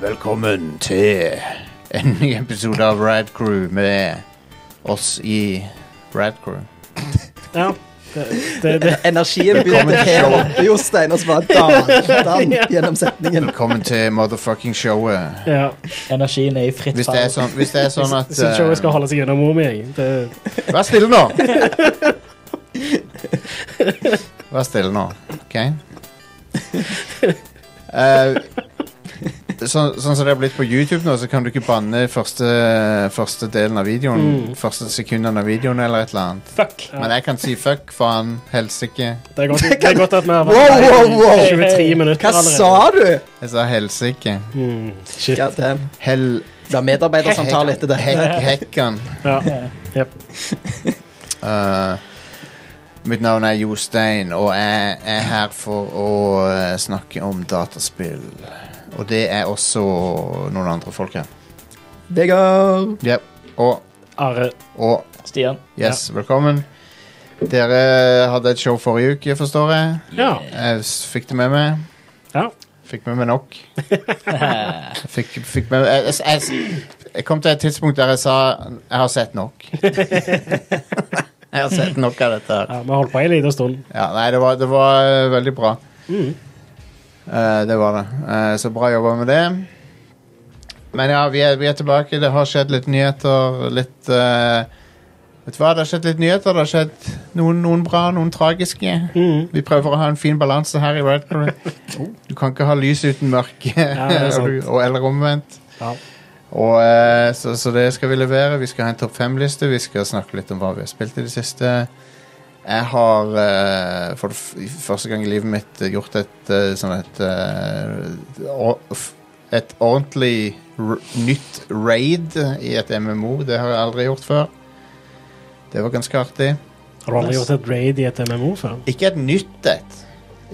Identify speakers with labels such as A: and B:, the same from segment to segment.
A: velkommen til en ny episode av Rad Crew med oss i Rad Crew.
B: Ja. Det, det, det.
C: Energien begynte å heve opp i Jostein, og så bare damp, damp gjennom setningen.
A: Velkommen til motherfucking showet.
B: Ja.
D: Energien er i fritt
A: Hvis det er sånn, hvis det er sånn at
B: Jeg syns
A: eh,
B: showet skal holde seg unna mor mi. jeg. Det-
A: Vær stille nå! Vær stille nå, OK? Eh, sånn, sånn som det har blitt på YouTube nå, så kan du ikke banne første, første delen av videoen.
B: Mm.
A: Første sekundene av videoen eller et eller annet.
D: Fuck.
B: Ja.
A: Men jeg kan si fuck, faen, helsike.
B: Det er godt, det er godt at vi har
C: Wow,
B: vært her
C: wow, wow.
B: i 23 minutter
C: Hva
B: allerede.
C: sa du?
A: Jeg sa helsike.
B: Mm, shit.
C: God damn.
A: Hel...
C: Det er medarbeidersamtale etter det.
A: Hek, hekkan.
B: Ja. Jep.
A: Eh, mitt navn er Jostein, og jeg er her for å eh, snakke om dataspill. Og det er også noen andre folk her.
C: Vegard.
A: Yep. Og,
B: Are.
A: og
D: Stian.
A: yes, velkommen. Dere hadde et show forrige uke, forstår jeg.
B: Ja.
A: Jeg s- fikk det med meg.
B: ja.
A: Fikk med meg nok. Fikk, fikk med meg jeg, jeg, jeg, jeg kom til et tidspunkt der jeg sa Jeg har sett nok. jeg har sett nok av dette. her
B: ja vi holdt på en liten stund. Mm,
A: Ja, nei, det var, det var eh, veldig bra. Eh, det var det. Eh, så bra jobba med det. Men ja, vi er, vi er tilbake. Det har skjedd litt nyheter. Litt eh, Vet du hva, det har skjedd litt nyheter. Det har skjedd noen, noen bra, noen tragiske.
B: mm.
A: Vi prøver å ha en fin balanse her i Red Crew. Du kan ikke ha lys uten mørke,
B: det er
A: og, du- og, eller omvendt.
B: Ja.
A: Og, eh, så, så det skal vi levere. Vi skal ha en topp fem-liste. Vi skal snakke litt om hva vi har spilt i det siste. Jeg har eh, for det f- første gang i livet mitt eh, gjort et eh, sånn et eh, or- f- Et ordentlig r nytt raid i et MMO. Det har jeg aldri gjort før. Det var ganske artig.
B: Har du aldri gjort et raid i et MMO før?
A: Ikke et nytt et.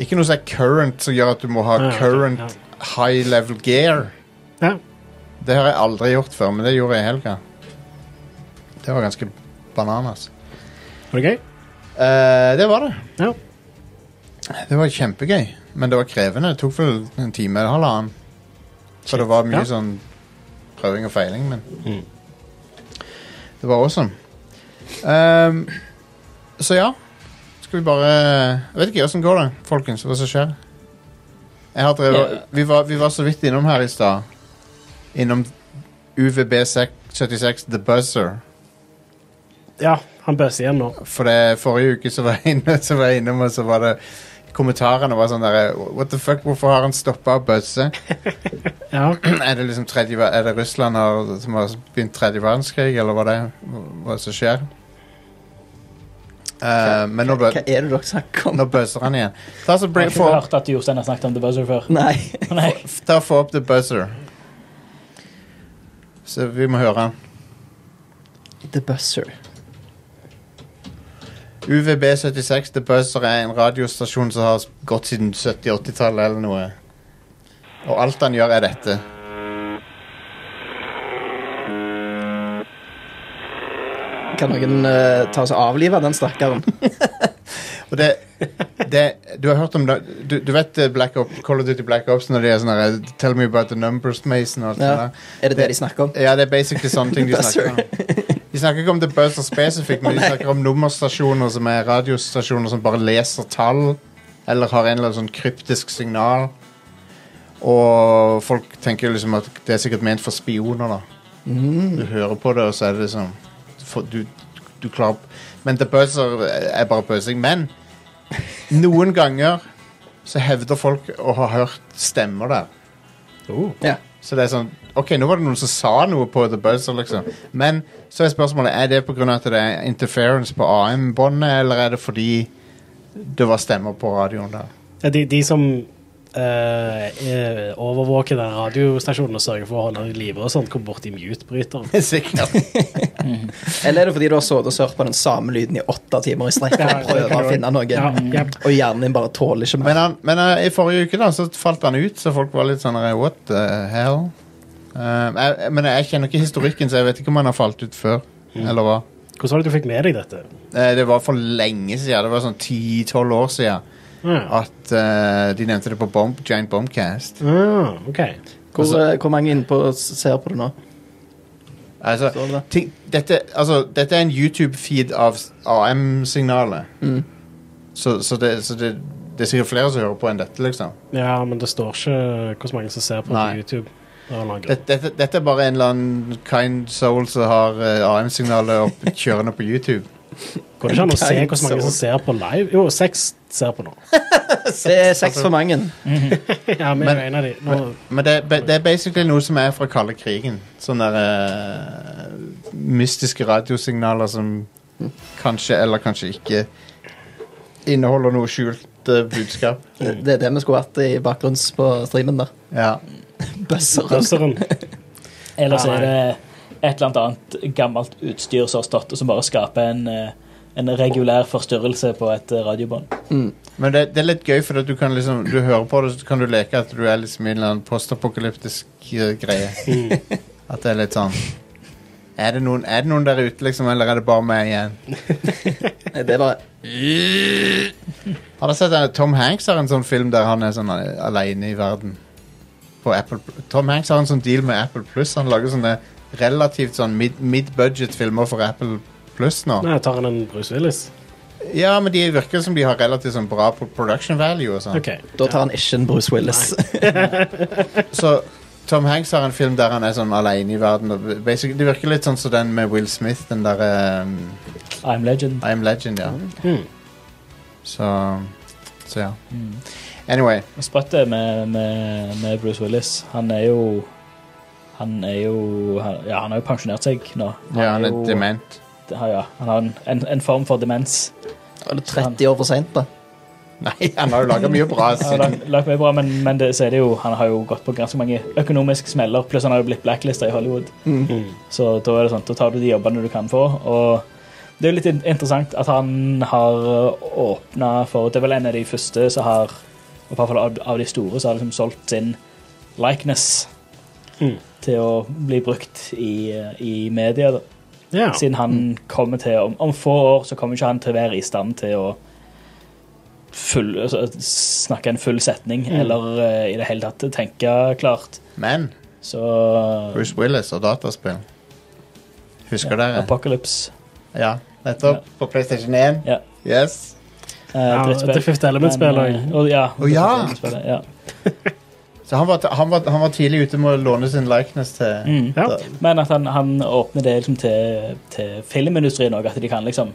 A: Ikke noe som er current, som gjør at du må ha
B: Ja, ja,
A: current high level gear.
B: Ja.
A: Det har jeg aldri gjort før, men det gjorde jeg i helga. Det var ganske bananas.
B: Var det gøy?
A: Eh, det var det.
B: Ja.
A: Det var kjempegøy, men det var krevende. Det tok vel en time eller halvannen. Så det var mye
B: Ja.
A: sånn prøving og feiling, men Det var awesome. Ehm, så ja. Skal vi bare Jeg vet ikke åssen går det, folkens. Hva som skjer? Jeg har drevet,
D: Ja.
A: vi, var, vi var så vidt innom her i stad. Innom UVB76 The Buzzer.
B: ja. Han bøser igjen nå.
A: For det, forrige uke så var jeg inne, så var jeg innom, og så var det Kommentarene var sånn derre What the fuck, hvorfor har han stoppa å bøsse?
B: Ja.
A: er det liksom tredje, ver- er det Russland har, som har begynt tredje verdenskrig, eller hva det hva som skjer? Eh, men nå,
C: Hva
A: bø,
C: er det dere snakker om?
A: nå bøsser han igjen. Ta så
D: Jeg
A: bring,
D: har ikke
A: få,
D: hørt at Jostein har snakket om The Buzzer før.
C: Nei.
D: Nei.
A: ta, få opp the buzzer. Så vi må høre han.
C: The Buzzer.
A: UVB76 The Buzzer er en radiostasjon som har gått siden 70-80-tallet eller noe. Og alt han gjør, er dette.
C: Kan noen eh, ta oss og avlive den stakkaren?
A: Og det, det Du har hørt om det Du, du vet eh, Black Ops, Call of Duty Black Ops når de er sånn her, Tell me about the numbers, Mason og alt
C: Ja.
A: sånt.
C: Er det det de snakker om?
A: der. Ja, det er basically sånne ting de snakker om. De snakker ikke om The Buzzer spesifikt, men de snakker om nummerstasjoner som er radiostasjoner som bare leser tall, eller har en eller annen sånn kryptisk signal. Og folk tenker jo liksom at det er sikkert ment for spioner, da. Du hører på det, og så er det liksom for, du, du klarer Men The Buzzer er bare pøsing. Men noen ganger så hevder folk å ha hørt stemmer der.
B: Oh.
C: Ja.
A: Så det er sånn Ok, nå var det noen som sa noe på The Buzzer, liksom. Men så er spørsmålet Er det pga. at det er interference på AM-båndet, eller er det fordi det var stemmer på radioen der?
B: Ja, De, de som eh, eh, overvåker den radiostasjonen og sørger for å holde den i live, og sånt, kommer bort i mute-bryteren.
A: Sikkert.
C: Eller er det fordi du har sittet og hørt på den samme lyden i åtte timer i strekk
B: Ja,
C: og prøver å finne noe,
B: Ja, ja.
C: og hjernen din bare tåler ikke mer?
A: Men, han, men eh, i forrige uke da, så falt han ut, så folk var litt sånn eh, What the hell? Eh, jeg, men jeg kjenner ikke historikken, så jeg vet ikke om han har falt ut før. Eller hva.
B: Hvordan var det du fikk med deg dette?
A: Eh, det var for lenge siden. Det var sånn 10-12 år siden
B: Ah,
A: at eh, de nevnte det på Bomb, Giant Bombcast.
B: ah, ok.
C: Hvor, eh, hvor mange inne på ser på det nå?
A: Altså,
C: Står det der?
A: ting, dette, altså, dette er en YouTube-feed av s- AM-signalet.
C: Mm.
A: Så, så, det, så det, det er sikkert flere som hører på enn dette, liksom.
B: Ja, men det står ikke hvor mange som ser på
A: Nei.
B: YouTube. Av en eller annen grunn.
A: Dette, dette, dette er bare en eller annen kind soul som har eh, AM-signalet opp, kjørende på YouTube.
B: Går det ikke an å se
C: Kind
B: hvor mange
C: soul.
B: som ser på live? Jo, seks ser på nå.
C: Det er seks for mange.
B: Ja, vi
A: Men-
B: er jo en av de. Nå,
A: Men det, er ba- det er basically noe som er fra kalde krigen. Sånne der, eh, mystiske radiosignaler som kanskje eller kanskje ikke inneholder noe skjult eh, budskap.
C: Det det er det vi skulle hatt i bakgrunns på streamen der.
A: Ja.
C: Bøsseren.
B: Buzzeren.
D: Eller
B: Ja,
D: så er det et eller annet gammelt utstyr som har stått, og som bare skaper en, eh, en regulær forstyrrelse på et eh, radiobånd.
A: Men det, det er litt gøy, for at du kan liksom Du hører på det, så kan du leke at du er liksom i en eller annen postapokalyptisk eh, greie. At det er litt sånn er det, noen, er det noen der ute, liksom, eller er det bare meg igjen?
C: Det er bare
A: Har dere sett at Tom Hanks har en sånn film der han er sånn eh, alene i verden? På Apple Pl- Tom Hanks har en sånn deal med Apple Pluss. Han lager sånne relativt sånn mid- mid-budget-filmer for Apple Pluss nå.
B: Nei, tar han en Bruce Willis?
A: Ja, men de virker som de har relativt sånn bra på production value og sånn.
B: OK.
C: Da tar han ikke en Bruce Willis.
A: Så Tom Hanks har en film der han er sånn alene i verden. Og basically- det virker litt sånn som den med Will Smith, den derre
D: I'm legend.
A: I'm Legend, ja.
B: Mm.
A: Så Så ja.
D: Mm.
A: Anyway.
D: Og Sprøtt det med, med, med Bruce Willis. Han er jo Han er jo han, Ja, han har jo pensjonert seg nå.
A: Ja, han er
D: jo-
A: dement.
D: Ja, ja, han har en, en, en form for demens.
C: Da er det 30 år for seint, da.
A: Nei, han har jo laga mye bra
D: Han har
A: siden
D: lagt, lagt mye bra, men, men det, så er det jo, han har jo gått på ganske mange økonomiske smeller. Pluss han har jo blitt blacklista i Hollywood.
B: Mm.
D: Så da er det sånn, da tar du de jobbene du kan få. Og det er jo litt in- interessant at han har åpna for Det er vel en av de første som har i hvert fall av- av de store som har liksom solgt sin likeness
B: Mm.
D: til å bli brukt i, i media. Da.
B: Ja.
D: Siden
A: Mm.
D: han kommer til om, om få år så kommer ikke han til å være i stand til å full, altså, snakke en full setning
A: Mm.
D: eller eh, i det hele tatt tenke klart.
A: Men
D: Så
A: Bruce Willis og dataspill. Husker dere?
D: Apocalypse.
A: Ja, nettopp. På PlayStation 1.
D: Ja.
A: Yes.
D: Eh,
B: Ja,
D: drittspill.
B: The Fifth Element-spill
D: Men,
B: også.
D: eh, og ja,
A: Å, ja.
D: The Fifth Element-spillet, ja.
A: Så han var, han, var, han var tidlig ute med å låne sin likeness til
D: Mm.
B: Ja.
A: da-
D: Men at han, han åpner det liksom til, til filmindustrien òg, at de kan liksom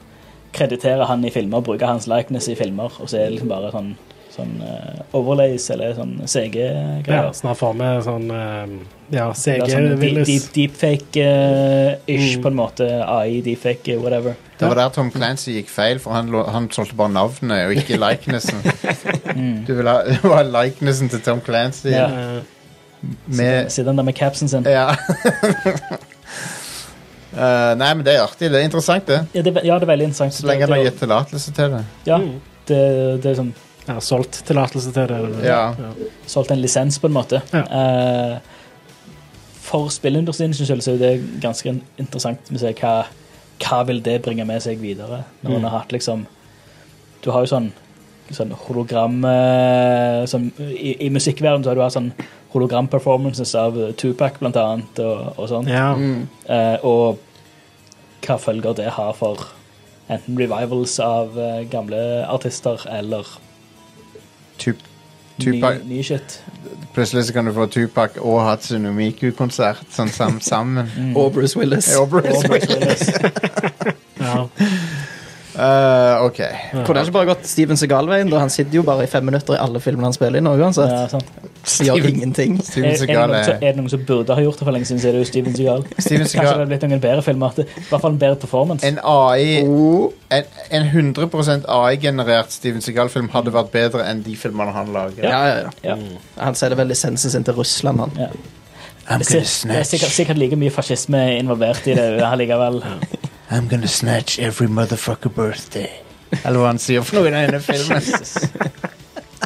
D: kreditere han i filmer, bruke hans likeness i filmer, og så er det liksom bare sånn, sånn eh, overlays eller sånn
B: Ja,
D: CG-greier.
B: så han får med sånn eh, Ja,
D: Eller
B: CG
D: sånn deep,
B: Willis.
D: deep, deepfake-ish,
B: Mm.
D: på en måte. AI, deepfake, whatever.
A: Det var der Tom Clancy gikk feil, for han, lå- han solgte bare navnet og ikke likenessen.
D: Mm.
A: Du vil ha, du vil ha likenessen til Tom Clancy
D: Ja.
B: Eh,
D: Sitter
A: med
D: sitter han der med capsen sin.
A: Ja. Eh, nei, men det er artig. Det er interessant, det.
D: Ja, det, er ve- ja, det er veldig interessant.
A: Så lenge han har gitt tillatelse til det.
D: Ja,
B: Mm.
D: det, det er sånn
B: Ja, solgt tillatelse til det. eller?
A: Ja.
D: solgt en lisens, på en måte. Eh, for spillindustrien sin skyld så er det ganske interessant med seg hva, hva vil det bringe med seg videre. Når man har hatt liksom Du har jo sånn, sånn hologram eh, sånn, i, I musikkverdenen så har du hatt sånn hologram-performances av Tupac, blant annet, og, og sånn.
B: Ja.
C: Mm.
D: Eh, og hva følger det har for enten revivals av eh, gamle artister eller
A: Tup
D: ny,
A: Tupac.
D: ny shit.
A: Plutselig så kan du få Tupac og Hatsune Miku-konsert sånn sam sammen.
D: Mm.
C: Mm. Og Bruce Willis.
A: Ja, Bruce
D: Og Bruce Willis.
B: ja.
A: Eh, ok.
C: Kunne han ikke bare gått Steven Segal-veien? da? Han sitter jo bare i fem minutter i alle filmene han spiller i nå uansett.
D: Ja, sant.
C: Gjør ingenting.
D: Er,
A: Steven
D: er, det
A: Segal
D: noen, som-
A: er
D: er det noen som burde ha gjort det for lenge siden, så er det jo Steven Seagal.
A: Steven
D: Kanskje det
A: Segal
D: hadde blitt noen bedre filmer. at det- I hvert fall en bedre performance.
A: En AI
C: Oh.
A: En, en 100 AI-generert Steven Segal-film hadde vært bedre enn de filmene han lager.
C: Ja, ja, ja.
D: Ja.
C: Han selger vel lisensen sin til Russland, han.
D: Ja.
A: I'm
D: Det er, si- det er sikkert, sikkert like mye fascisme involvert i det allikevel.
A: I'm gonna snatch every motherfucker birthday. Eller hva han sier for noe i denne filmen.
D: Jesus.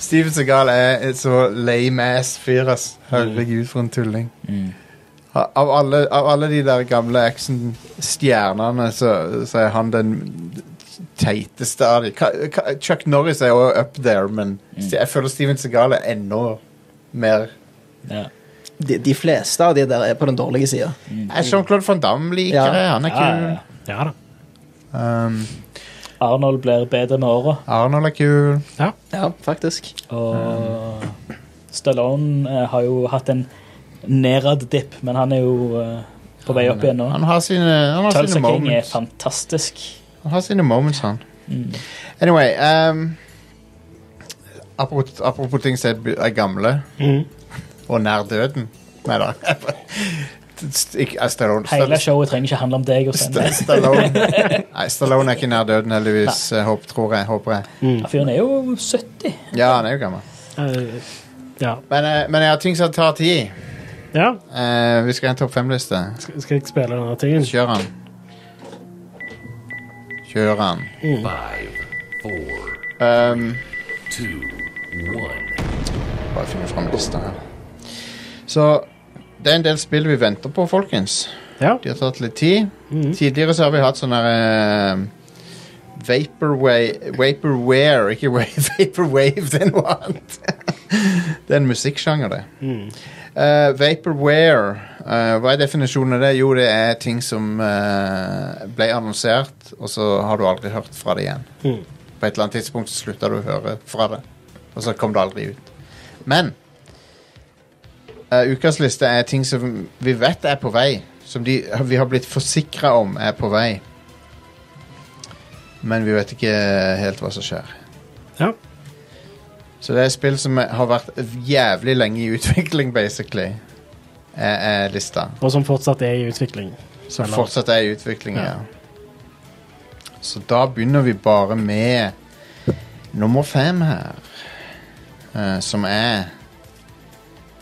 A: Steven Segal er et så lame ass fyr, ass. Herregud, for en tulling. Av- Av alle, av alle de der gamle actionstjernene, så, så er han den teiteste av dem. Mm. Chuck Norris er jo up there, men jeg føler Steven Segal er enda mer
D: Ja.
C: De, de fleste av de der er på den dårlige sida.
A: Eh, Jean-Claude van Damme liker
C: Ja.
A: det. Han er
D: Ja, ja,
A: kul.
D: ja.
B: Ja da.
A: Um,
D: Arnold blir bedre med åra,
A: Arnold er kul.
C: Ja, faktisk.
D: og Stallone eh, har jo hatt en nedad dip, men han er jo eh, på vei opp igjen nå.
A: Han har sine, han har
D: Tulsa
A: sine
D: King er
A: moments.
D: fantastisk.
A: Han har sine moments, han.
D: Mm.
A: Anyway um, apropos, apropos ting som er bu- er gamle
B: Mhm.
A: og nær døden Nei da. Ikke- eh, Stallone
D: Hele
A: Stall-
D: showet trenger ikke handle om deg. og
A: Stall-
D: sånn.
A: Stallone Nei, Stallone er ikke nær døden, heldigvis. eh, Håp, tror jeg. Håper jeg.
D: Ja, Fyren er jo 70.
A: Ja, han er jo gammel.
B: Mm. Eh, ja.
A: Men, eh, men jeg har ting som tar tid.
B: ja.
A: Eh, vi skal ha en topp fem-liste.
B: Skal, skal jeg spille denne tingen?
A: Kjør han. Kjør han.
B: Mm.
E: Five, four,
A: Um,
E: two, one.
A: Bare finne fram lista her. Så det er en del spill vi venter på, folkens.
B: Ja.
A: De har tatt litt tid. Tidligere så har vi hatt sånn her eh, Vaporwave Vaporware, ikke wave, Vaporwave, det er noe annet. det er en musikksjanger, det.
B: Mm.
A: Eh, vaporware, eh, hva er definisjonen av det? Jo, det er ting som eh, ble annonsert, og så har du aldri hørt fra det igjen.
B: Mhm.
A: På et eller annet tidspunkt så slutta du å høre fra det, og så kom det aldri ut. Men eh, ukas liste er ting som vi vet er på vei. Som de, vi har blitt forsikra om er på vei. Men vi vet ikke helt hva som skjer.
B: Ja.
A: Så det er spill som har vært jævlig lenge i utvikling, basically. Er, er lista.
B: Og som fortsatt er i utvikling.
A: Som
B: Eller-
A: fortsatt er i utvikling, ja. Så da begynner vi bare med nummer fem her. eh, som er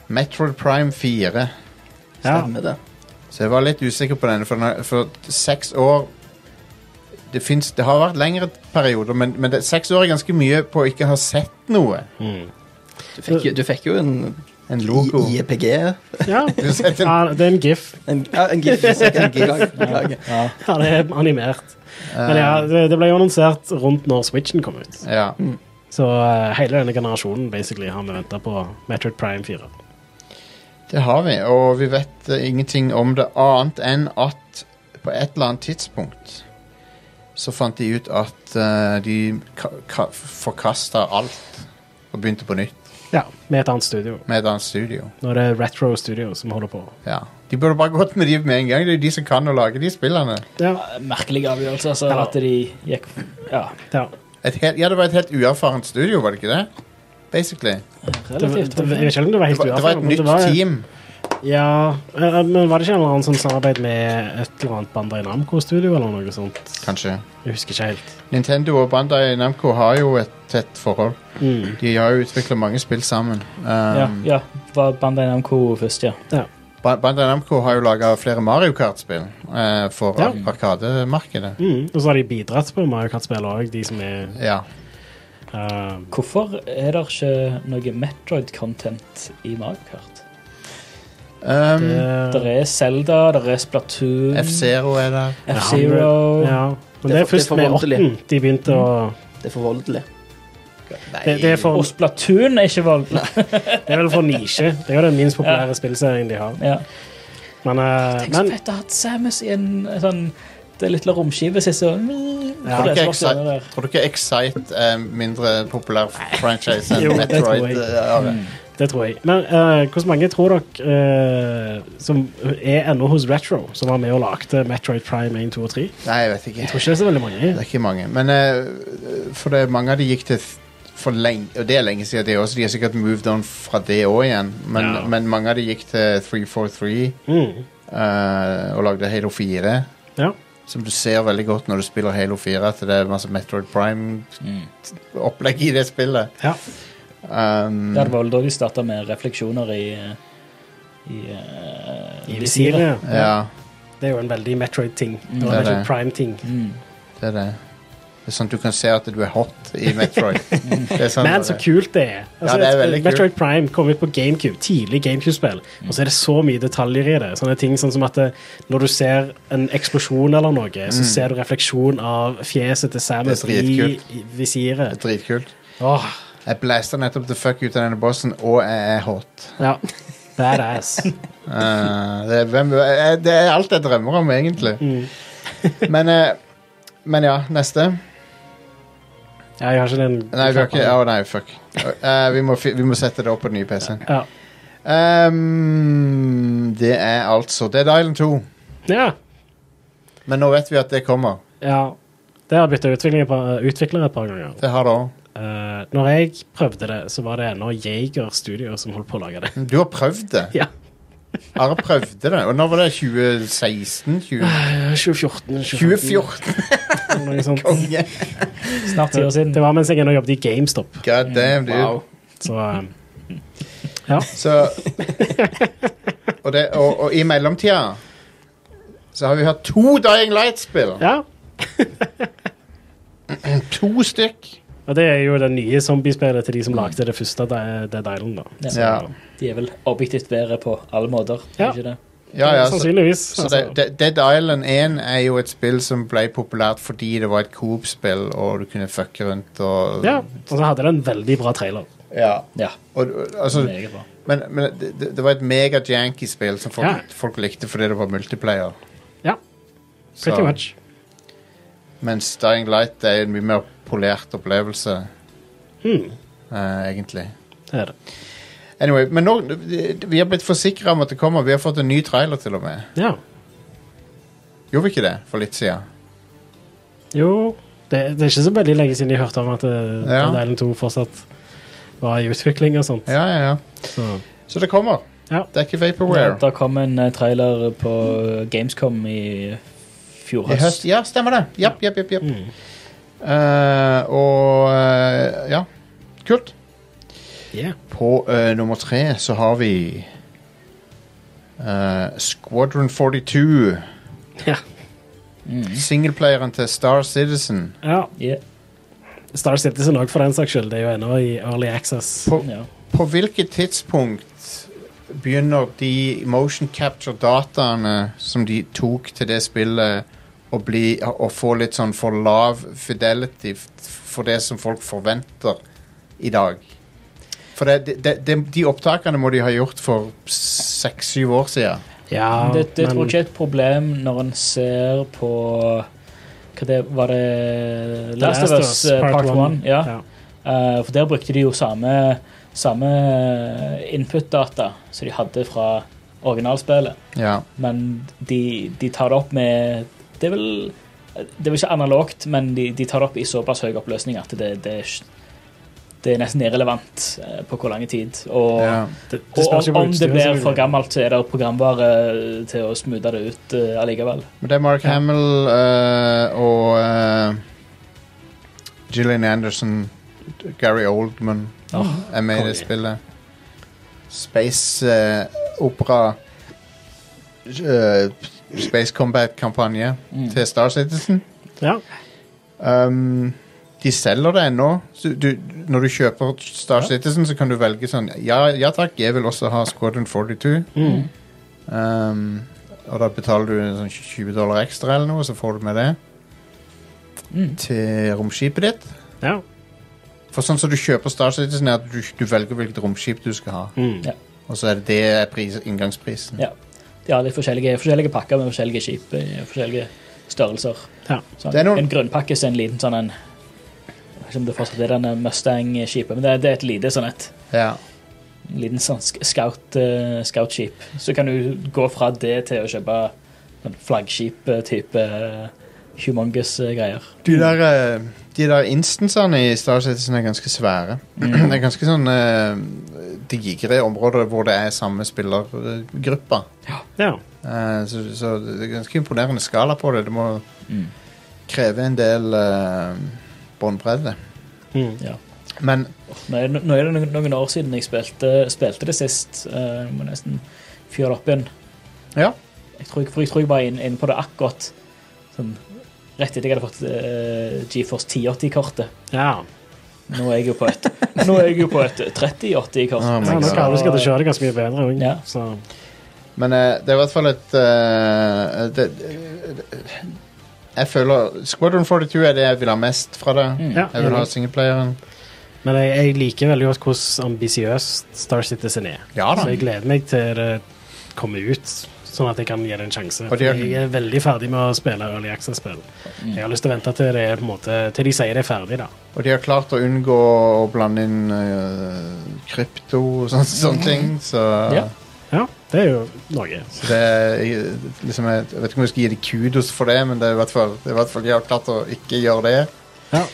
A: Metroid Prime 4.
B: Ja.
C: Stemmer det.
A: Så jeg var litt usikker på denne, for, den har- for seks år det, finnes, det har vært lengre perioder, men, men det, seks år er ganske mye på å ikke ha sett noe.
B: Mm.
C: Du fikk, jo- du fikk jo en
A: En logo.
C: I- IEPG.
B: ja.
A: Du har sett en
B: ja. Det er en gif.
C: En, ja, en gif. En gif. Beklager.
D: Ja.
B: Ja, det er animert. Men ja, det, det ble jo annonsert rundt når Switchen kom ut.
A: Ja.
B: Så eh, hele denne generasjonen basically har vi venta på Metroid Prime 4.
A: Det har vi, og vi vet eh, ingenting om det annet enn at på et eller annet tidspunkt så fant de ut at eh, de ka ka forkasta alt og begynte på nytt
B: Ja, Med et annet studio.
A: med et annet studio.
B: Nå er det Retro Studio som holder på.
A: Ja. De burde bare gått med de med en gang. Det er jo de som kan å lage de spillene.
B: Ja,
D: Merkelig avgjørelse, altså.
B: Ja.
D: At de gikk Ja,
B: ja.
A: Et helt, ja, det var et helt uerfarent studio, var det ikke det? Basically.
B: Det, det,
D: relativt.
B: det, jeg vet ikke om det
A: Det
B: var helt
A: var, det var
B: uavhengig,
A: et
B: men
A: nytt team.
B: Ja, eh, eh, men var det ikke en eller annen sånn samarbeid med et eller annet Bandai Namco-studio eller noe sånt?
A: Kanskje.
B: Jeg husker ikke helt.
A: Nintendo og Bandai Namco har jo et tett forhold.
B: Mm.
A: De har jo utvikla mange spill sammen. Um,
D: Ja, ja. Var Bandai Namco først, ja.
A: Ba- Bandai Namco har jo laga flere Mario Kart-spill eh, for
B: Ja.
A: ja. Arkademarkedet.
B: Mm. Og så har de bidratt på Mario Kart-spill òg, de som er
A: Ja.
B: eh,
D: Hvorfor er det ikke noe Metroid-content i Mario Kart?
A: Um,
B: det-
D: Der er Zelda, der er Splatoon,
A: F-Zero er der.
D: F-Zero
B: Ja, men det
C: Det
B: er
C: er for-
B: først
C: det er
B: med
C: forventelig.
B: åtten de begynte å
C: Det er for voldelig.
B: det, det, er for,
D: Og Splatoon er ikke valgt.
B: det er vel for nisje. Det er jo den minst populære spillserien de har.
D: Ja.
B: Men, eh,
D: Tenk så
B: men
D: fett å ha hatt Samus i en sånn det lille romskipet sitt. så-
B: Ja,
D: For det er
A: ikke
D: så
A: Excite.
D: godt det der.
A: Tror du ikke Excite er mindre populær franchise
B: Jo,
A: enn
B: det
A: Metroid?
B: tror jeg. Mm.
A: eh, er
D: Mm.
A: det?
B: det tror jeg. Men eh, hvor mange tror dere eh, som er ennå hos Retro, som var med og lagde Metroid Prime 1, 2 og 3?
A: Nei, jeg vet ikke.
B: Jeg tror ikke det er så veldig mange.
A: Det er ikke mange. Men eh, for det, mange av de gikk til f- for lenge, og det er lenge siden det også, de har sikkert moved on fra det òg igjen, men,
B: Ja.
A: men mange av de gikk til 343
B: Mm.
A: eh, og lagde Halo 4.
B: Ja.
A: Som du ser veldig godt når du spiller Halo 4, at det er masse Metroid
B: Mm.
A: Prime-opplegg i det spillet.
B: ja.
A: Um,
D: Ja, det var vel da de starta med refleksjoner i eh, i, eh,
B: I
D: visiret.
B: visiret.
A: ja,
B: Det er jo en veldig Metroid-ting.
D: Mm,
B: Og
A: det er
B: Metroid
A: det.
B: Prime-ting.
D: Mm.
A: det er det. Det er sånn at du kan se at du er hot i Metroid.
D: Mm.
A: Det er sånn
B: Men
A: det
B: så
A: er.
B: kult det er. Altså,
A: det er
B: et-
A: veldig kult.
B: Metroid Prime kom ut på GameCube, tidlig GameCube-spill, og så er det så mye detaljer i det. Sånne ting sånn som at eh, når du ser en eksplosjon eller noe, så ser du refleksjon av fjeset til Samus
A: Mm. Det er
B: i,
A: dritkult.
B: i
A: Det
B: visiret.
A: er dritkult.
B: Åh,
A: Jeg blasta nettopp the fuck ut av denne bossen, og jeg er hot.
B: ja. Badass.
A: Eh, det, er, hvem, eh, det er alt jeg drømmer om, egentlig.
B: Mm.
A: Men, eh, men ja, neste.
B: Ja, jeg har ikke den.
A: Nei, vi har ikke Å, nei, fuck. Eh, vi, må, fi- vi må sette det opp på den nye PC-en.
B: Ja.
A: Ehm, det er altså Dead Island 2.
B: ja.
A: Men nå vet vi at det kommer.
B: ja. Det har bytta eh, utvikler et par ganger.
A: Det har det òg.
B: Eh, når jeg prøvde det, så var det ennå Jaeger Studio som holdt på å lage det.
A: Du har prøvd det.
B: Ja.
A: Are prøvde det. Og når var det? 2016? 20...
B: Eh, 2014.
A: 2014?
B: eller noe sånt.
A: Konge.
D: Snart ti år siden.
B: Det var mens jeg ennå jobbet i GameStop.
A: God damn, dude.
D: Wow.
B: Så
D: Mm.
B: eh,
A: Så og, det, og, og i mellomtida så har vi hatt to Dying Light-spill.
B: ja.
A: To stykk.
B: Og det er jo det nye zombiespillet til de som lagde det første Di- Dead Island, da.
D: Ja.
A: Ja,
D: De er vel objektivt bedre på alle måter.
B: Ja.
D: er Ikke det?
A: ja, ja så,
B: Sannsynligvis.
A: så
B: altså.
A: det, det- Dead Island 1 er jo et spill som ble populært fordi det var et Coop-spill, og du kunne fucke rundt og
B: Ja, og så hadde det en veldig bra trailer.
A: Ja,
D: Ja,
A: Og, og- altså,
D: meget bra.
A: men, men det, det- det var et mega-janky spill som folk,
B: Ja.
A: folk likte fordi det var multiplayer.
B: Ja, pretty
A: Så-
B: much.
A: Mens Dying Light er en mye mer polert opplevelse,
B: Mm,
A: eh, egentlig.
B: det er det.
A: Anyway, men nå, vi har blitt forsikra om at det kommer. Vi har fått en ny trailer til og med.
B: Ja.
A: Gjorde vi ikke det for litt siden?
B: Jo, det, det er ikke så veldig lenge siden jeg hørte om at eh,
A: Ja.
B: Dead Island 2 fortsatt var i utvikling og sånt.
A: Ja, ja, ja.
B: Så,
A: Så det kommer.
B: Ja.
A: Det er ikke
D: Ja,
A: Vaporware.
D: der kom en eh, trailer på eh, Gamescom i fjor
A: I høst.
D: høst.
A: Ja, stemmer det. Japp, japp, japp. japp.
B: mm.
A: Eh, og eh, ja. Kult.
B: yeah.
A: På eh, nummer tre så har vi eh, Squadron 42.
B: ja.
D: Mm.
A: Singleplayeren til Star Citizen.
B: ja.
D: Ja,
B: Star Citizen òg, for den saks skyld. Det er jo ennå i Early Access.
A: På,
D: ja.
A: på hvilket tidspunkt begynner de motion capture dataene som de tok til det spillet å, bli, å få litt sånn for lav fidelity f- for det som folk forventer i dag? For det, det, det, de opptakene må de ha gjort for seks-syv år siden.
B: Ja,
D: det, det tror
B: men-
D: jeg ikke er et problem når en ser på hva det, Var det Last of Us eh, Part 1? Ja.
B: Ja.
D: Eh, for der brukte de jo samme, samme eh, input-data som de hadde fra originalspillet.
A: Ja.
D: Men de, de tar det opp med Det er vel, det er vel ikke analogt, men de, de tar det opp i såpass høy oppløsning at det, det, er ikke- det er nesten irrelevant eh, på hvor lang tid. Og,
A: ja.
B: Det, det
D: og
B: spørs jo
D: om,
B: på
D: om det
B: utstyret,
D: blir
B: selvfølgelig.
D: for gammelt, så er det programvare eh, til å smoothe det ut eh, allikevel.
A: Men det er Mark Hamill eh, og eh, Gillian Anderson, Gary Oldman er med i det
D: konge.
A: spillet. Space eh, opera eh, Space Combat-kampanje
D: Mm.
A: til Star Citizen.
B: Ja.
A: Um, de selger det ennå. Så Du, når du kjøper Star
D: Ja.
A: Citizen, så kan du velge sånn Ja, ja takk, jeg vil også ha Squadron 42.
B: Mm.
A: Um, og da betaler du en sånn 20 dollar ekstra eller noe, så får du med det
D: Mm.
A: til romskipet ditt.
B: ja.
A: For sånn som du kjøper Star Citizen, er at du, du velger hvilket romskip du skal ha.
B: Mm.
A: Og så er det det er pris, inngangsprisen.
D: Ja. Ja, det er forskjellige, forskjellige pakker med forskjellige skip i forskjellige størrelser.
B: Ja.
D: Sånn,
A: Det er noen-
D: En grunnpakke så er en liten sånn en jeg vet ikke om det fortsatt er denne Mustang-skipet, men det, er- det er et lite sånn et
A: Ja.
D: en liten sånn sk- scout, eh, scoutskip. Så kan du gå fra det til å kjøpe sånn flaggskip-type eh, humongous eh, greier.
A: De der, eh, de der instansene i Star Citizen er ganske svære. Det er ganske sånn eh, digre områder hvor det er samme spillergruppa.
B: ja.
A: Eh, så, så det er ganske imponerende skala på det. Det må
D: Mm.
A: kreve en del eh, båndbredde.
B: Mm.
A: Men
D: Nå er, nå er det noen, noen år siden jeg spilte, spilte det sist. eh, Jeg må nesten fyre det opp igjen.
A: Ja.
D: Jeg tror, for jeg tror jeg var inne inn på det akkurat sånn, rett etter jeg hadde fått eh, GeForce 1080-kortet.
B: ja.
D: Nå er jeg jo på et, nå er jeg jo på et 3080-kort.
A: Oh my
B: Ja, nå
A: God.
B: skal alle skal kjøre det ganske mye bedre òg.
D: Ja.
B: Så
A: Men eh, det er i hvert fall et eh, det, eh, det- Jeg føler Squadron 42 er det jeg vil ha mest fra det.
D: Mm.
B: Ja.
A: Jeg vil ha singleplayeren.
B: Men jeg, jeg liker veldig godt hvordan ambisiøst Star Citizen er.
A: Ja da.
B: Så jeg gleder meg til det kommer ut, sånn at jeg kan gi det en sjanse.
A: Og de har-
B: Jeg er veldig ferdig med å spille Early Access-spill.
A: Mm.
B: Jeg har lyst til å vente til, det er, på en måte, til de sier det er ferdig, da.
A: Og de har klart å unngå å blande inn eh, krypto og sånne, sånne ting. Så
D: Ja.
B: Mm. Ja, det er jo noe.
A: så det er eh, liksom Jeg jeg vet ikke om jeg skal gi dem kudos for det, men det er i hvert fall, det er i hvert fall de har klart å ikke gjøre det.
B: Ja.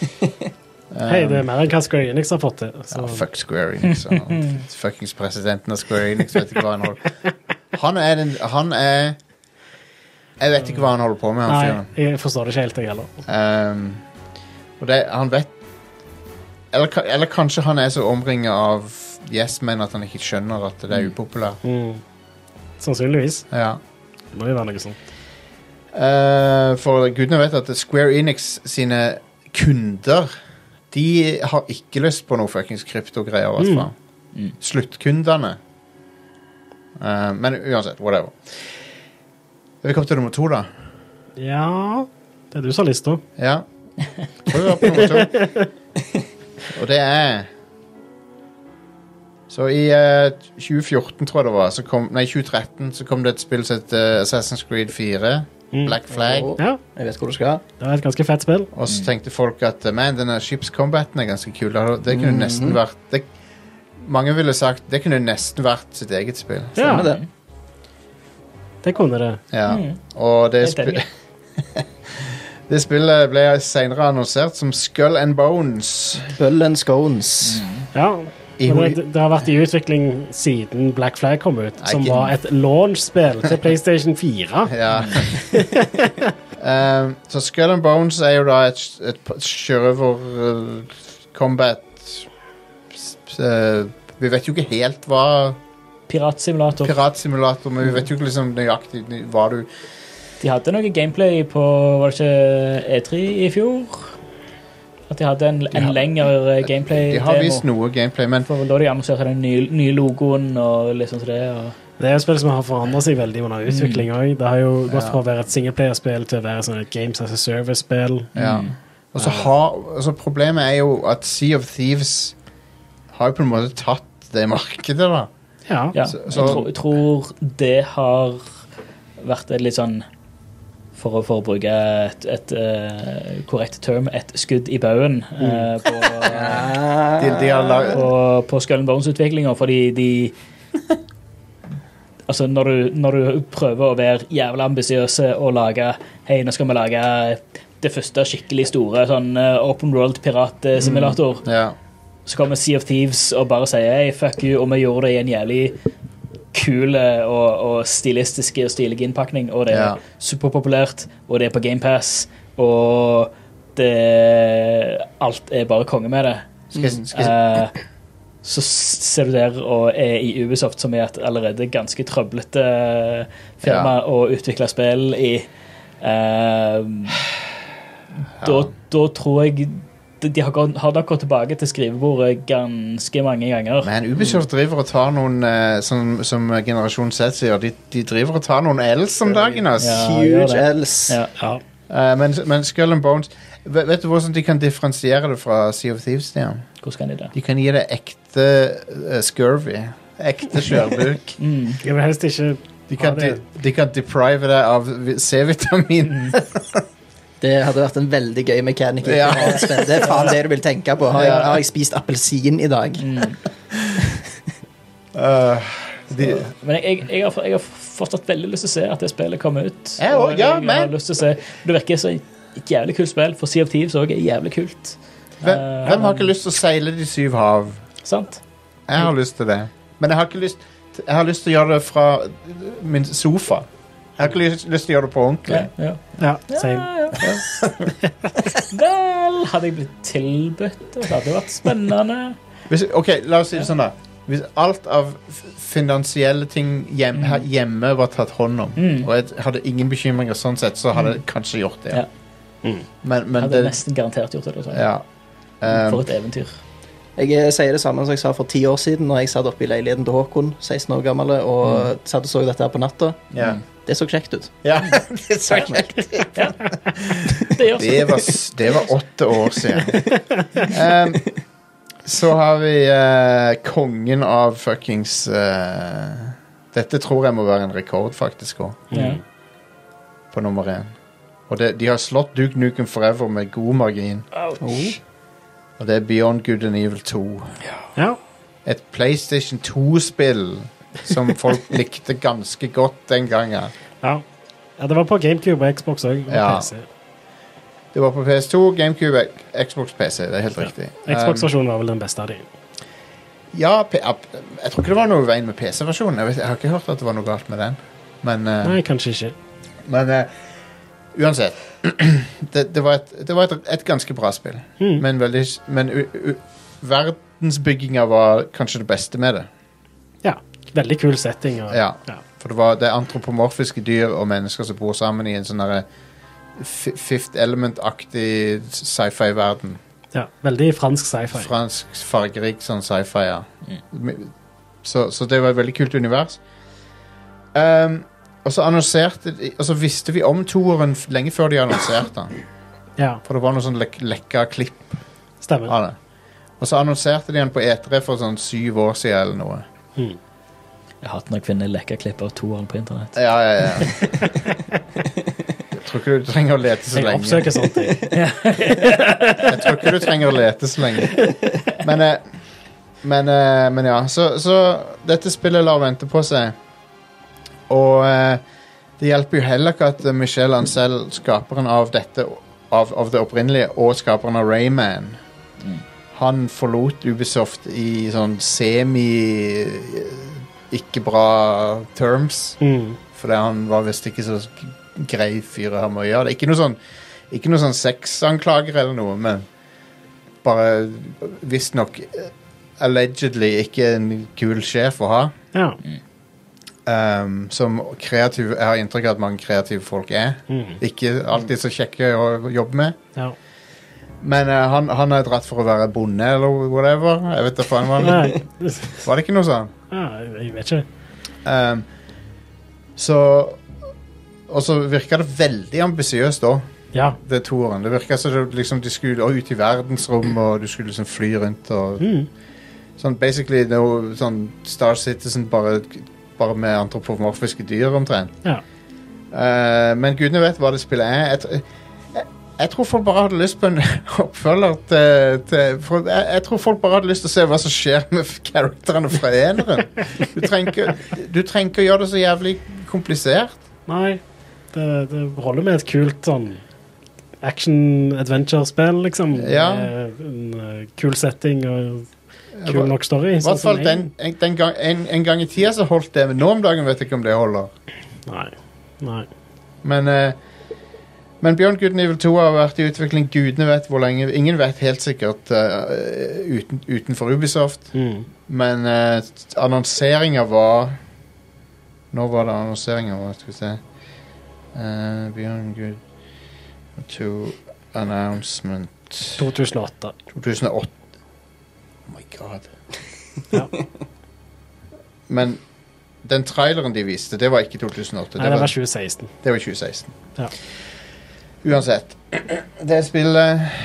A: Um,
B: Hei, det er sånn. mer enn hva Square Enix har fått til. Så.
A: ja, fuck Square Enix. og Fuckings presidenten av Square Enix vet ikke hva han holder Han er den Han er Jeg vet ikke hva han holder på med, han fyren.
B: Nei, jeg forstår det ikke helt, jeg heller.
A: Ehm, og det, han vet eller, ka- eller kanskje han er så omringa av yes men at han ikke skjønner at det er upopulært.
B: Mm. Sannsynligvis.
A: Ja.
B: Det må jo være noe sånt.
A: Eh, for gudene vet at Square Enix sine kunder De har ikke lyst på noe fuckings kryptogreier, i hvert fall.
D: Mm.
A: Sluttkundene. Eh, men uansett, whatever. Vi kom til nummer to, da.
B: Ja Det er du som har lista.
A: Ja. Prøv å på nummer to. Og det er Så i eh, 2014, tror jeg det var, så kom, nei 2013, så kom det et spill som het eh, Assassin's Creed 4.
B: Mm.
A: Black Flag.
B: Ja,
C: Jeg vet hvor du skal.
B: det var et ganske fett spill.
A: Og så tenkte folk at eh, man, denne skipscombaten er ganske kul. Det hadde- Det kunne nesten vært det, Mange ville sagt det kunne nesten vært sitt eget spill.
B: Ja,
C: Stemmer det.
B: det kunne det.
A: Ja.
D: Mm.
A: Og det,
D: Helt
A: spi
D: enig.
A: det spillet ble senere annonsert som Skull and Bones.
C: Bull and scones.
A: Mm.
B: Ja.
A: I
B: Men
A: hui-
B: det, det har vært i utvikling siden Black Flag kom ut, som
A: ikke-
B: var et launch-spill til PlayStation 4.
A: Ja. um, så Skull and Bones er jo da et, et p- sjørøver uh, combat s- s- uh, Vi vet jo ikke helt hva
D: Piratsimulator.
A: Piratsimulator, men vi vet jo ikke liksom nøyaktig ny- hva du
D: De hadde noe gameplay på Var det ikke E3 i fjor? At de hadde en, en
A: har-
D: lengre eh, gameplay.
A: De har vist noe gameplay, men
D: For da de annonserte den nye, nye logoen og litt sånn som det. Og,
B: Det er jo spill som har forandret seg veldig under utvikling òg. Det har jo
A: Mm.
B: gått
A: Ja.
B: fra å være et singleplayerspill til å være sånn et Games as a Service-spill.
A: ja. Og så har altså Problemet er jo at Sea of Thieves har jo på en måte tatt det markedet, da.
B: Ja.
D: ja.
A: Så-
D: jeg,
A: så-
D: tror, jeg tror det har vært et litt sånn for å, for å bruke et, et eh, korrekt term, et skudd i baugen
A: Mm.
D: eh, på,
C: Ah,
A: De, de har lag,
D: på, på Skull and Bones-utviklinga, fordi de Altså, når du, når du prøver å være jævla ambisiøse og lage Hei, nå skal vi lage det første skikkelig store sånn eh, open world piratsimulator.
A: ja.
D: Så kommer Sea of Thieves og bare sier hey, fuck you, og vi gjorde det i en jævlig kul eh, og, og stilistisk og stilig innpakning, og det er
A: Ja.
D: superpopulært, og det er på GamePass, og det Alt er bare konge med det.
A: Skal jeg, skal jeg,
D: Eh, så s- ser du der og er i Ubisoft, som er et allerede ganske trøblete eh, firma
A: Ja.
D: å utvikle spill i. Eh, da, da tror jeg de- De har, gått, har nok gått tilbake til skrivebordet ganske mange ganger.
A: Men Ubisoft driver og tar noen eh, som, som generasjon Z sier, de, de driver og tar noen L's om dagen, ass.
D: Ja, gjør
C: Huge
D: det.
C: L's.
D: Ja.
B: Ja.
A: Eh, men, men Skull and Bones vet, vet du hvordan de kan differensiere det fra Sea of Thieves? Stian?
D: Hvordan kan de det?
A: De kan gi det ekte eh, scurvy. Ekte skjørbuk.
D: Mm.
B: Jeg vil helst ikke
A: De, kan
B: Ja, det-
A: de, de kan deprive deg av vi- C-vitamin.
C: Det hadde vært en veldig gøy mekanikk. i
A: Ja.
C: et spill. Det er faen det du vil tenke på. Har jeg,
A: Ja.
C: har jeg spist appelsin i dag?
D: Mm.
A: Eh, de,
D: Men jeg, jeg, jeg, har, jeg har fortsatt veldig lyst til å se at det spillet kommer ut.
A: Jeg også, ja,
D: jeg
A: men-
D: har lyst til å se Det virker som et jævlig kult spill, for Sea of Thieves òg er jævlig kult.
A: hvem,
D: Eh,
A: hvem har ikke lyst til å seile de syv hav?
D: Sant?
A: Jeg har lyst til det. Men jeg har ikke lyst Jeg har lyst til å gjøre det fra min sofa. Jeg har ikke lyst, lyst til å gjøre det på ordentlig.
D: Ja, ja.
B: Ja, same.
D: Ja, ja. Vel, hadde jeg blitt tilbudt det, det hadde vært spennende.
A: Hvis, ok, La oss si det sånn, da. Hvis alt av f- finansielle ting hjem, her hjemme var tatt hånd om,
D: Mm.
A: og jeg hadde ingen bekymringer sånn sett, så hadde jeg kanskje gjort det.
D: Ja.
B: Mm.
A: Men, men
D: Hadde
A: det
D: nesten garantert gjort det. Sånn.
A: Ja.
D: For
A: Um,
D: et eventyr.
C: Jeg eh, sier det samme som jeg sa for ti år siden, når jeg satt oppe i leiligheten til Håkon, 16 år gammel, og satt og så dette her på natta.
A: ja.
D: Mm.
C: Det så kjekt ut.
A: ja. Det er så kjekt.
D: Det gjør
A: Det var, s- det var åtte år siden. Um, Så har vi eh, kongen av fuckings eh, Dette tror jeg må være en rekord, faktisk, også,
D: Ja.
A: på nummer én. Og det, de har slått Duke Nukem Forever med god margin. Og det er Beyond Good and Evil 2.
B: Ja.
A: Et PlayStation 2-spill som folk likte ganske godt den gangen.
B: ja. ja. Det var på GameCube og Xbox òg. Og
A: Ja.
B: PC.
A: Det var på PS2, GameCube, Xbox PC. Det er helt
B: Ja.
A: riktig. Um,
B: Xbox-versjonen var vel den beste av de.
A: ja, P app- jeg tror ikke det var noe i veien med PC-versjonen. Jeg, vet- jeg har ikke hørt at det var noe galt med den. Men, eh,
B: Nei, kanskje ikke.
A: men eh, uansett. det, det var, et, det var et, et ganske bra spill.
B: Mm.
A: Men, veldig, s- men u, u, verdensbygginga var kanskje det beste med det.
B: Ja. Veldig kul setting. Og,
A: Ja.
B: Ja.
A: For det, var, det er antropomorfiske dyr og mennesker som bor sammen i en sånn derre fi- Fifth Element-aktig sci-fi-verden.
B: ja. Veldig fransk sci-fi. Mm.
A: Fransk, fargerik sånn sci-fi, ja. Men- Så, så det var et veldig kult univers. Ehm, og så annonserte de- Og så visste vi om toeren f- lenge før de annonserte den.
B: ja,
A: For det var noe sånn lek lekka klipp
B: stemmer.
A: av det. Og så annonserte de den på E3 for sånn syv år siden eller noe.
B: Mm.
D: Jeg hater når kvinner lekker klipp av toeren på internett.
A: Ja, ja, ja. Jeg tror ikke du trenger å lete så
B: Jeg
A: lenge.
B: oppsøker sånt. Jeg.
A: Jeg tror ikke du trenger å lete så lenge. Men, eh, men, eh, men ja, så, så dette spillet lar vente på seg. Og eh, det hjelper jo heller ikke at eh, Michel Ancel, skaperen av dette av, av det opprinnelige, og skaperen av Rayman Han forlot Ubisoft i sånn semi eh, ikke bra terms.
B: Mm.
A: Fordi han var visst ikke så g- grei fyr å ha med å gjøre. Det er Ikke noe sånn, ikke noe sånn sexanklager eller noe, men bare visstnok eh, allegedly ikke en kul sjef å ha.
B: Ja.
A: ehm, som kreativ, jeg har inntrykk av at mange kreative folk er.
B: Mm.
A: Ikke alltid så kjekke å jobbe med.
B: ja.
A: Men eh, han, han er dratt for å være bonde eller whatever. Jeg vet da faen hva han
B: Nei.
A: Var det ikke noe sånn?
B: Ja, jeg vet ikke.
A: Ehm, så Og så virka det veldig ambisiøst da.
B: Ja.
A: det toeren. Det virka som det liksom, de skulle å, ut i verdensrom, og du skulle liksom fly rundt og
B: Mm.
A: Sånn basically no, sånn Star Citizen bare, bare med antropomorfiske dyr, omtrent.
B: Ja.
A: Eh, men gudene vet hva det spillet er. Jeg, tr- jeg, jeg tror folk bare hadde lyst på en oppfølger til, til for jeg, jeg tror folk bare hadde lyst til å se hva som skjer med karakterene fra eneren. Du trenger ikke- du trenger ikke å gjøre det så jævlig komplisert.
B: Nei, det, det holder med et kult sånn action-adventure-spill, liksom.
A: Ja.
B: Med en eh, kul setting og kul
A: hva-
B: nok story. sånn
A: I hvert fall den, en, den gang, en, en gang i tida så holdt det, men nå om dagen vet jeg ikke om det holder.
B: Nei. Nei.
A: Men, eh, men Bjørn Guden Evil 2 har vært i utvikling gudene vet hvor lenge. Ingen vet helt sikkert eh, uten, utenfor Ubisoft,
B: Mm.
A: men eh, annonseringa var Når var det annonseringa var? Skal vi se uh, Bjørn Gud 2 announcement
B: 2008.
A: 2008. Oh my god.
B: Ja.
A: Men den traileren de viste, det var ikke 2008.
B: Nei, det var 2016.
A: det var 2016.
B: Ja.
A: Uansett. Det spillet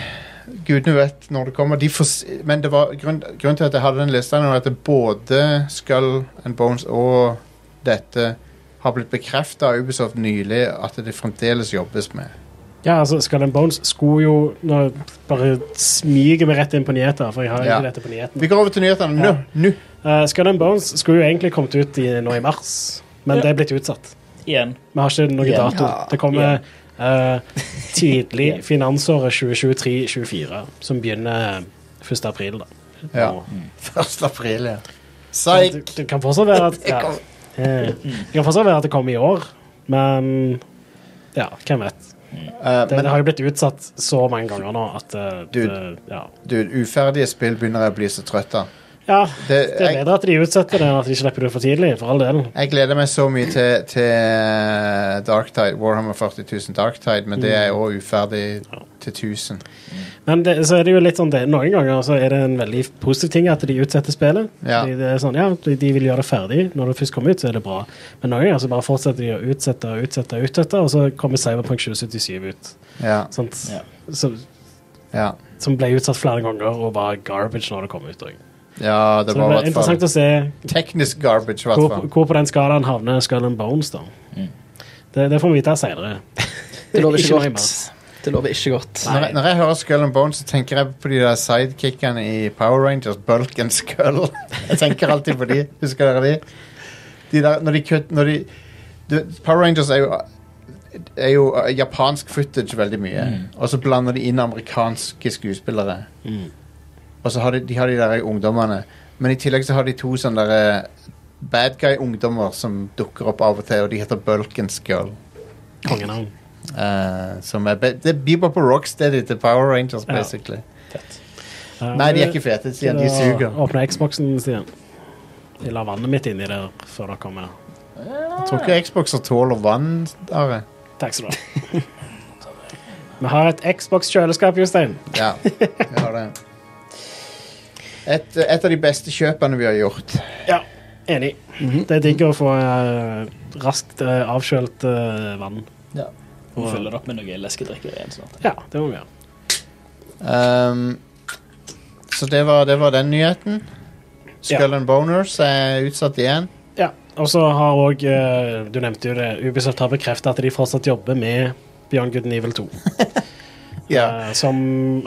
A: Gudene vet når det kommer. De får, s- men det var grunn, grunnen til at jeg hadde den lista, nå, er at det både Skull and Bones og dette har blitt bekrefta av Ubisoft nylig at det fremdeles jobbes med.
B: Ja, altså, Skull and Bones skulle jo Nå bare smyger vi rett inn på nyheter, for jeg har
A: Ja.
B: ikke dette på nyheten.
A: Vi går over til nyhetene nå. nå.
B: Eh, Skull and Bones skulle jo egentlig kommet ut i, nå i mars, men
D: Ja.
B: det er blitt utsatt.
D: Igjen.
B: Vi har ikke noen
D: Ja.
B: dato. Det kommer eh, tidlig finansåret 2023-2024, som begynner 1. april. da.
A: Ja.
B: Og
A: 1. april, ja.
B: Det,
A: Psych! Mm.
B: det kan fortsatt være at ja, eh, Det kan fortsatt være at det kommer i år, men ja, hvem vet.
A: Eh,
B: Det,
A: men
B: det har jo blitt utsatt så mange ganger nå at eh, det,
A: Dude.
B: ja.
A: du, uferdige spill begynner jeg å bli så trøtt av.
B: ja, det
A: Det-
B: er bedre at de utsetter det enn at de slipper det for tidlig, for all del.
A: Jeg gleder meg så mye til, til Darktide, Warhammer 40 000 Darktide, men det er jo uferdig til 1000.
B: Men det, så er det jo litt sånn det, noen ganger så er det en veldig positiv ting at de utsetter spillet.
A: Ja.
B: Fordi det er sånn, ja, de, de vil gjøre det ferdig. Når det først kommer ut, så er det bra. Men noen ganger så bare fortsetter de å utsette og utsette, og utsette, og så kommer Cyberpunk 2077 ut.
A: Ja.
B: Sant?
D: Ja.
B: Så
A: Ja,
B: som ble utsatt flere ganger og var garbage når det kom ut. også.
A: ja det
B: Så det
A: var
B: ble
A: i hvert
B: interessant
A: fall
B: å se
A: Teknisk garbage, i hvert
B: hvor,
A: fall.
B: hvor på den skalaen havner Skull and Bones, da.
A: Mm.
B: Det, det får vi vite senere.
C: Det lover ikke
B: noe
C: godt.
B: mer.
C: Det lover ikke godt.
A: Når, jeg- når jeg hører Skull and Bones, så tenker jeg på de der sidekickene i Power Rangers. Bulk and Skull. Jeg tenker alltid på de. Husker dere de? de der, når de kutt, når de, du- Power Rangers er jo er jo uh, japansk footage veldig mye. Og så blander de inn amerikanske skuespillere. Og så har de, de har de der ungdommene. Men i tillegg så har de to sånne der eh, bad guy-ungdommer som dukker opp av og til, og de heter Bulken Skull.
B: Kongenavn.
A: Eh, som er be- det er Bebop og Rocksteady til Power Rangers,
B: Ja.
A: basically.
B: Ja,
A: Nei, de er ikke fete, sier han. De suger.
B: Åpne Xboxen, Stian. Jeg la vannet mitt inni der før dere kom. her.
A: Jeg tror ikke Xboxer tåler vann. Are.
B: Takk skal du ha. Vi har et Xbox-kjøleskap, Jostein.
A: Ja, vi har det. Et, et av de beste kjøpene vi har gjort.
B: Ja, enig.
A: Mhm.
B: Det er digg å få eh, raskt eh, avkjølt eh, vann.
D: Ja. Hun fyller det opp med noe leskedrikker igjen snart.
B: Ja, det må vi gjøre.
A: Ehm, så det var, det var den nyheten. Skull and Boners er utsatt igjen.
B: Ja, og så har òg Du nevnte jo det. Ubisoft har bekrefta at de fortsatt jobber med Beyond Good and Evil 2. eh, som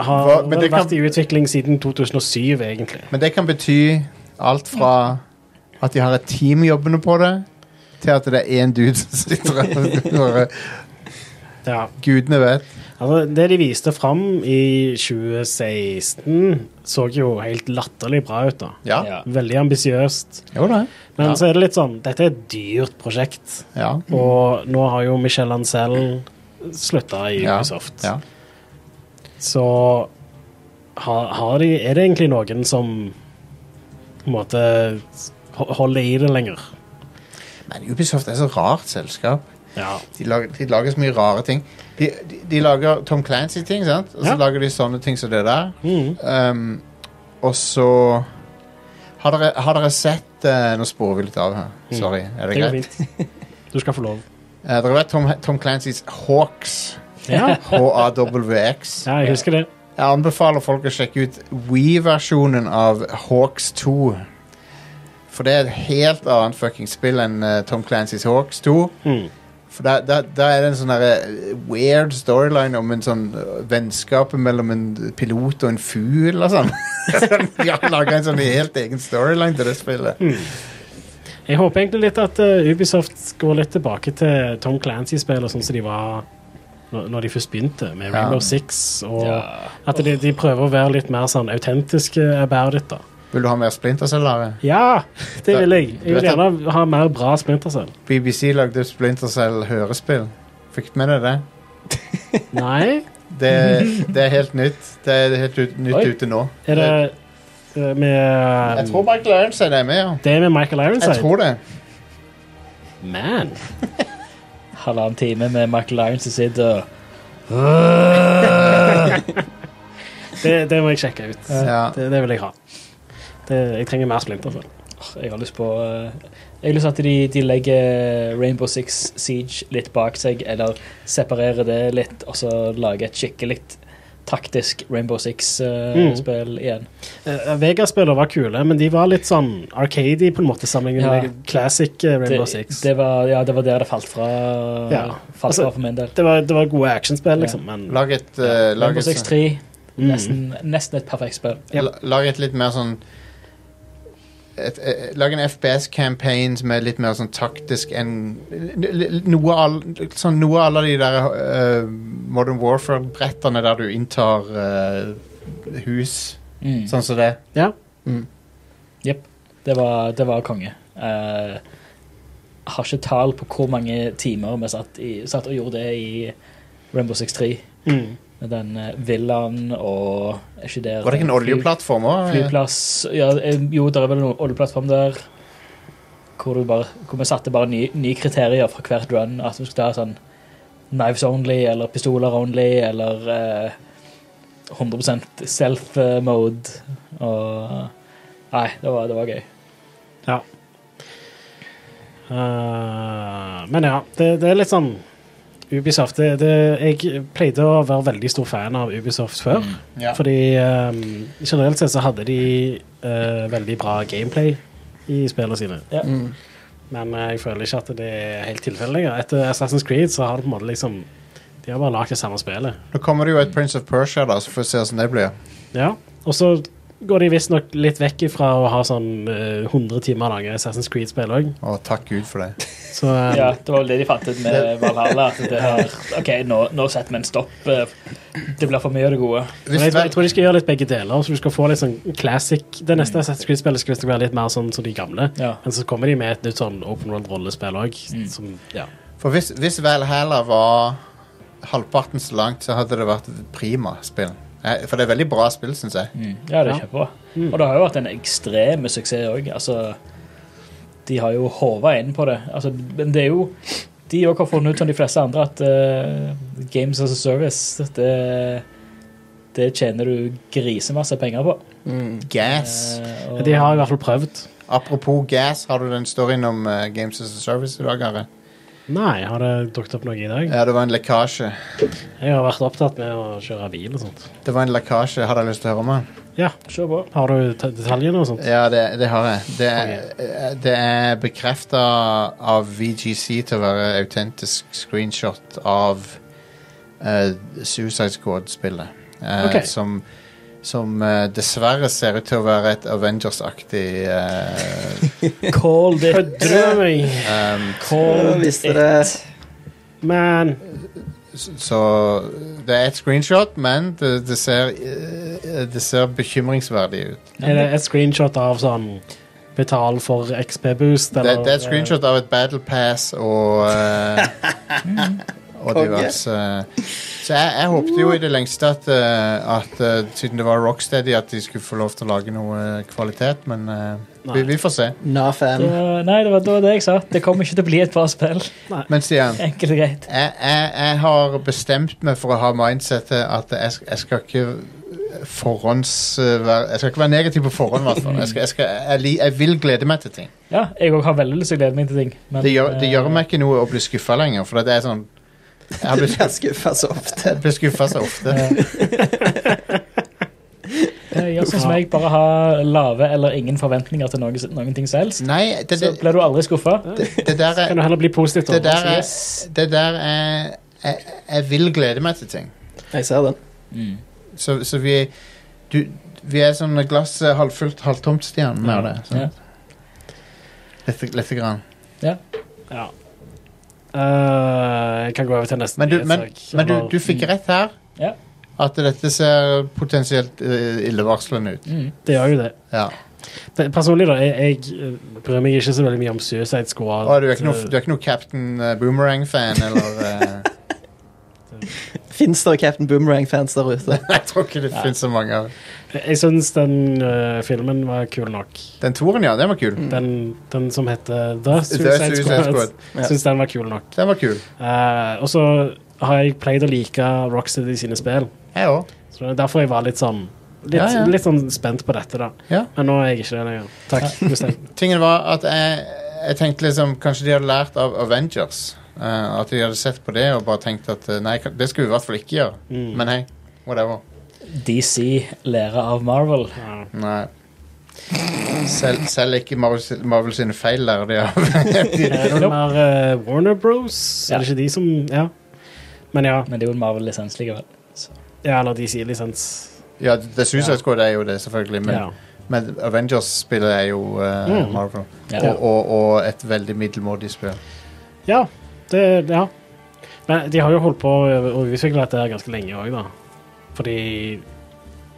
B: har
A: Hva- men det
B: vært
A: kan-
B: i utvikling siden 2007, egentlig.
A: Men det kan bety alt fra at de har et team jobbende på det, til at det er én dude som sitter og bare
B: Ja.
A: Gudene vet.
B: Altså, det de viste fram i 2016, så jo helt latterlig bra ut. da.
A: Ja.
D: Ja.
B: Veldig ambisiøst.
A: Jo da.
B: Men så er det litt sånn Dette er et dyrt prosjekt.
A: Ja.
B: Og nå har jo Michel Ancel slutta i
A: Ja.
B: Ubisoft.
A: ja.
B: Så har, har de, er det egentlig noen som på en måte ho- holder i det lenger?
A: Men Ubisoft er så rart selskap.
B: Ja.
A: De lager, de lager så mye rare ting. De, de, de lager Tom Clancy-ting, sant? Og så
B: Ja.
A: lager de sånne ting som det der.
B: Mhm.
A: Um, og så Har dere, har dere sett eh, Nå sporer vi litt av her. Sorry. Er det
B: Mm. Det går
A: greit?
B: fint. Du skal få lov.
A: Eh, dere vet Tom, Tom Clancys Hawks?
B: Ja,
A: H-A-W-X.
B: ja jeg husker det.
A: Jeg anbefaler folk å sjekke ut Wii-versjonen av Hawks 2. For det er et helt annet fucking spill enn eh, Tom Clancys Hawks 2.
B: Mm.
A: For da, da, da er det en sånn derre, eh, weird storyline om en sånn eh, vennskapet mellom en pilot og en fugl og sånn. De har laga en sånn helt egen storyline til det spillet.
B: Jeg håper egentlig litt at eh, Ubisoft går litt tilbake til Tom Clancy-spillet, sånn som de var når når de først begynte, med
A: Ja.
B: Rainbow Six. Og
D: Ja.
B: at de, de prøver å være litt mer sånn autentiske about it. da.
A: Vil du ha mer Splinter Cell, Are?
B: Ja, det vil jeg.
A: Du
B: Jeg
A: vet
B: vil gjerne ha mer bra Splinter Cell.
A: BBC lagde Splinter Cell hørespill. Fikk du med deg det?
B: Nei?
A: Det, det er helt nytt. Det er helt ut, nytt
B: Oi.
A: ute nå.
B: Er det eh, med
A: Jeg tror Michael Ironside er med, ja.
B: Det er med Michael
A: Jeg
B: Ironside?
A: tror det.
B: Man.
D: Halvannen time med Michael Lyons som sitter og
B: Det, det må jeg sjekke ut.
A: Ja.
B: Det, det vil jeg ha. Det, jeg trenger mer splinter. For.
D: Åh, Jeg har lyst på eh, Jeg har lyst til at de, de legger Rainbow Six Siege litt bak seg, eller separerer det litt, og så lager et skikkelig taktisk Rainbow
B: Mm.
D: Six-spill igjen.
B: Uh, Vegas-spillere var kule, men de var litt sånn arcady på en måte sammenlignet
D: Ja.
B: med classic eh,
D: Det,
B: Rainbow Six.
D: det, var, ja, det var der det falt fra,
B: Ja.
D: falt
B: Altså,
D: fra for min del.
B: Det var, det var gode actionspill, liksom, men
A: Lag et, eh, lag,
D: Rainbow Six
A: et,
D: 3,
B: Mm.
D: nesten, nesten et perfekt spill.
A: la- lag et litt mer sånn et, eh, Lag en FBS-campaign som er litt mer sånn taktisk enn l- l- noe av sånn, noe av alle de der eh, Modern Warfare-brettene der du inntar eh, hus,
D: Mm.
A: sånn som det.
B: Ja.
D: Jepp. Det, var- det var konge. Eh, har ikke tall på hvor mange timer vi satt, i, satt og gjorde det i Rainbow Six 3.
B: Mm.
D: Med den eh, villaen og er ikke der,
A: Var det ikke en
D: fly-
A: oljeplattform eh. òg?
D: Flyplass ja, eh, Jo, det er vel noen oljeplattform der. Hvor, du bare, hvor vi satte bare nye ny kriterier fra hvert run. At vi skulle ha sånn knives only eller pistoler only eller eh, 100 self-mode. eh, Og Nei, det var, det var gøy.
B: ja. Eh, men ja, det, det er litt sånn Ubisoft det, det, Jeg pleide å være veldig stor fan av Ubisoft før.
D: Mm.
A: Ja.
B: Fordi um, generelt sett så hadde de eh, veldig bra gameplay i spillene sine.
D: Ja.
C: Mm,
B: Men eh, jeg føler ikke at det er helt tilfellet lenger. Etter Assassin's Creed så har det på en måte liksom De har bare lagd det samme spillet.
A: Nå kommer det jo et Prince of Persia, da, så får vi se hvordan det blir.
B: Ja, og så går de visstnok litt vekk fra å ha sånn eh, 100 timer lange Assassin's Creed-spill òg.
A: Å, takk Gud for det.
B: Så eh,
D: Ja, det var vel det de fant ut med Valhalla. At det har, ok, nå, nå setter vi en stopp. eh, Det blir for mye av det gode.
B: men
A: Hvis
B: jeg, tror- jeg
A: vel,
B: tror de skal gjøre litt begge deler. Så du skal få litt sånn classic Det neste Assassin's Creed-spillet skal visstnok være litt mer sånn som de gamle.
D: Mm. Ja. Mm.
B: Men så kommer de med et nytt sånn open world-rollespill òg. som- Ja.
A: for hvis, hvis Valhalla var halvparten så langt, så hadde det vært et prima spill. Eh, For det er veldig bra spill, syns jeg.
D: Mm. Ja, det er
B: Ja. Mm.
D: kjempebra. Og det har jo vært en ekstrem suksess òg. Altså, de har jo håva inn på det. Altså, men det er jo De òg har funnet ut, som de fleste andre, at eh, Games as a Service, det, det tjener du grisemasse penger på.
C: mm.
A: Gas.
D: Eh,
B: De har i hvert fall prøvd.
A: Apropos gas, har du den storyen om eh, Games as a Service i dag, Are?
B: Nei, har det dukket opp noe i dag?
A: Ja, det var en lekkasje.
B: Jeg har vært opptatt med å kjøre bil og sånt.
A: Det var en lekkasje. Har dere lyst til å høre om den?
B: Ja,
D: Se på.
B: Har du te- detaljene og sånt?
A: Ja, det, det har jeg. Det er, eh, det er bekrefta av VGC til å være autentisk screenshot av eh, Suicide Squad-spillet. Eh,
B: Ok.
A: Som, som eh, dessverre ser ut til å være et Avengers-aktig eh, um,
D: Call it.
B: Kødder du med meg?
A: em,
D: Call it.
C: Visste det
B: Men
A: s- Så det er et screenshot, men det, det, ser, eh, det ser bekymringsverdig ut.
B: er det et screenshot av sånn Betal for XP-boost,
A: Det,
B: eller?
A: det er et screenshot av et Battle Pass og eh, Og
C: Konge.
A: diverse Så jeg, jeg håpte jo i det lengste at, eh, at eh, siden det var Rocksteady, at de skulle få lov til å lage noe eh, kvalitet, men eh, vi,
B: Nei.
A: vi får se.
C: Na fan.
D: Eh, Nei, det var, det var det jeg sa. Det kommer ikke til å bli et bra spill.
A: Men Stian, jeg,
D: Enkelt og greit.
A: jeg, jeg har bestemt meg for å ha mindsettet at jeg, sk- jeg skal ikke forhånds... eh, være- Jeg skal ikke være negativ på forhånd, i hvert fall. Jeg, skal, jeg, skal, jeg, li- jeg vil glede meg til ting.
D: Ja, jeg òg har veldig lyst til å glede meg til ting. men,
A: Det gjør, det
D: eh,
A: gjør meg ikke noe å bli skuffa lenger, for det er sånn Jeg har blitt
C: Blir skuffa så ofte.
A: Jeg blir skuffa så ofte.
D: Eh, Det gjør som meg, bare ha lave eller ingen forventninger til noe, noen ting som helst.
A: Nei, det,
D: Så
A: det,
D: blir du aldri skuffa.
A: det, det der er
B: Kan du heller bli positivt
A: Det der er,
D: Yes.
A: det der er jeg, jeg vil glede meg til ting.
C: Jeg ser den.
A: Så, så vi du, Vi er sånn glass eh, halvfullt, halvtomt, Stian, med det. Sånn.
D: Mm. Ja.
A: Lite, lite grann.
B: Ja. Eh, jeg kan gå over til neste
A: Men du, men,
B: nyhetssak,
A: men du,
B: eller-
A: du fikk rett her.
D: Ja.
A: At dette ser potensielt eh, illevarslende ut.
D: Mm.
B: Det gjør jo det.
A: Ja.
B: Det- Personlig, da, jeg, jeg eh, bryr meg ikke så veldig mye om Suicide Squad.
A: Og du er ikke noe, du er ikke noe Captain eh, Boomerang-fan, eller eh,
C: Fins det Captain Boomerang-fans der ute?
A: Jeg tror ikke det finnes så mange av
B: Jeg- Jeg syns den eh, filmen var kul nok.
A: Den toren, ja. Den var kul.
B: Mm. Den, den som heter The Suicide,
A: Suicide
B: Squad.
A: Squad.
C: Ja.
B: Syns den var kul nok.
A: Den var kul.
B: Eh, og så har jeg pleid å like Rocksteady sine spill.
A: Jeg òg.
B: Så det er derfor jeg var litt sånn Litt,
A: Ja, ja.
B: litt sånn spent på dette, da.
A: Ja.
B: Men nå er jeg ikke det lenger. Takk. Gustein.
A: Tingen var at jeg, jeg tenkte liksom Kanskje de hadde lært av Avengers. eh, at de hadde sett på det og bare tenkt at eh, nei, det skal vi i hvert fall ikke gjøre.
B: Mm.
A: Men hei, whatever.
D: DC lærer av Marvel.
B: Ja.
A: Nei. Selv, selv ikke Marvel, sin- Marvel sine feil lærer de av. de,
B: Er det mer eh, Warner Bros? Er det ikke de som Ja. Men ja.
D: Men det er jo en Marvel-lisens likevel. Så.
B: ja eller DC-lisens.
A: ja, The Suicide Squad er jo det, selvfølgelig, men,
B: Ja.
A: men Avengers-spillet er jo eh,
B: Mm.
A: Marvel.
D: Ja.
A: Og, og, og et veldig middelmådig spill.
B: Ja, det, ja. Men de har jo holdt på å- å utvikle dette her ganske lenge òg, da. Fordi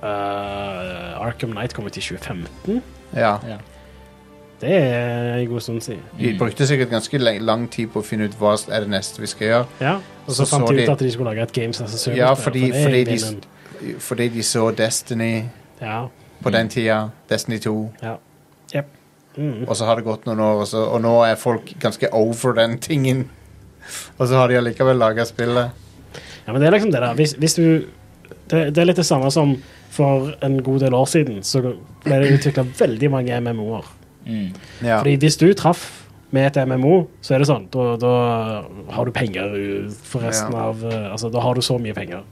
B: eh, Arkham Knight kom ut i 2015.
A: Ja.
D: Ja. Mm.
B: Det er en god stund siden.
A: De brukte sikkert ganske lang, lang tid på å finne ut hva er det neste vi skal gjøre.
B: Ja, Og så,
A: Så
B: fant
A: så
B: de
A: de-
B: ut at de skulle lage et Games as a Service.
A: Ja,
B: der,
A: fordi,
B: for det
A: fordi,
B: er vinneren.
A: de, fordi de så Destiny
B: Ja.
A: på
B: Mm.
A: den tida. Destiny 2.
B: ja. Jep. Mm.
A: Og så har det gått noen år, og, så, og nå er folk ganske over den tingen. Og så har de allikevel laga spillet.
B: Ja, men det er liksom det der. Hvis, hvis du det, det er litt det samme som for en god del år siden, så ble det utvikla veldig mange MMO-er.
D: Mm.
A: Ja.
B: Fordi hvis du traff med et MMO, så er det sånn. Da, da har du penger for resten
A: Ja. Mm.
B: av eh, Altså, da har du så mye penger.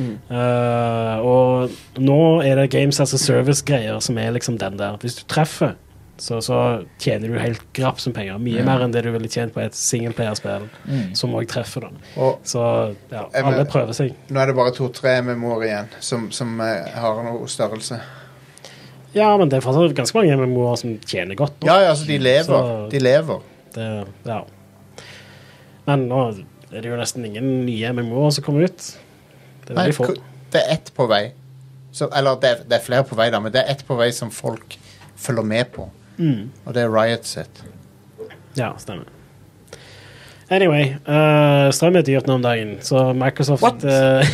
B: Eh, og nå er det Games as a Service-greier som er liksom den der. Hvis du treffer, så, så tjener du helt grapsen penger. Mye mer enn det du ville tjent på et singelplayerspill
D: Mm.
B: som òg treffer, da.
A: Og
B: Så ja,
A: Jeg
B: alle
A: men-
B: prøver seg.
A: nå er det bare to-tre MMO-er igjen som, som eh, har noe størrelse.
B: Ja, men det er fortsatt ganske mange MMO-er som tjener godt. nå.
A: Ja, ja, altså, de lever.
B: Så-
A: De lever.
B: Det, ja. Men nå er det jo nesten ingen nye MMO-er som kommer ut. Det er
A: Nei,
B: veldig få.
A: ku- det er ett på vei. Så, eller det er, det er flere på vei, da, men det er ett på vei som folk følger med på. Og det er Riot sitt.
B: Mm. Ja, stemmer. Anyway, eh, strøm er dyrt nå om dagen, så Microsoft
C: What?
B: eh,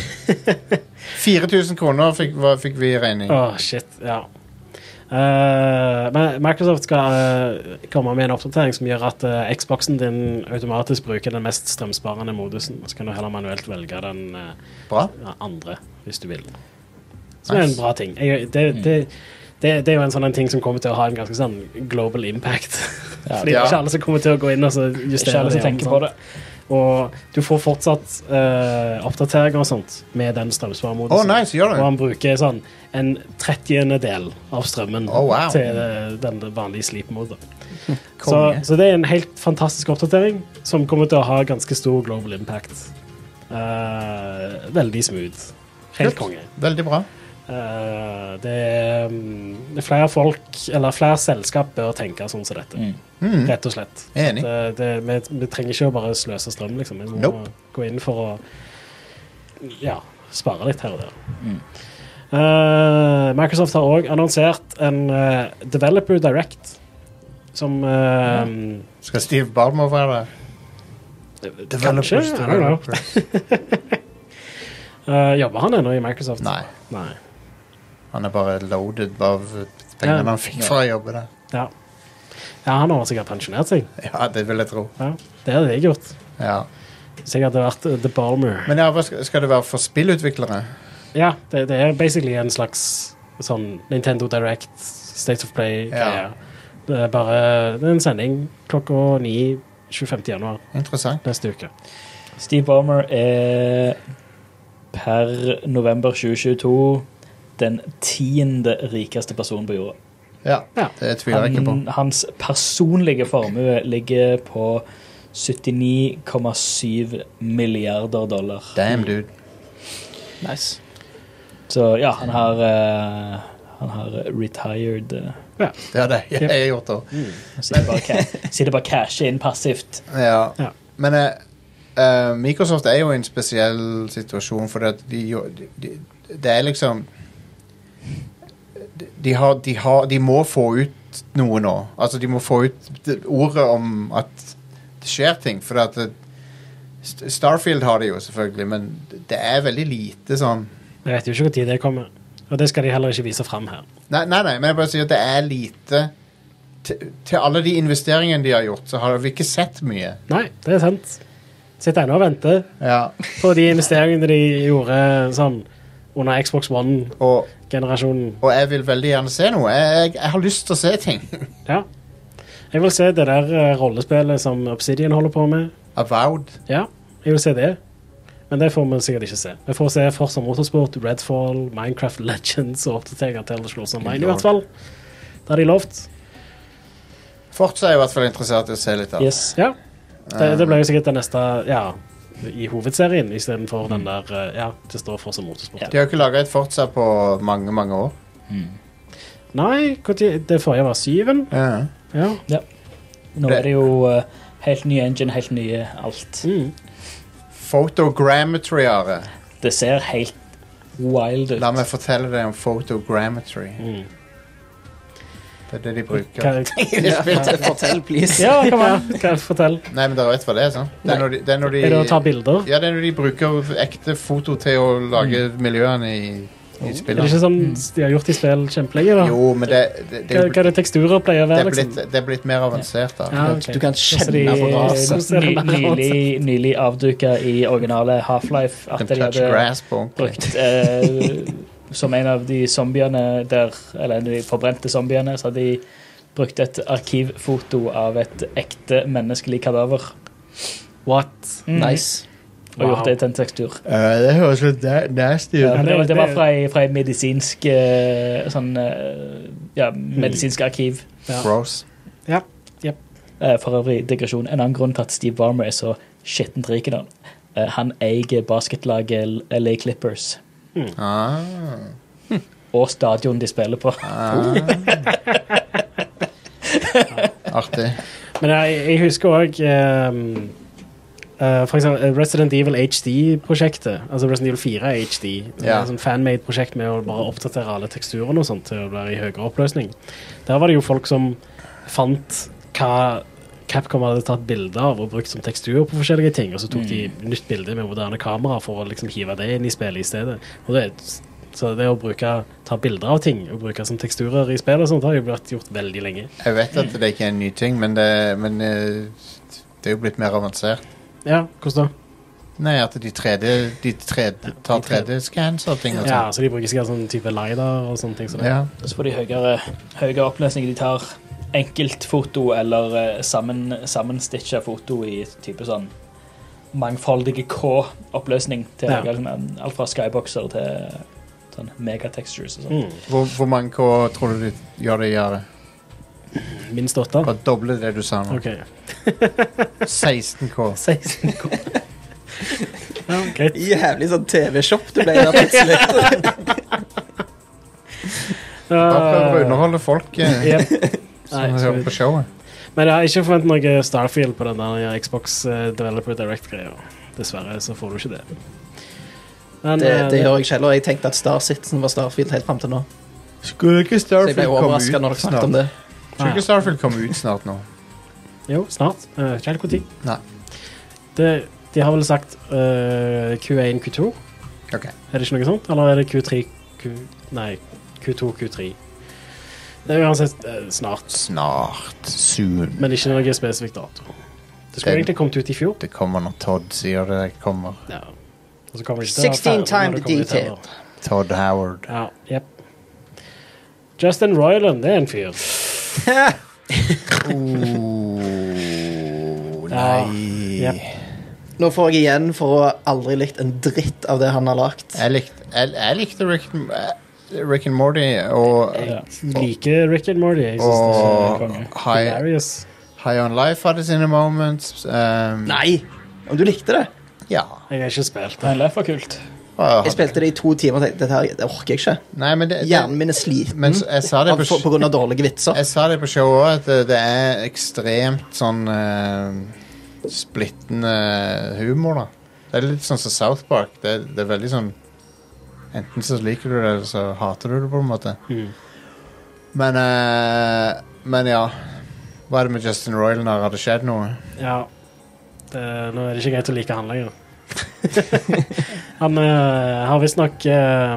A: 4000 kroner fikk, hva, fikk vi i regning.
B: Åh, shit, ja. Eh, men Microsoft skal eh, komme med en oppdatering som gjør at eh, Xboxen din automatisk bruker den mest strømsparende modusen. Så kan du heller manuelt velge den eh,
A: Bra.
B: andre, hvis du vil. Som er en
A: Nice.
B: bra ting. Jeg, det,
D: Mm.
B: det, det, det er jo en sånn en ting som kommer til å ha en ganske sånn global impact.
D: Ja,
B: Fordi det
A: ja.
B: er ikke alle som kommer til å gå inn og så
D: Ikke
B: justere
D: alle
B: det
D: som
B: igjen,
D: tenker
B: sant?
D: på det.
B: Og du får fortsatt eh, oppdateringer og sånt med den
A: Å,
B: strømsparemodusen.
A: nice, gjør det.
B: Og han bruker sånn en trettiendedel av strømmen
A: Å, Oh, wow.
B: til eh, den vanlige sleep-moden. Så,
A: Konge.
B: så det er en helt fantastisk oppdatering som kommer til å ha ganske stor global impact. Eh, veldig smooth. Helt
A: Kult.
B: konge.
A: Veldig bra.
B: Eh, det er mm, flere folk, eller flere selskap bør tenke sånn som
D: Mm.
B: dette. Rett og slett.
A: Enig.
B: At, eh, det, vi, vi trenger ikke å bare sløse strøm, liksom. Vi må
A: Nope.
B: gå inn for å ja, spare litt her og der.
D: Mm.
B: Eh, Microsoft har òg annonsert en eh, Developer Direct som eh,
A: Skal Steve Barmer være der?
B: Kanskje? I don't know. eh, jobber han ennå i Microsoft?
A: Nei.
B: Nei.
A: Han er bare loaded av pengene
B: Ja.
A: han fikk fra å jobbe der.
B: Ja. ja, han har sikkert pensjonert seg.
A: Ja, det vil jeg tro.
B: Ja, det hadde jeg gjort.
A: Ja.
B: Hvis jeg hadde vært eh, The Balmer.
A: Men ja, hva skal, skal det være for spillutviklere?
B: Ja, det, det er basically en slags sånn Nintendo Direct, State of Play-greier.
A: Ja.
B: Det er bare det er en sending klokka 9 25. januar
A: Interessant.
B: neste uke.
D: Steve Ballmer er per november 2022 den tiende rikeste personen på jorda.
A: Ja,
B: Ja.
A: det tviler jeg ikke på.
D: Han, hans personlige formue ligger på 79,7 milliarder dollar.
A: Damn, dude.
C: Nice.
D: Så ja, han har eh, Han har retired eh,
A: Det hadde jeg, jeg gjort òg.
D: Sitter bare, ca- sitter bare cashet inn passivt.
A: Ja.
B: Ja.
A: Men eh, eh, Microsoft er jo i en spesiell situasjon, for at de, jo- de, de, det er liksom de, de, har, de, har, de må få ut noe nå. Altså, de må få ut det- ordet om at det skjer ting. For at det, St- Starfield har det jo, selvfølgelig, men det er veldig lite sånn
B: Jeg vet jo ikke når det kommer. Og det skal de heller ikke vise fram her.
A: Nei, nei, nei men jeg bare sier at det er lite til, til alle de investeringene de har gjort, så har vi ikke sett mye.
B: Nei, det er sant. Sitter ennå og venter
A: Ja,
B: på de investeringene de gjorde sånn under Xbox
A: og
B: One-generasjonen.
A: Og jeg vil veldig gjerne se noe. Jeg, jeg, jeg har lyst til å se ting.
B: Ja. Jeg vil se det der eh, rollespillet som Obsidian holder på med.
A: Avowed.
B: Ja, jeg vil se det. Men det får vi sikkert ikke se. Vi får se Forza Motorsport, Redfall, Minecraft Legends og oppdateringer til Elder Scrolls Online, i hvert fall. Det har de lovt.
A: Fortsatt er jeg i hvert fall interessert i å se litt av.
D: Yes.
B: Ja. Det, det blir jo sikkert det neste ja, i hovedserien, istedenfor den der eh, Ja, det står Forza Motorsport.
A: De har jo ikke laga et Fortsatt på mange, mange år.
B: Nei, hvor tid- det forrige var syven.
A: Ja.
B: Ja.
D: Nå er det jo eh, helt ny engine, helt nye alt.
B: Mm.
A: Photogrammetry, Are.
D: Det ser helt wild ut.
A: La meg fortelle deg om photogrammetry.
B: Mm.
A: Det er det de bruker.
B: Hva,
C: Ja, fortell, please.
B: ja, kom an. Hva, fortell.
A: Nei, men dere vet hva det er, sant? Det er når de, det er når de,
B: Er det å ta bilder?
A: ja, det er når de bruker ekte foto til å lage miljøene i, i
B: Mm. Er det
A: spillene.
B: ikke sånn de har gjort i spill kjempelenge? da?
A: Mm. Jo, men det, det, det,
B: Hva, hva er det teksturer pleier å
A: det, er
B: være?
A: blitt,
B: liksom?
A: det er blitt mer avansert, da.
B: Ja, ok.
C: Du kan
B: Så de-
C: kjenne på
B: Så
C: raset.
B: ser det
D: Ny-
B: mer ut.
D: Nylig, nylig avduka i originale Half-Life
A: Can
D: at de
A: touch
D: hadde
A: grass på ordentlig.
D: brukt eh, Som en av de zombiene der Eller de forbrente zombiene, så hadde de brukte et arkivfoto av et ekte menneskelig kadaver Mm.
B: What?
C: Nice.
D: og gjort det til en tekstur.
A: Eh, det høres litt da- nasty
D: Ja,
A: ut.
D: men det, var- det var
B: det-
D: fra ei, fra ei medisinsk eh, sånn eh, Ja, medisinsk arkiv.
B: Ja.
A: Gross.
D: Eh, For øvrig, digresjon. En annen grunn til at Steve Barmer er så skittent rik i dag. eh, Han eier basketlaget LA Clippers
A: Ah,
D: og stadion de spiller på.
A: ah. Artig.
B: Men jeg, jeg husker òg for eksempel eh, Resident Evil HD-prosjektet. Altså Resident Evil 4 er HD. Det er
A: Ja.
B: et sånn fanmade-prosjekt med å bare oppdatere alle teksturene og sånt til å være i høyere oppløsning. Der var det jo folk som fant hva Capcom hadde tatt bilde av og brukt som tekstur på forskjellige ting, og så tok de nytt bilde med moderne kamera for å liksom hive det inn i spillet i stedet. Og det, er- så det å bruke, ta bilder av ting og bruke som teksturer i spill og sånt, har jo blitt gjort veldig lenge.
A: Jeg vet at det ikke er en ny ting, men det, men, eh, det er jo blitt mer avansert.
B: Ja, hvordan da?
A: Nei, at de 3D, de 3D tar 3D-scans og ting og
B: Ja,
A: sånn.
B: så de bruker sikkert sånn type LiDAR og sånne ting. som det.
A: Ja.
D: Og Så får de høyere, høyere oppløsning. De tar enkeltfoto eller eh, sammen, sammenstitcha foto i type sånn mangfoldige K-oppløsning. til
B: Ja.
D: høyere, sånn, Alt fra skyboxer til sånn megatextures og sånn.
B: Mm.
A: Hvor, hvor mange K tror du de gjør det i året?
B: Minst åtte?
A: Bare doble det du sa nå.
B: OK. Ah.
A: 16K.
B: 16 ja, greit.
C: Jævlig sånn TV-shop det ble der plutselig.
A: Bare prøver å
B: Uh,
A: underholde folk eh,
B: ja. Nei,
A: som hører
B: absolutt.
A: på showet.
B: Men jeg har ikke forventet noe Starfield på den der Xbox eh, Developer Direct-greia. Dessverre så får du ikke det. Men,
C: Det,
B: eh,
C: det gjør jeg ikke heller. Jeg tenkte at Star Citizen var Starfield helt frem til nå.
A: Skulle ikke
C: Så jeg ble overraska når dere snakket om
A: snart?
C: det.
A: Skulle ikke Starfield komme ut snart nå?
B: Jo, snart. Eh, Ikke helt når.
A: Nei.
B: Det- De har vel sagt eh, Q1, Q2?
A: Ok.
B: Er det ikke noe sånt? Eller er det Q3, Q... Nei, Q2, Q3. Det er uansett eh, snart,
A: Snart. Soon.
B: men ikke noe spesifikk dato. Det skulle
A: Det-
B: egentlig kommet ut i fjor.
A: Det kommer når Todd sier det kommer.
B: Ja. Og så kommer det ikke til å være ferdig når
C: 16 time
B: det kommer ut
C: detail.
B: heller.
A: Todd Howard.
B: Ja, jep. Justin Roiland, det er en fyr.
A: Oh,
B: Ja,
A: nei.
B: jep.
C: Nå får jeg igjen for å ha aldri likt en dritt av det han har lagt.
A: Jeg likte, jeg, jeg likte Rick, Rick and Morty og,
D: Ja.
B: Liker Rick and Morty. Jeg synes det er
A: og
D: konge.
A: High,
B: hilarious.
A: High On Life hadde sine moments. Um,
C: Nei! Om du likte det?
A: Ja.
B: Jeg har ikke spilt det.
D: Men Life var kult.
A: Og-
C: Jeg spilte det i to timer og tenkte dette her, det orker jeg ikke.
A: Nei, men det,
C: Hjernen
A: det,
C: min er sliten
A: men så- jeg sa det
C: av-
A: på,
C: på, på grunn av dårlige vitser.
A: Jeg sa det på showet òg, at det, det er ekstremt sånn eh, splittende humor, da. Det er litt sånn som South Park. Det, det er veldig sånn Enten så liker du det, eller så hater du det, på en måte.
B: Mm.
A: Men eh, Men ja. Hva er det med Justin Roiland her? Har det skjedd noe?
B: Ja. Det, nå er det ikke greit å like han lenger. han eh, har visstnok uh,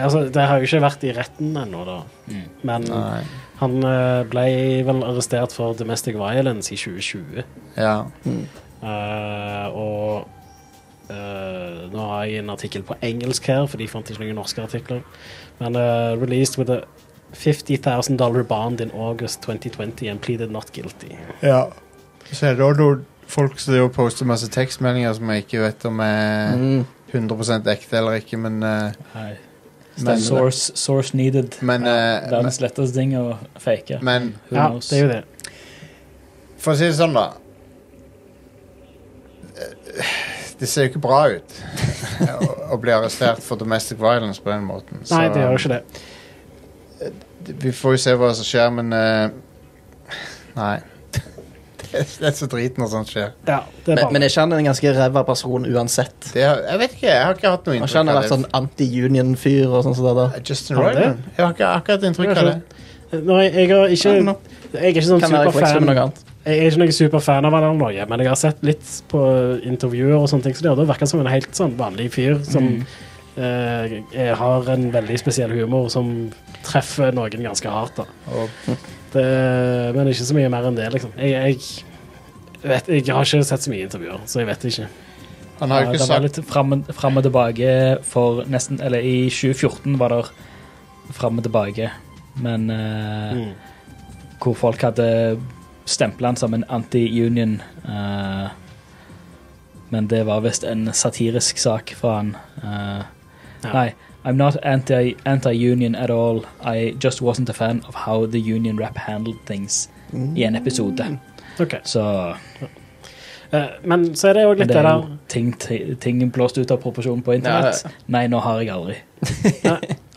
B: altså, Det har jo ikke vært i retten ennå, da.
A: Mm.
B: Men
A: Nei.
B: han eh, ble vel arrestert for domestic violence i 2020.
A: Ja.
C: Mm.
B: Eh, og eh, nå har jeg en artikkel på engelsk her, for de fant ikke noen norske artikler. Men eh, released with a $50,000 bond in August 2020 and pleaded not guilty.
A: ja. Så er det også noen folk som driver og poster masse tekstmeldinger som jeg ikke vet om er
C: Mm.
A: 100 ekte eller ikke, men eh, Men-
D: Source, source needed.
A: Men,
D: Ja,
A: eh,
D: Verdens letteste ting å fake.
A: Men
D: Who
B: Ja,
D: knows?
B: det er jo det.
A: For å si det sånn, da. Det ser jo ikke bra ut å- å bli arrestert for domestic violence på den måten.
B: Nei, det gjør jo ikke det.
A: Vi får jo se hva som skjer, men eh, Nei. Det er- det er så drit når sånt skjer.
B: Ja, det er
C: Men,
B: bare
C: men er ikke han en ganske ræva person uansett?
A: Det, har- jeg vet ikke, jeg har ikke hatt noe
C: Har ikke
A: inntrykk
C: han
A: av
C: vært
A: det.
C: sånn anti-union-fyr og sånn som det der?
A: Justin
B: Har han det?
A: Roiland? Jeg har ikke akkurat inntrykk av det.
B: Nei, jeg, har ikke,
C: I don't know.
B: jeg er ikke sånn
C: Kan være i
B: superfan
C: forveksling med noe annet.
B: Jeg er ikke noen superfan av han eller noe, men jeg har sett litt på intervjuer og sånne ting, så det hadde virket som en helt sånn vanlig fyr som
D: Mm.
B: eh, eh, har en veldig spesiell humor som treffer noen ganske hardt, da.
A: Og
B: Det, men ikke så mye mer enn det, liksom. Jeg, jeg, vet, jeg har ikke sett så mye intervjuer, så jeg vet ikke.
A: han har jo
D: Ja,
A: ikke
D: det var
A: sagt
D: litt fram, fram og tilbake for nesten Eller i 2014 var det fram og tilbake, men eh,
B: Mm.
D: hvor folk hadde stempla han som en anti-union. eh, men det var visst en satirisk sak fra han. eh,
B: Ja.
D: Nei, I'm not anti- anti-union at all. I just wasn't a fan of how the union rap handled things
A: Mm.
D: i en episode.
B: Ok.
D: Så
B: Eh, men så er det òg Mm. litt
D: men det
B: det
D: er
B: der
D: jo ting, ting blåst ut av proporsjon på internett. Nei, nå har jeg aldri.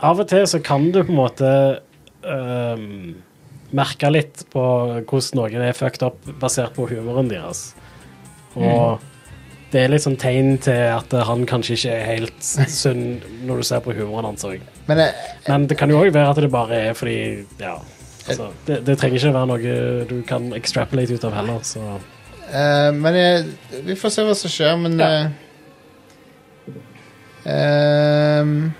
B: Av og til så kan du på en måte ehm, merke litt på hvordan noen er fucked up basert på humoren deres.
D: Mm.
B: Og det er litt sånn tegn til at han kanskje ikke er helt sunn når du ser på humoren hans òg.
A: Men eh, jeg,
B: Men det kan jo òg være at det bare er fordi Ja. Altså, det, det trenger ikke være noe du kan extrapolate ut av heller, så
A: eh, men jeg, vi får se hva som skjer, men
B: Ja.
A: eh, ehm,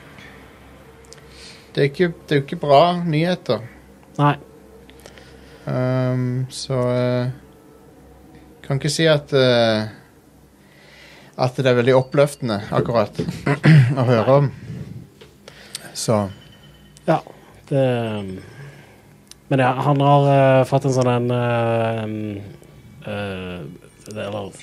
A: det, er ikke, det er jo ikke bra nyheter.
B: Nei.
A: Ehm, så eh, Kan ikke si at eh, At det er veldig oppløftende, akkurat, å høre om. Så
B: Ja. Det um, Men ja, han har eh, fått en sånn en eh, eh, det- Eller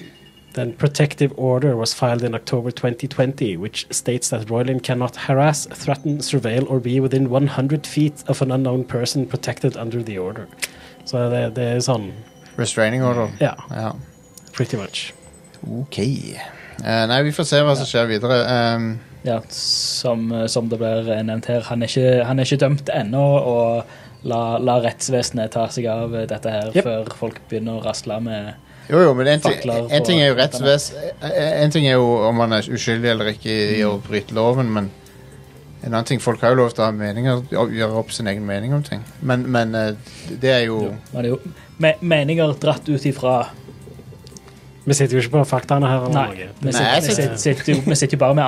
B: Then protective order was filed in October 2020, which states that Roylin cannot harass, threaten, surveil or be within 100 feet of an unknown person protected under the order. Så det, det er sånn
A: Restraining order.
B: Ja,
A: Ja.
B: pretty much.
A: OK. Eh, nei, vi får se hva som skjer videre. Ehm,
D: Ja, som, eh, som det blir nevnt her, han er ikke, han er ikke dømt ennå. Og la, la rettsvesenet ta seg av eh, dette her
B: Yep.
D: før folk begynner å rasle med
A: jo, jo, men en, ting-
D: Fakler på
A: en ting er jo
D: dette
A: rettsvest... En ting er jo om man er uskyldig eller ikke i å bryte loven, men en annen ting, Folk har jo lov til å ha meninger, å gjøre opp sin egen mening om ting, men, men eh, det er jo
D: Men det er jo me meninger dratt ut ifra
B: Vi sitter jo ikke på faktaene her. eller
D: Nei,
B: noe.
D: vi
A: Nei, jeg
D: sitter,
B: sitter-
D: vi sitter, sitter, jo- vi sitter jo bare med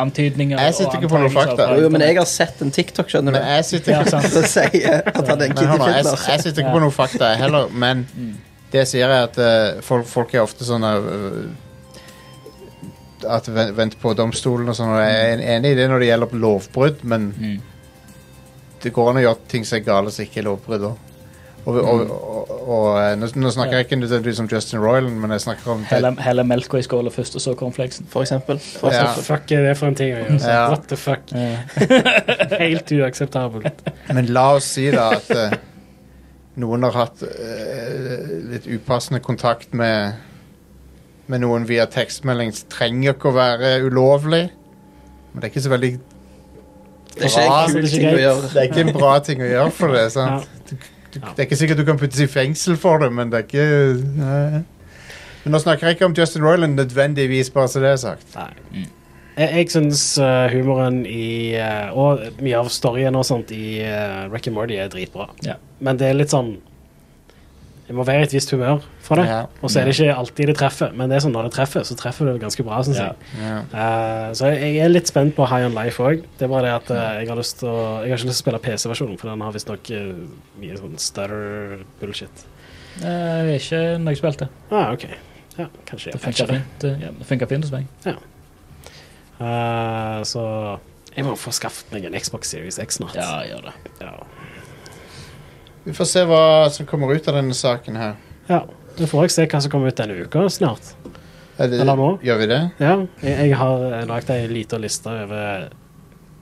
D: antydninger.
A: Jeg sitter
D: og
A: ikke på noen
D: antagelser
A: fakta.
D: fra
C: Jo, jo, men jeg
D: internett.
C: har sett en TikTok, skjønner
A: Men
C: du.
A: jeg sitter ikke
D: Ja, sant.
C: Som sier at han er en
A: Men hør nå, jeg,
C: kittyfiller.
A: jeg sitter ikke på
D: Ja.
A: noen fakta jeg heller, men
D: Mm,
A: det jeg sier er at eh, folk, folk er ofte sånn eh, At ven- vent på domstolen og sånn, og jeg er en- enig i det når det gjelder lovbrudd, men
D: Mm.
A: det går an å gjøre ting som er gale som ikke er lovbrudd òg. Og, og, og, og eh, nå, nå snakker jeg ikke nødvendigvis om Justin Royland, men jeg snakker om
D: Hele, hele melka i skåla først, og så cornflakesen.
C: For eksempel. For
A: Ja.
B: Hva fuck er det for en ting å gjøre? Så,
A: Ja.
B: What the fuck?
D: Ja.
B: Helt uakseptabelt.
A: Men la oss si da at eh, noen har hatt eh, litt upassende kontakt med, med noen via tekstmelding. Det trenger ikke å være ulovlig, men det er ikke så veldig
C: Det er ikke
A: Bra,
C: en
B: så det er
C: kul
B: ikke
C: ting å
B: greit.
A: Det
C: gjøre.
A: er ikke en bra ting å gjøre for det.
B: Ja.
A: sant? Du, det er ikke sikkert du kan puttes i fengsel for det, men det er ikke nei. Men Nå snakker jeg ikke om Justin Royland nødvendigvis, bare så det er sagt.
B: Nei. Jeg, jeg syns eh, humoren i eh, Og mye av storyen og sånt i eh, Rick and Morty er dritbra.
D: Ja.
B: Men det er litt sånn Jeg må være i et visst humør for det.
A: Ja.
B: Og så er det ikke alltid det treffer, men det er sånn når det treffer, så treffer det ganske bra. Synes
D: Ja.
B: jeg. Eh, så jeg, jeg er litt spent på High On Life òg. Det er bare det at eh, jeg, har lyst til å, jeg har ikke lyst til å spille PC-versjonen, for den har visstnok uh, mye sånn stutter-bullshit.
D: Eh, ikke noe spilt, det.
B: Ah, ok. Ja, kanskje
D: Det
B: jeg patcher
D: funker
B: det.
D: fint, eh, ja, det funker fint hos meg.
B: Eh, så jeg må få skaffet meg en Xbox Series X snart.
D: Ja, gjør det.
B: Ja.
A: Vi får se hva som kommer ut av denne saken her.
B: Ja, Du får også se hva som kommer ut denne uka snart.
A: Er det-
B: Eller nå?
A: Gjør vi det?
B: Ja, jeg, jeg har eh, lagt ei lita liste over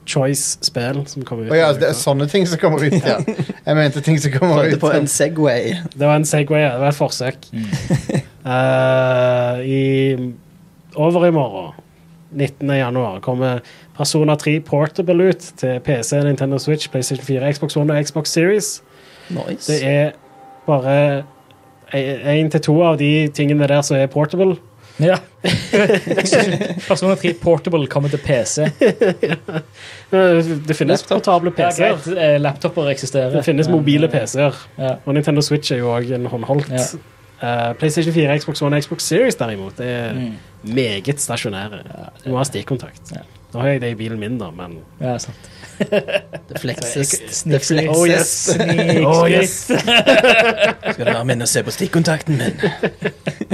B: Choice-spill som kommer ut.
A: Å ja, altså,
B: denne
A: det er
B: uka.
A: sånne ting som kommer ut, ja. Jeg mente ting som kommer
C: Prøvde
A: ut.
C: på en Segway.
B: Det var en Segway, det var et forsøk.
D: Mm.
B: Eh, i, over i morgen, 19. januar, kommer Persona 3 Portable ut til PC, Nintendo Switch, PlayStation 4, Xbox One og Xbox Series. Det
C: Nice.
B: er bare én til to av de tingene der som er portable.
D: Ja. Persona 3 Portable kommer til PC.
B: Eh, Det finnes
C: Laptop.
B: portable
D: Ja,
B: PC-er.
D: greit. eh, Laptoper eksisterer.
B: Det finnes
D: Men,
B: mobile
D: eh,
B: PC-er.
D: Ja.
B: Og Nintendo Switch er jo òg en håndholdt.
D: Ja.
B: Eh, PlayStation 4, Xbox One og Xbox Series derimot det er
D: Mm.
B: meget stasjonære. Du må ha stikkontakt.
D: Ja.
B: Nå har jeg det i bilen min, da, men
D: ja, sant.
C: Det flekses. Det
D: Sneak,
C: flekses.
B: Oh yes! Oh, yes.
C: Skal du være med og se på stikkontakten min?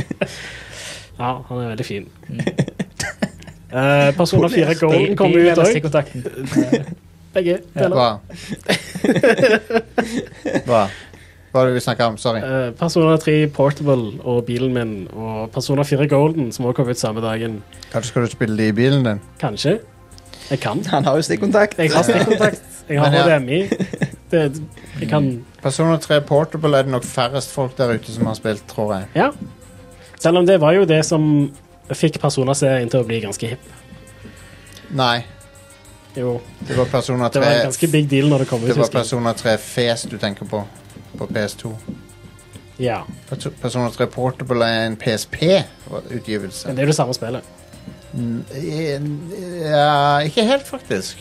B: Ja, han er veldig fin.
D: Mm.
B: Eh, Persona 4 Golden kommer ut òg. Begge deler.
A: Hva? Hva? Hva var det vi snakka om? Sorry.
B: Eh, Persona 3 Portable og bilen min, og Persona 4 Golden, som også kom ut samme dagen.
A: Kanskje skal du spille det i bilen din?
B: Kanskje. Jeg kan.
C: Han har jo stikkontakt.
B: Jeg har stikkontakt. Jeg har
A: Men ja.
B: HDMI. Det, jeg kan
A: Persona 3 Portable er det nok færrest folk der ute som har spilt, tror jeg.
B: Ja. Selv om det var jo det som fikk Persona-serien til å bli ganske hipp.
A: Nei,
B: Jo,
A: det var Persona 3
B: det var en ganske big deal når det kom ut.
A: Det var
B: husker jeg.
A: Persona 3 Fes du tenker på På PS2
B: Ja,
A: Perso- Persona 3 Portable er en PSP-utgivelse
B: men det er jo det samme spillet.
A: Eh, Ja, ikke helt faktisk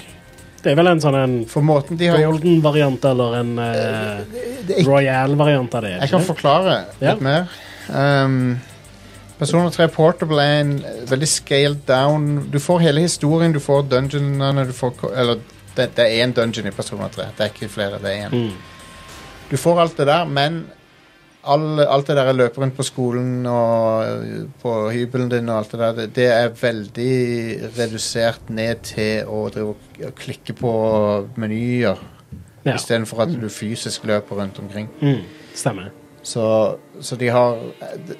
B: Det er vel en sånn en
A: For måten de har gjort
B: Golden-variant eller en uh,
A: det er Eh, ikke-
B: Royal-variant av det.
A: Jeg kan
B: Ikke? det?
A: forklare
B: Ja.
A: litt mer um, Persona 3 Portable er en eh, veldig scaled down Du får hele historien, du får dungeonene du får, ko- Eller det, det er en dungeon i Persona 3 Det er ikke flere, det er en
B: Mm.
A: Du får alt det der, men all, alt det der jeg løper rundt på skolen og eh, på hybelen din og alt det der, det, det er veldig redusert ned til å drive og og klikke på menyer
B: Ja.
A: istedenfor at du fysisk løper rundt omkring.
B: Mm. Stemmer.
A: Så, så de har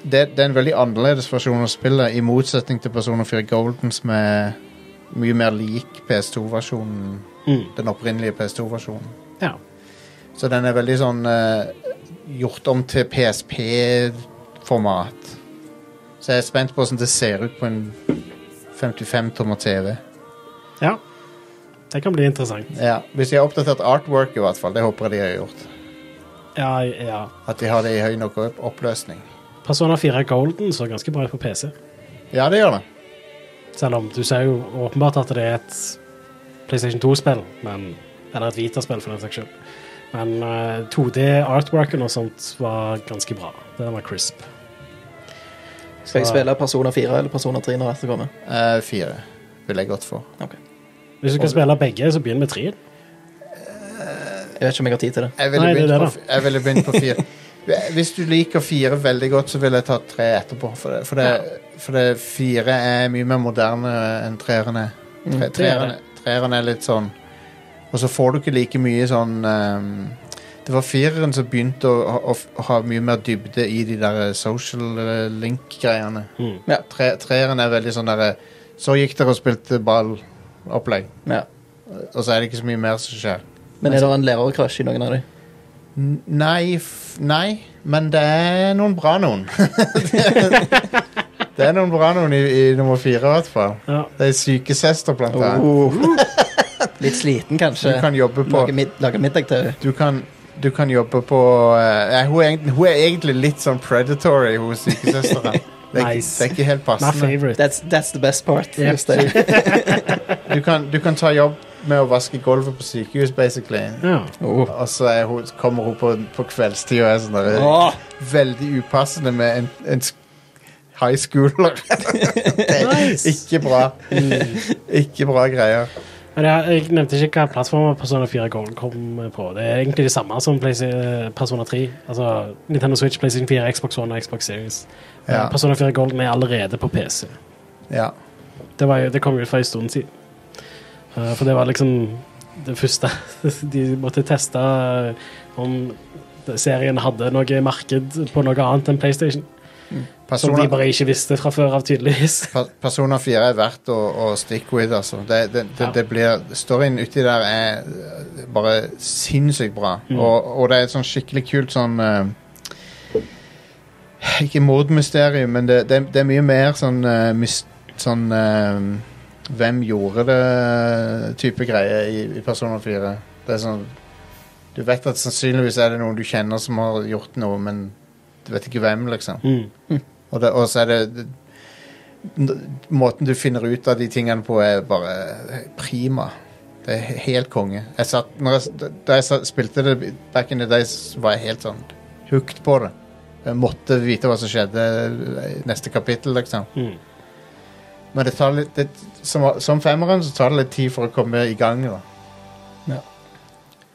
A: det, det er en veldig annerledes versjon av spillet, i motsetning til Persona 4 Golden, som er mye mer lik PS2-versjonen,
B: Mm.
A: den opprinnelige PS2-versjonen.
B: Ja.
A: Så den er veldig sånn eh, gjort om til PSP-format. Så jeg er spent på hvordan det ser ut på en 55-tommer TV.
B: ja. Det kan bli interessant.
A: Ja, Hvis de har oppdatert artwork, i hvert fall. Det håper jeg de har gjort.
B: Ja, ja.
A: At de har det i høy nok opp- oppløsning.
B: Persona 4 Golden så ganske bra ut på PC.
A: Ja, det gjør det.
B: Selv om du ser jo åpenbart at det er et PlayStation 2-spill, men Eller et Vita-spill, for den saks skyld. Men eh, 2D-artworken og sånt var ganske bra. Den var crisp.
C: Skal jeg spille Persona 4 eller Persona 3 når dette kommer?
A: Eh, fire vil jeg gått for.
C: Ok.
B: Hvis du skal spille begge, så begynn med treen.
C: Jeg vet ikke om jeg har tid til det.
A: Jeg ville
B: Nei, det er
A: begynt på,
B: det da.
A: f- jeg ville begynt på fire. Hvis du liker fire veldig godt, så ville jeg tatt tre etterpå. For det, for det, for det fire er mye mer moderne enn treeren er.
B: Mm,
A: Tre,
C: Mm.
A: treeren, treeren er litt sånn Og så får du ikke like mye sånn ehm, Det var fireren som begynte å, å, å f- ha mye mer dybde i de der social eh, link-greiene.
B: Mm.
C: Ja.
A: Tre, treeren er veldig sånn derre Så gikk dere og spilte ball-opplegg.
C: Ja.
A: Og så er det ikke så mye mer som skjer.
C: Men er det en lærerkrasj i noen av dem?
A: N- Nei, f nei, men det er noen bra noen. det er noen bra noen i, i nummer fire, i hvert fall.
B: Ja.
A: Det er sykesøster, blant
C: Oh.
A: annet.
C: Litt sliten,
A: Du
C: kanskje?
A: kan jobbe på
C: Lage, mid lage middag til
A: Du kan, du kan jobbe på eh, nei, hun, er, egentlig- hun er egentlig litt sånn predatory, hun sykesøstera. Det, er ikke-
B: Nice.
A: det er ikke helt
B: My
A: passende.
B: favorite.
C: That's, that's the best part.
B: Yep.
C: Just det.
A: Du kan, du kan ta jobb med å vaske gulvet på sykehus, basically.
B: Ja.
C: Oh.
A: Og så er hun, kommer hun på, på kveldstid og er sånn der, veldig upassende med en, en sk- high schooler.
B: Nice. Mm.
A: Ikke bra. Ikke bra greier.
B: Men jeg, jeg nevnte ikke hva plattformen Persona 4 Golden kom eh, på. Det er egentlig det samme som Playsta- Persona 3. Altså Nintendo Switch, PlayStation 4, Xbox One og Xbox Series.
A: Ja.
B: Persona 4 Golden er allerede på PC.
A: Ja.
B: Det, var jo, det kom jo ut for en stund siden. Eh, for det var liksom det første De måtte teste eh, om det- serien hadde noe marked på noe annet enn PlayStation. Som de
A: Persona,
B: bare ikke visste fra før av, tydeligvis.
A: per- Persona 4 er verdt å, å stick with, altså. Det, det, det,
B: Ja.
A: det blir, storyen uti der er eh, bare sinnssykt bra. Og, og det er et sånn skikkelig kult sånn eh, Ikke mordmysterium, men det, det, det er mye mer sånn eh, mys- Sånn eh, Hvem gjorde det-type greie i, i Persona 4. Det er sånn Du vet at sannsynligvis er det noen du kjenner som har gjort noe, men du vet ikke hvem, liksom.
B: Mm.
A: Og, det, og så er det det- n- Måten du finner ut av de tingene på, er bare prima. Det er he- helt konge. Jeg satt, når jeg, s- da jeg satt, spilte det back in the days, var jeg helt sånn hooked på det. Jeg måtte vite hva som skjedde i neste kapittel, liksom.
B: Mm.
A: Men det tar litt det, som, som femmeren så tar det litt tid for å komme i gang. da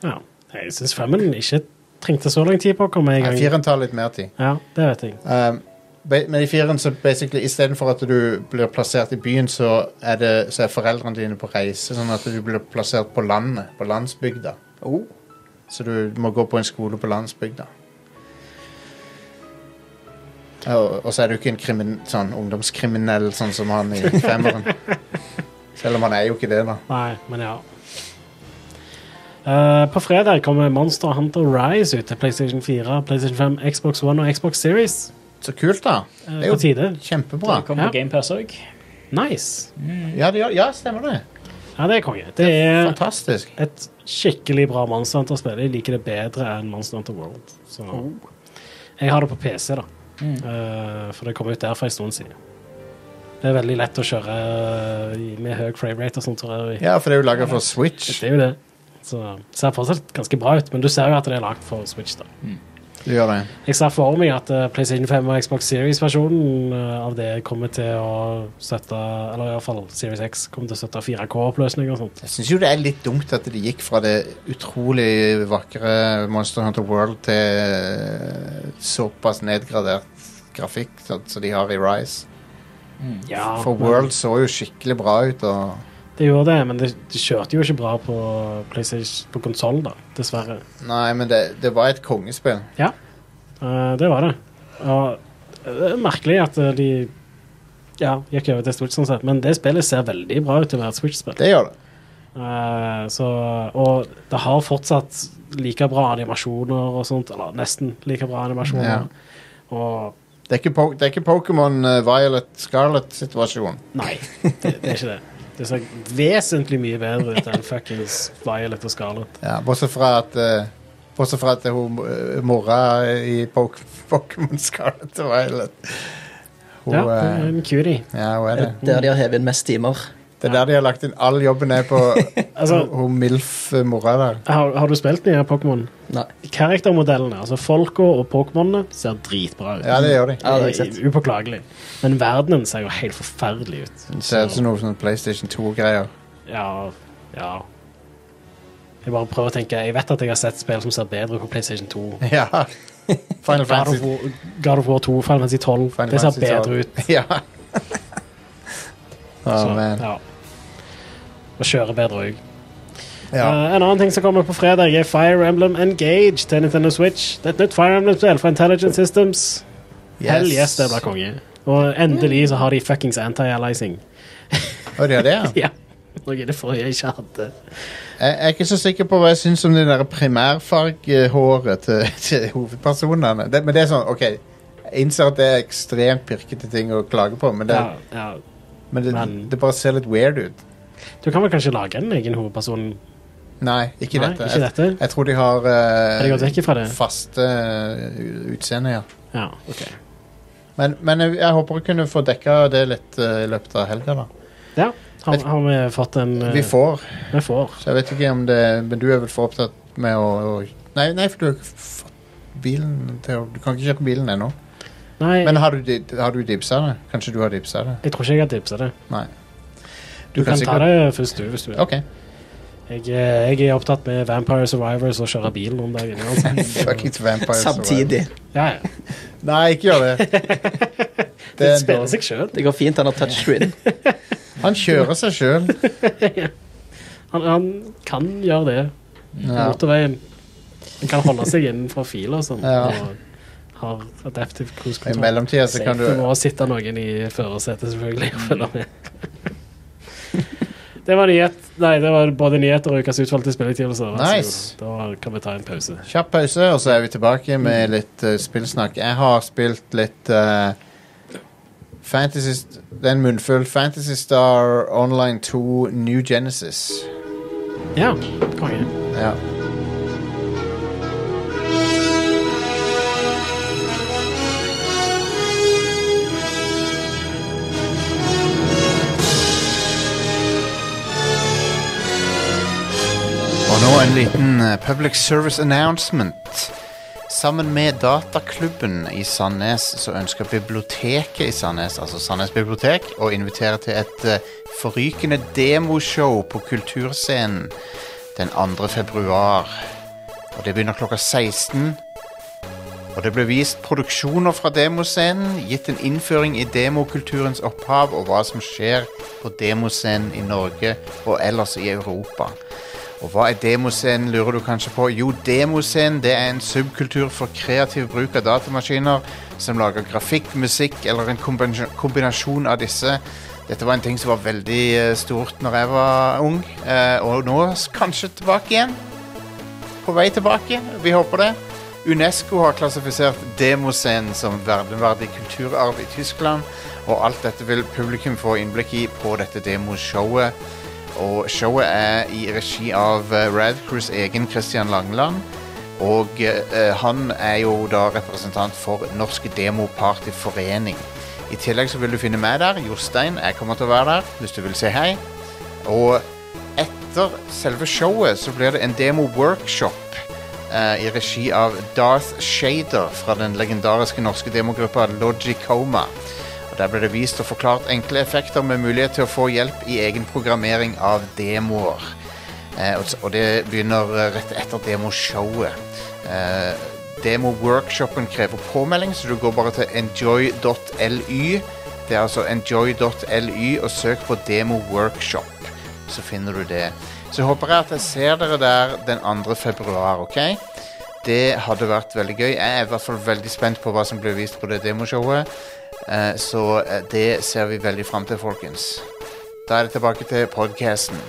B: Ja. Jeg syns femmen ikke trengte så lang tid på å komme i
A: Nei,
B: gang.
A: Fireren tar litt mer tid.
B: Ja, det vet jeg.
A: Um, be- men i fireren så basically istedenfor at du blir plassert i byen, så er, det, så er foreldrene dine på reise, sånn at du blir plassert på landet, på landsbygda.
C: Oh.
A: Så du må gå på en skole på landsbygda. Og, og så er du ikke en krimin, sånn ungdomskriminell sånn som han i femmeren. Selv om han er jo ikke det, da.
B: Nei, men ja. Eh, på fredag kommer Monster Hunter Rise ut til PlayStation 4, PlayStation 5, Xbox One og Xbox Series.
A: Så kult, da.
B: eh,
A: Det er
B: på
A: jo
B: tide.
A: kjempebra.
D: Det kommer
B: Ja.
D: på GamePass òg.
B: Nice.
A: Ja, det, gjør- ja stemmer det.
B: Ja, det er konge. Det er
A: Fantastisk.
B: et skikkelig bra Monster Hunter-spill. Jeg liker det bedre enn Monster Hunter World. Så
A: Oh.
B: jeg har det på PC, da.
C: Mm.
B: Eh, for det kom ut der for en stund siden. Det er veldig lett å kjøre i- med høy framerate og sånt. tror jeg.
A: Ja, for det er jo laga for Switch.
B: Det er jo det. Så det ser fortsatt ganske bra ut, men du ser jo at det er lagd for Switch, da.
A: Du gjør det.
B: Jeg ser for meg at eh, PlayStation 5 og Xbox Series-versjonen eh, av det kommer til å støtte Eller iallfall Series X kommer til å støtte 4K-oppløsning og sånt.
A: Jeg syns jo det er litt dumt at det gikk fra det utrolig vakre Monster Hunter World til såpass nedgradert grafikk sånn som de har i Rise.
D: Mm.
B: Ja,
A: For
B: men
A: World så jo skikkelig bra ut. og
B: Det gjorde det, men det, det kjørte jo ikke bra på PlayStation på konsoll, da. Dessverre.
A: Nei, men det, det var et kongespill.
B: Ja, eh, det var det. Og det er merkelig at eh, de ja, gikk over til Switch, sånn sett. Men det spillet ser veldig bra ut til å være et Switch-spill.
A: Det gjør det.
B: Eh, så, og det har fortsatt like bra animasjoner og sånt, eller nesten like bra animasjoner. Og
A: Det er ikke, po det er ikke Pokémon eh, Violet Scarlet-situasjonen.
B: nei, det, det er ikke det. Det ser vesentlig mye bedre ut enn fuckings Violet og Scarlet.
A: Ja, bortsett fra at eh, Bortsett fra at hun eh, mora i Pok- Pokémon Scarlet og Violet hun,
B: Ja, det
A: eh,
B: er en cutie.
A: ja, hun er det.
C: Der de har hevet inn mest timer.
A: Det er der de har lagt inn all jobben er på
B: Altså,
A: hun MILF-mora der.
B: har, har du spilt nye Pokémon?
C: Nei.
B: Karaktermodellene, altså folka og Pokémonene, ser dritbra ut.
A: Ja, det gjør de.
C: Ja, det har jeg
B: Det
C: sett.
B: er Upåklagelig. Men verdenen ser jo helt forferdelig ut.
A: Det ser ut som noe sånn PlayStation 2-greier.
B: Ja, ja. Jeg bare prøver å tenke Jeg vet at jeg har sett spill som ser bedre ut på PlayStation 2.
A: Ja. Final
B: God of,
A: Fantasy.
B: War, God of War 2, Final Fantasy 12.
A: Final
B: det ser
A: Fantasy
B: bedre
A: 12.
B: ut.
A: Ja. Å,
B: så,
A: man.
B: ja. Og kjører bedre òg.
A: Ja.
B: en annen ting som kommer på fredag, er Fire Emblem Engage til Nintendo Switch. Det er et nytt Fire Emblem-spill fra Intelligent Systems. Eh, Hell yes, det blir konge. Og endelig så har de fuckings anti-alizing.
A: Å, de har det, ja.
B: Ja. Noe i det forrige jeg ikke hadde.
A: Jeg jeg er ikke så sikker på hva jeg syns om det der primærfargehåret til, til hovedpersonene. Det, men det er sånn, OK, jeg innser at det er ekstremt pirkete ting å klage på, men det,
B: Ja, ja.
A: men det,
B: men-
A: det bare ser litt weird ut.
B: Du kan vel kanskje lage en egen hovedperson?
A: Nei, ikke
B: Nei,
A: dette.
B: ikke dette.
A: Jeg, jeg tror de har
B: Er det gått
A: eh,
B: vekk fra det?
A: faste eh, utseende, ja.
B: Ja, ok.
A: Men, men jeg, jeg håper å kunne få dekka det litt eh, i løpet av helga, da.
B: Ja, har, har vi fått en eh,
A: Vi får,
B: Vi får.
A: så jeg vet ikke om det Men du er vel for opptatt med å, å Nei, nei, for du har ikke fått bilen til å Du kan ikke kjøpe bilen ennå.
B: Nei,
A: Men har du, di- har du dipsa det? Kanskje du har dipsa det?
B: jeg tror ikke jeg har tipsa det.
A: Nei.
B: Du kan ta det først, du, hvis du vil.
A: Ok.
B: Jeg, eh, jeg er opptatt med Vampire Survivors og kjøre bil om dagen. Altså.
A: Fuckings vampire. Survivor.
C: Samtidig.
B: Ja, ja.
A: Nei, ikke gjør det. det
B: Det
A: er en
B: spiller
A: dårlig-
B: seg sjøl.
C: Det går fint, han har touchscreen.
A: Han kjører seg sjøl.
B: Han, han kan gjøre det på
A: Ja.
B: motorveien. Han kan holde seg innenfor filer og sånn.
A: Ja.
B: Og har adaptive cruise
A: I
B: control.
A: mellomtida så kan
B: Safe. Det
A: du
B: må sitte noen i førersetet, selvfølgelig, og følge med. det var nyhet. Nei, det var både nyheter og ukas utvalgte spilletgivelser. Vær så
A: Nice.
B: god. Da kan vi ta en pause.
A: Kjapp pause, og så er vi tilbake med litt eh, spillsnakk. Jeg har spilt litt eh, Fantasy St- Det er en munnfull. Fantasy Star Online 2 New Genesis.
B: Ja, konge.
A: Ja. Og nå en liten eh, public service announcement. Sammen med Dataklubben i Sandnes så ønsker biblioteket i Sandnes, altså Sandnes bibliotek, å invitere til et eh, forrykende demoshow på Kulturscenen den 2. februar. Og det begynner klokka 16. Og det ble vist produksjoner fra demoscenen, gitt en innføring i demokulturens opphav og hva som skjer på demoscenen i Norge og ellers i Europa. Og hva er demoscenen, lurer du kanskje på? Jo, demoscenen det er en subkultur for kreativ bruk av datamaskiner som lager grafikk, musikk eller en kombin- kombinasjon av disse. Dette var en ting som var veldig eh, stort når jeg var ung, eh, og nå s- kanskje tilbake igjen. På vei tilbake, vi håper det. UNESCO har klassifisert demoscenen som verneverdig kulturarv i Tyskland, og alt dette vil publikum få innblikk i på dette demoshowet. Og showet er i regi av eh, Radcrews egen Christian Langeland. Og eh, han er jo da representant for Norsk Demopartyforening. I tillegg så vil du finne meg der. Jostein, jeg kommer til å være der hvis du vil si hei. Og etter selve showet så blir det en demo-workshop eh, i regi av Darth Shader fra den legendariske norske demogruppa Logicoma. Og Der ble det vist og forklart enkle effekter med mulighet til å få hjelp i egen programmering av demoer. Eh, og s- og det begynner eh, rett etter demoshowet. Eh, Demo-workshopen krever påmelding, så du går bare til enjoy.ly. Det er altså enjoy.ly, og søk på demo-workshop, så finner du det. Så håper jeg at jeg ser dere der den 2. februar, ok? Det hadde vært veldig gøy. Jeg er i hvert fall veldig spent på hva som blir vist på det demoshowet. Eh, Så eh, det ser vi veldig fram til, folkens. Da er det tilbake til podcasten.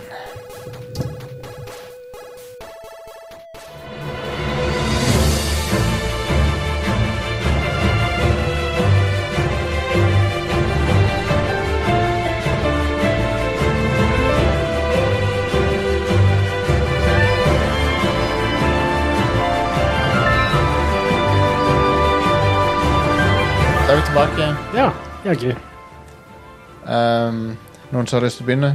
A: Da er vi tilbake.
B: Ja, jaggu.
A: Um, noen som har lyst til å begynne?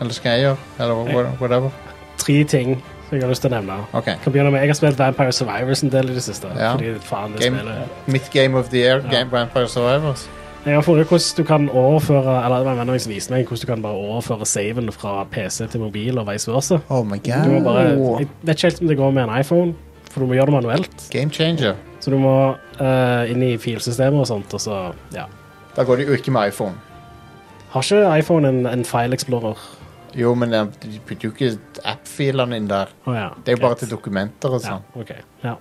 A: Eller skal jeg gjøre? Eller wha- whatever?
B: Tre ting som jeg har lyst til å nevne.
A: Ok.
B: Kan begynne med, Jeg har spilt Vampire Survivors en del i det siste.
A: Ja.
B: Fordi faen det
A: Game.
B: spillet
A: Mitt game of the year,
B: Ja.
A: Game Vampire Survivors.
B: Jeg har funnet hvordan du kan overføre Eller det var en venn av meg som viste meg hvordan du kan bare overføre saven fra PC til mobil og vice versa.
A: Oh my
B: Du må bare,
A: god.
B: jeg vet ikke helt om det går med en iPhone, for du må gjøre det manuelt.
A: Game changer.
B: Så du må eh, inn i filsystemet og sånt, og så ja.
A: Da går det jo ikke med iPhone.
B: Har ikke iPhone en, en file explorer?
A: Jo, men eh, du putter jo ikke app-filene inn der.
B: Å ja.
A: Det er jo bare
B: greit.
A: til dokumenter og
B: Ja,
A: sånn.
B: ok. Ja.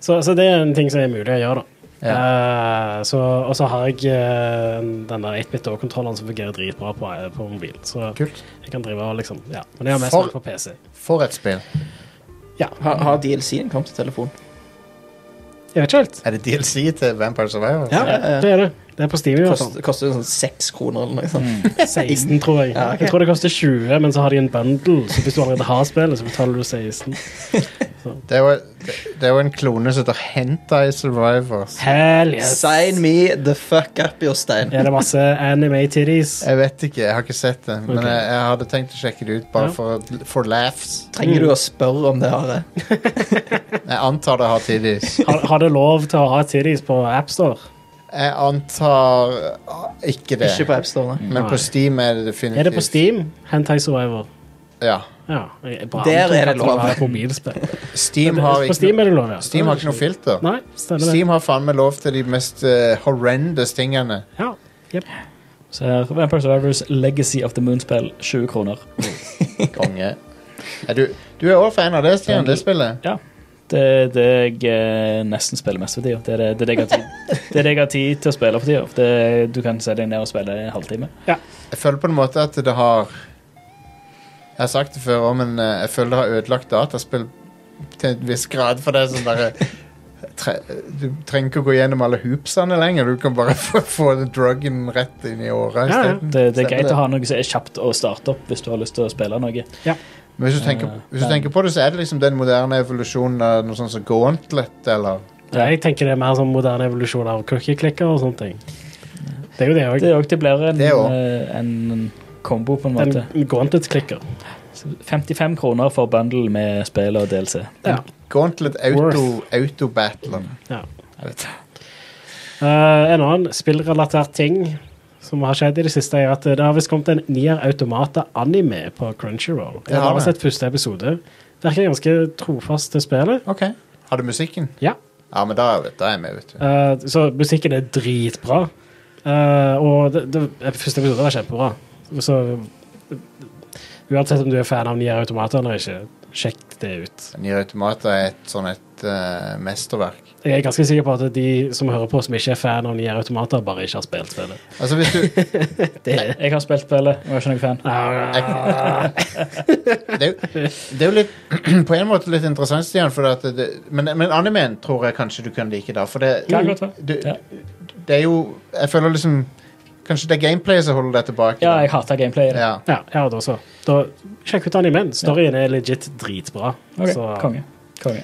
B: Så, så det er en ting som er mulig å gjøre, da. Eh, så, og så har jeg eh, den der 8-bit-kontrolleren som fungerer dritbra på, eh, på mobil. Så
A: Kult.
B: jeg kan drive og liksom Ja. Men jeg har mest
A: For-
B: vært på PC.
A: For et spill.
B: Ja.
C: Har, har DLC-en kommet til telefon?
B: Jeg vet ikke helt.
A: Er det DLC til Vampire Survivors?
B: Ja,
C: ja.
B: det er det. Det er på Steam i hvert fall.
C: Koster, Eh, koster jo sånn seks kroner eller noe sånt.
B: 16, tror jeg.
C: Ja, ok.
B: Jeg tror det koster 20, men så har de en bundle. Så hvis du allerede har spillet, så betaler du 16.
A: Det er jo, det, det er jo en klone som heter Hentai Survivors.
B: Hell yes!
C: Sign me the fuck up, Jostein.
B: Er det masse anime titties?
A: Jeg vet ikke, jeg har ikke sett det, men
B: Ok.
A: jeg, jeg hadde tenkt å sjekke det ut bare
B: Ja.
A: for, for laughs.
C: Trenger du å spørre om det, eh? Are?
A: Jeg antar det har tidvis.
B: Har, har det lov til å ha titties på AppStore?
A: Jeg antar ah, ikke det.
C: Ikke på AppStore. nei.
A: Men
B: Nei.
A: på Steam er det definitivt.
B: Er det på Steam? Hentai Survivor.
A: Ja.
B: Ja. jeg- bra.
C: Der er det
B: Jeg tror
C: lov.
B: at det er mobilspill.
A: Steam har
B: På
A: ikke,
B: Steam er det lov, ja.
A: no- Steam har ikke noe filter.
B: Nei, stemmer det.
A: Steam har faen meg lov til de mest eh, horrendous tingene.
B: Ja. Jep.
D: Så her, Vampire Survivors Legacy of the Moon-spill, 20 kroner.
A: Konge. Er du, du er også fan av det, Stian, det spillet?
D: Det er det jeg eh, nesten spiller mest for tida. Det er det, det, er det, jeg har tid- det er det jeg har tid til å spille for tida. Det er- Du kan se deg ned og spille en halvtime.
A: Jeg føler på en måte at det har Jeg har sagt det før òg, men eh, jeg føler det har ødelagt dataspill til en viss grad. For det er sånn derre tre, Du trenger ikke å gå gjennom alle hoopsene lenger. Du kan bare få, få druggen rett inn i året.
B: Ja, ja.
A: isteden.
D: Det, det er
A: Stemmer
D: greit
A: Mm. det.
D: å ha noe som er kjapt å starte opp hvis du har lyst til å spille noe.
A: Men hvis du, tenker,
D: Eh,
A: hvis du tenker på det, så er det liksom den moderne evolusjonen av noe sånt som Gauntlet eller
B: Ja, Jeg tenker det er mer sånn moderne evolusjon av cookie-klikker og sånne ting. Det er jo det òg.
D: Det er også, det blir en,
A: Det er også.
D: eh, en kombo, på en måte.
B: En Gauntlet-klikker.
D: 55 kroner for bundle med spill og DLC.
B: Ja.
A: Gauntlet Auto,
B: Worth.
A: Autobattler.
B: Eh, en annen spillrelatert ting som har skjedd i det siste, er at det har visst kommet en Nier Automata-anime på Crunchyroll.
A: Det
B: Jeg
A: har
B: har bare
A: det.
B: sett første episode. Virker ganske trofast til spillet.
A: OK. Har du musikken?
B: Ja.
A: Ja, men da, vet, da er jeg med, vet du.
B: Eh, så musikken er dritbra. Eh, og det, det, første episode var kjempebra. Så Uansett om du er fan av nye automater eller ikke, sjekk det ut.
A: Nier Automata er et sånn et eh, mesterverk.
B: Jeg er ganske sikker på at de som hører på, som ikke er fan av nye automater, bare ikke har spilt spillet.
A: Altså, hvis du
D: Jeg har spilt spillet, og jeg er ikke noen fan.
B: Ah,
A: det, er jo- det er jo litt på en måte litt interessant, Stian, for at det, men, men animen tror jeg kanskje du kan like, da. For det,
D: Kan godt være.
A: du,
D: Ja.
A: det er jo Jeg føler liksom Kanskje det er gameplayet som holder deg tilbake. da.
D: Ja, jeg hater gameplayet.
A: ja.
B: ja, ja, da så. Da, sjekk ut animen. Storyen er legit dritbra.
D: Ok,
B: Så,
D: konge. konge.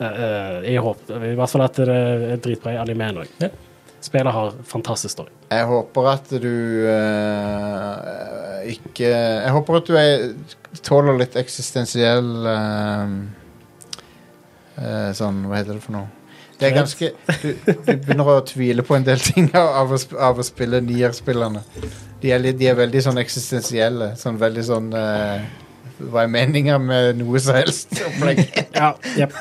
B: eh, eh, jeg håper i hvert fall at det er dritbra i animen òg.
D: Ja.
B: Spillet har fantastisk story.
A: Jeg håper at du eh, ikke Jeg håper at du er, tåler litt eksistensiell eh, eh, Sånn, hva heter det for noe? Det er ganske Du, du begynner å tvile på en del ting av, av, å, sp- av å spille nier-spillerne. De, er litt- de er veldig sånn eksistensielle. Sånn veldig sånn eh, Hva er meninga med noe som helst? opplegg.
B: Ja, jep.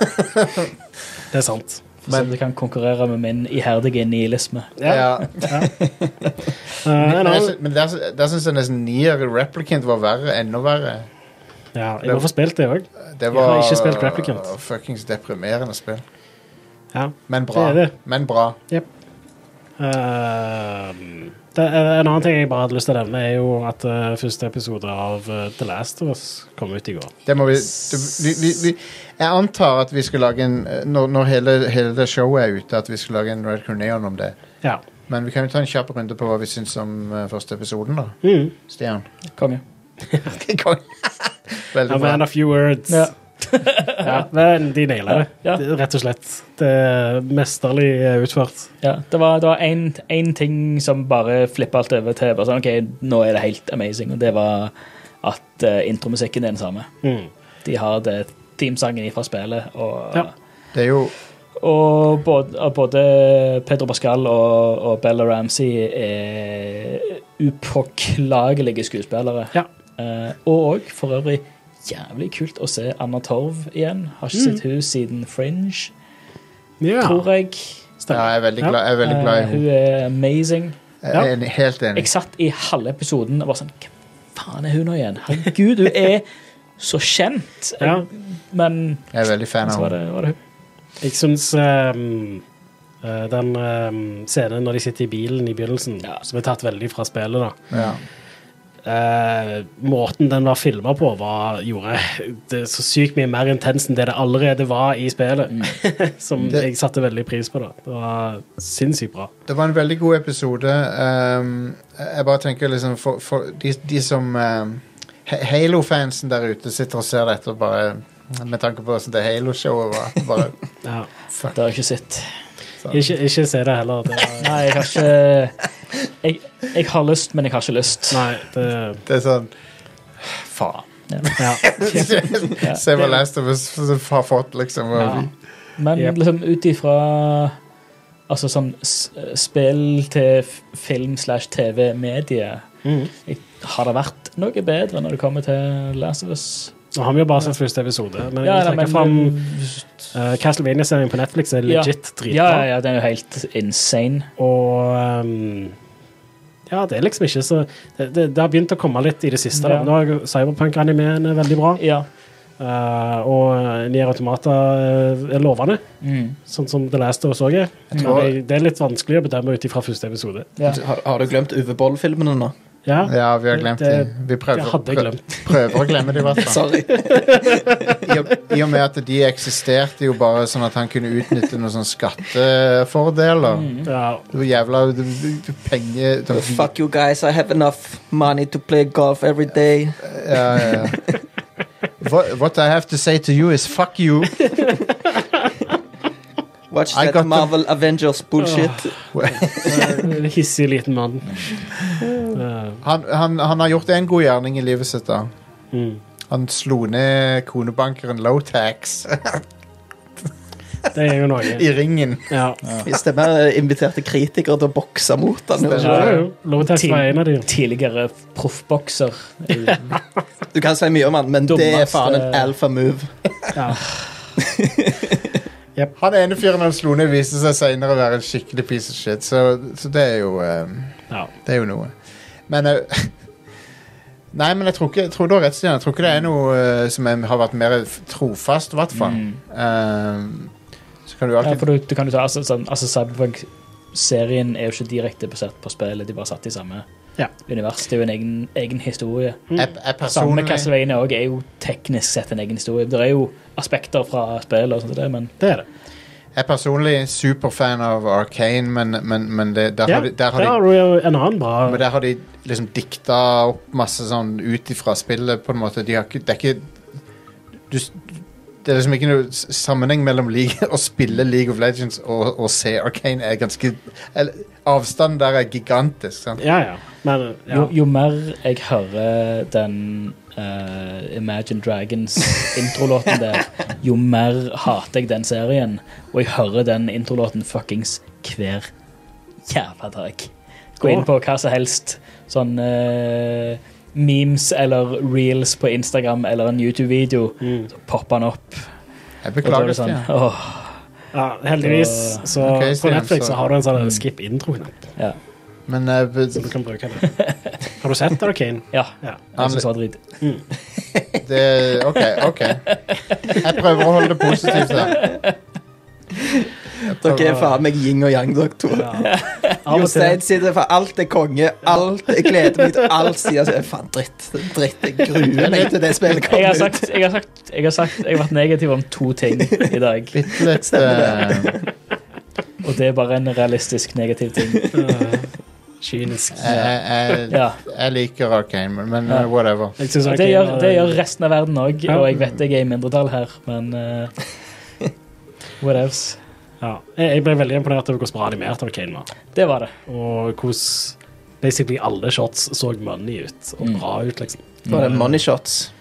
B: Det er sant.
D: For så det kan konkurrere med min iherdige nihilisme.
B: Ja.
A: Ja.
B: Eh, en
A: Men, jeg,
B: annen-
A: sy- men der, sy- der syns jeg sånn nesten Nier Replicant var verre. Enda verre.
B: ja, jeg må få spilt det òg.
A: Det
B: Jeg har
A: var
B: ikke spilt Replicant.
A: uh, fuckings deprimerende spill.
B: Ja.
A: Men bra.
B: Det er det.
A: Men bra.
B: Ehm, det er en annen ting jeg bare hadde lyst til å nevne, er jo at eh, første episode av eh, The Last of Us kom ut i går.
A: Det må vi, du- vi, vi, vi Jeg antar at vi skal lage en eh, Når, når hele, hele det showet er ute, at vi skal lage en Red Corneon om det.
B: Ja.
A: Men vi kan jo ta en kjapp runde på hva vi syns om eh, første episoden, da.
B: Mm.
A: Stian.
D: Konge.
B: A
A: Veldig
B: man
A: bra.
B: of few words.
D: Ja.
B: Ja, men de naila det.
D: Ja.
B: Det er Rett og slett. Det er mesterlig eh, utført.
D: Ja, det var, det var en, en ting som bare flippa alt over til bare sånn, ok, nå er det helt amazing, og det var at eh, intromusikken er den samme.
B: Mm.
D: De har det teamsangen fra spillet, og,
B: Ja.
A: Det er jo
D: og både, og både Pedro Pascal og, og Bella Ramsey er upåklagelige skuespillere.
B: Ja.
D: Eh, og også, for øvrig jævlig kult å se Anna Torv igjen. Har ikke sett hun siden Fringe,
B: Mm. Ja.
D: tror jeg.
A: ja, Jeg er veldig glad, jeg er veldig glad i
D: Eh,
A: henne.
D: hun er amazing.
A: Jeg er enig, helt enig.
D: Jeg satt i halve episoden og var sånn Hva faen er hun nå igjen? Herregud, hun er så kjent.
B: Ja.
D: Men
A: Jeg er veldig fan
D: så
A: av
D: var
A: henne.
D: det, var det hun.
B: Jeg syns ehm, eh, den ehm, scenen når de sitter i bilen i begynnelsen,
D: Ja.
B: som er tatt veldig fra spillet, da.
A: Ja.
B: Eh, måten den var filma på, var, gjorde det så sykt mye mer intenst enn det det allerede var i spillet.
D: Mm.
B: som
A: Det-
B: jeg satte veldig pris på. da Det var sinnssykt bra.
A: Det var en veldig god episode. Um, jeg bare tenker liksom for, for de, de som um, Ha- Halo-fansen der ute sitter og ser dette og bare Med tanke på hvordan det Halo-showet var. Bare,
B: Ja.
D: Det har jeg ikke sett.
B: Ikke, ikke se det heller. Det var,
D: Nei, jeg har ikke jeg, jeg har lyst, men jeg har ikke lyst.
B: nei, det
A: det er sånn Faen.
B: Ja.
A: Se hva Last of Us har fått, liksom. Og,
D: Ja. Men
B: Yep.
D: liksom ut ifra Altså sånn s- spill til f- film slash TV-medie
B: Mm.
D: Har det vært noe bedre når det kommer til Last of Us?
B: Nå har vi jo bare sett første episode, men jeg
D: Ja,
B: vil
D: nei,
B: trekke
D: men-
B: fram eh, Castlevania-serien på Netflix er legit
D: Ja,
B: dritbra.
D: ja, ja, den er jo helt insane.
B: Og ehm, ja, det er liksom ikke så Det, det, det har begynt å komme litt i det siste.
D: Ja.
B: da. Nå har jo Cyberpunk-animeen er veldig bra.
D: Ja.
B: Eh, og Nier Automata eh, er lovende,
D: Mm.
B: sånn som The Last of Us også er.
A: tror-
B: Men det, det er litt vanskelig å bedømme ut ifra første episode.
D: ja.
C: Du- Har, har du glemt Uwe Boll-filmene nå?
B: Ja,
A: ja, vi har glemt det.
B: Det-
A: Vi prøver,
B: det hadde jeg
A: prø- prøver å glemme det, i hvert fall.
C: Sorry.
A: I og, I og med at de eksisterte jo bare sånn at han kunne utnytte noen sånne skattefordeler.
B: ja,
A: Det var jævla det- det- det- penger det var vi-
C: Fuck you guys, I have enough money to play golf every day.
A: Ja, ja, ja. What, what I have to say to you is fuck you.
C: Watch
A: I got
C: that
A: the-
C: Marvel Avengers bullshit.
B: en Eh, hissig liten mann. Eh,
A: Han, han, han har gjort en god gjerning i livet sitt. da
B: mm.
A: Han slo ned konebankeren Lowtax
B: Det er jo noe.
A: i ringen.
B: Ja.
C: Vi stemmer inviterte kritikere til å bokse mot han. gjorde
B: Ja,
C: ikke det?
B: jo. Lowtax
D: Til-
B: var en av de.
D: Tidligere proffbokser.
C: Du kan si mye om han, men det er
D: Dummeste-
C: faen en alfa move.
B: Ja.
A: Han ene fyren han slo ned, viste seg seinere å være en skikkelig piece of shit, så, så det er jo eh,
B: Ja.
A: Det er jo noe. Men eh, Nei, men jeg tror, ikke, jeg tror du har rett, Stian. Jeg tror ikke det er noe eh, som er, har vært mer f- trofast, i hvert fall. Ehm, så kan du
D: Mm. Ja,
A: alltid
D: for du, du kan jo ta altså, sånn, altså Cyberpunk-serien er jo ikke direkte basert på spillet, de er bare satt i samme
B: Ja.
D: univers. Det er jo en egen, egen historie.
A: jeg, jeg
D: Samme
A: personlig,
D: Castlevania også er jo teknisk sett en egen historie. Det er jo aspekter fra spillet og sånt, og det, men
B: Det er det.
A: jeg er personlig superfan av Arcane, men, men, men det, der,
B: Ja,
A: har de, der har
B: der
A: de
B: har du jo en annen bra
A: men der har de liksom dikta opp masse sånn ut ifra spillet, på en måte. De har ikke, det er ikke du, s- Det er liksom ikke noe s- sammenheng mellom League, å spille League of Legends og, og se Arcane. Er ganske, eller, avstanden der er gigantisk. Sant?
B: Ja, ja. Men ja.
D: jo, jo mer jeg hører den eh, Imagine Dragons-introlåten der, jo mer hater jeg den serien. Og jeg hører den introlåten fuckings hver jævla dag. Gå inn på hva som helst. Sånn eh, memes eller reels på Instagram eller en YouTube-video.
B: Mm.
D: Så popper den opp.
A: Jeg
D: Og da er
A: beklager.
D: det sånn,
A: Stian.
D: åh,
B: ja heldigvis så
A: Ok,
B: på
A: Stian,
B: Netflix
A: så-
B: så har du en sånn
D: Mm.
B: skip intro-knapp,
D: ja.
A: Men eh, b-
B: så du kan bruke den. Har du sett Arkane?
D: ja.
B: Ja.
A: Han-
D: Jeg synes det var drit.
A: det, OK, OK. Jeg prøver å holde det positivt her. Jeg
C: Dere
A: prøver-
C: er faen meg yin og yang, dere to.
B: Av og
C: Jostein
B: til.
C: sitter for alt er konge, alt Jeg gleder meg til alt sier altså, Faen, dritt. Dritt. Jeg gruer meg til det spillet
D: Jeg har
C: kommer ut.
D: sagt, jeg har sagt, jeg har sagt, jeg har vært negativ om to ting i dag.
A: Bitte litt eh,
D: Og det er bare en realistisk negativ ting.
B: eh, Kynisk.
D: Eh,
A: jeg, jeg,
D: Ja.
A: jeg liker Arcane, men- men
D: Ja.
A: eh, whatever.
B: Jeg synes
D: Det,
B: Arcane
D: gjør,
B: var-
D: det gjør resten av verden òg,
B: Ja.
D: og jeg vet jeg er i mindretall her, men eh, What else?
B: ja. Jeg jeg ble veldig imponert over hvor bra animert Arkane var.
D: Det var det.
B: Og hvordan basically alle shots så money ut, og
D: Mm.
B: bra ut, liksom.
C: Var det money shots?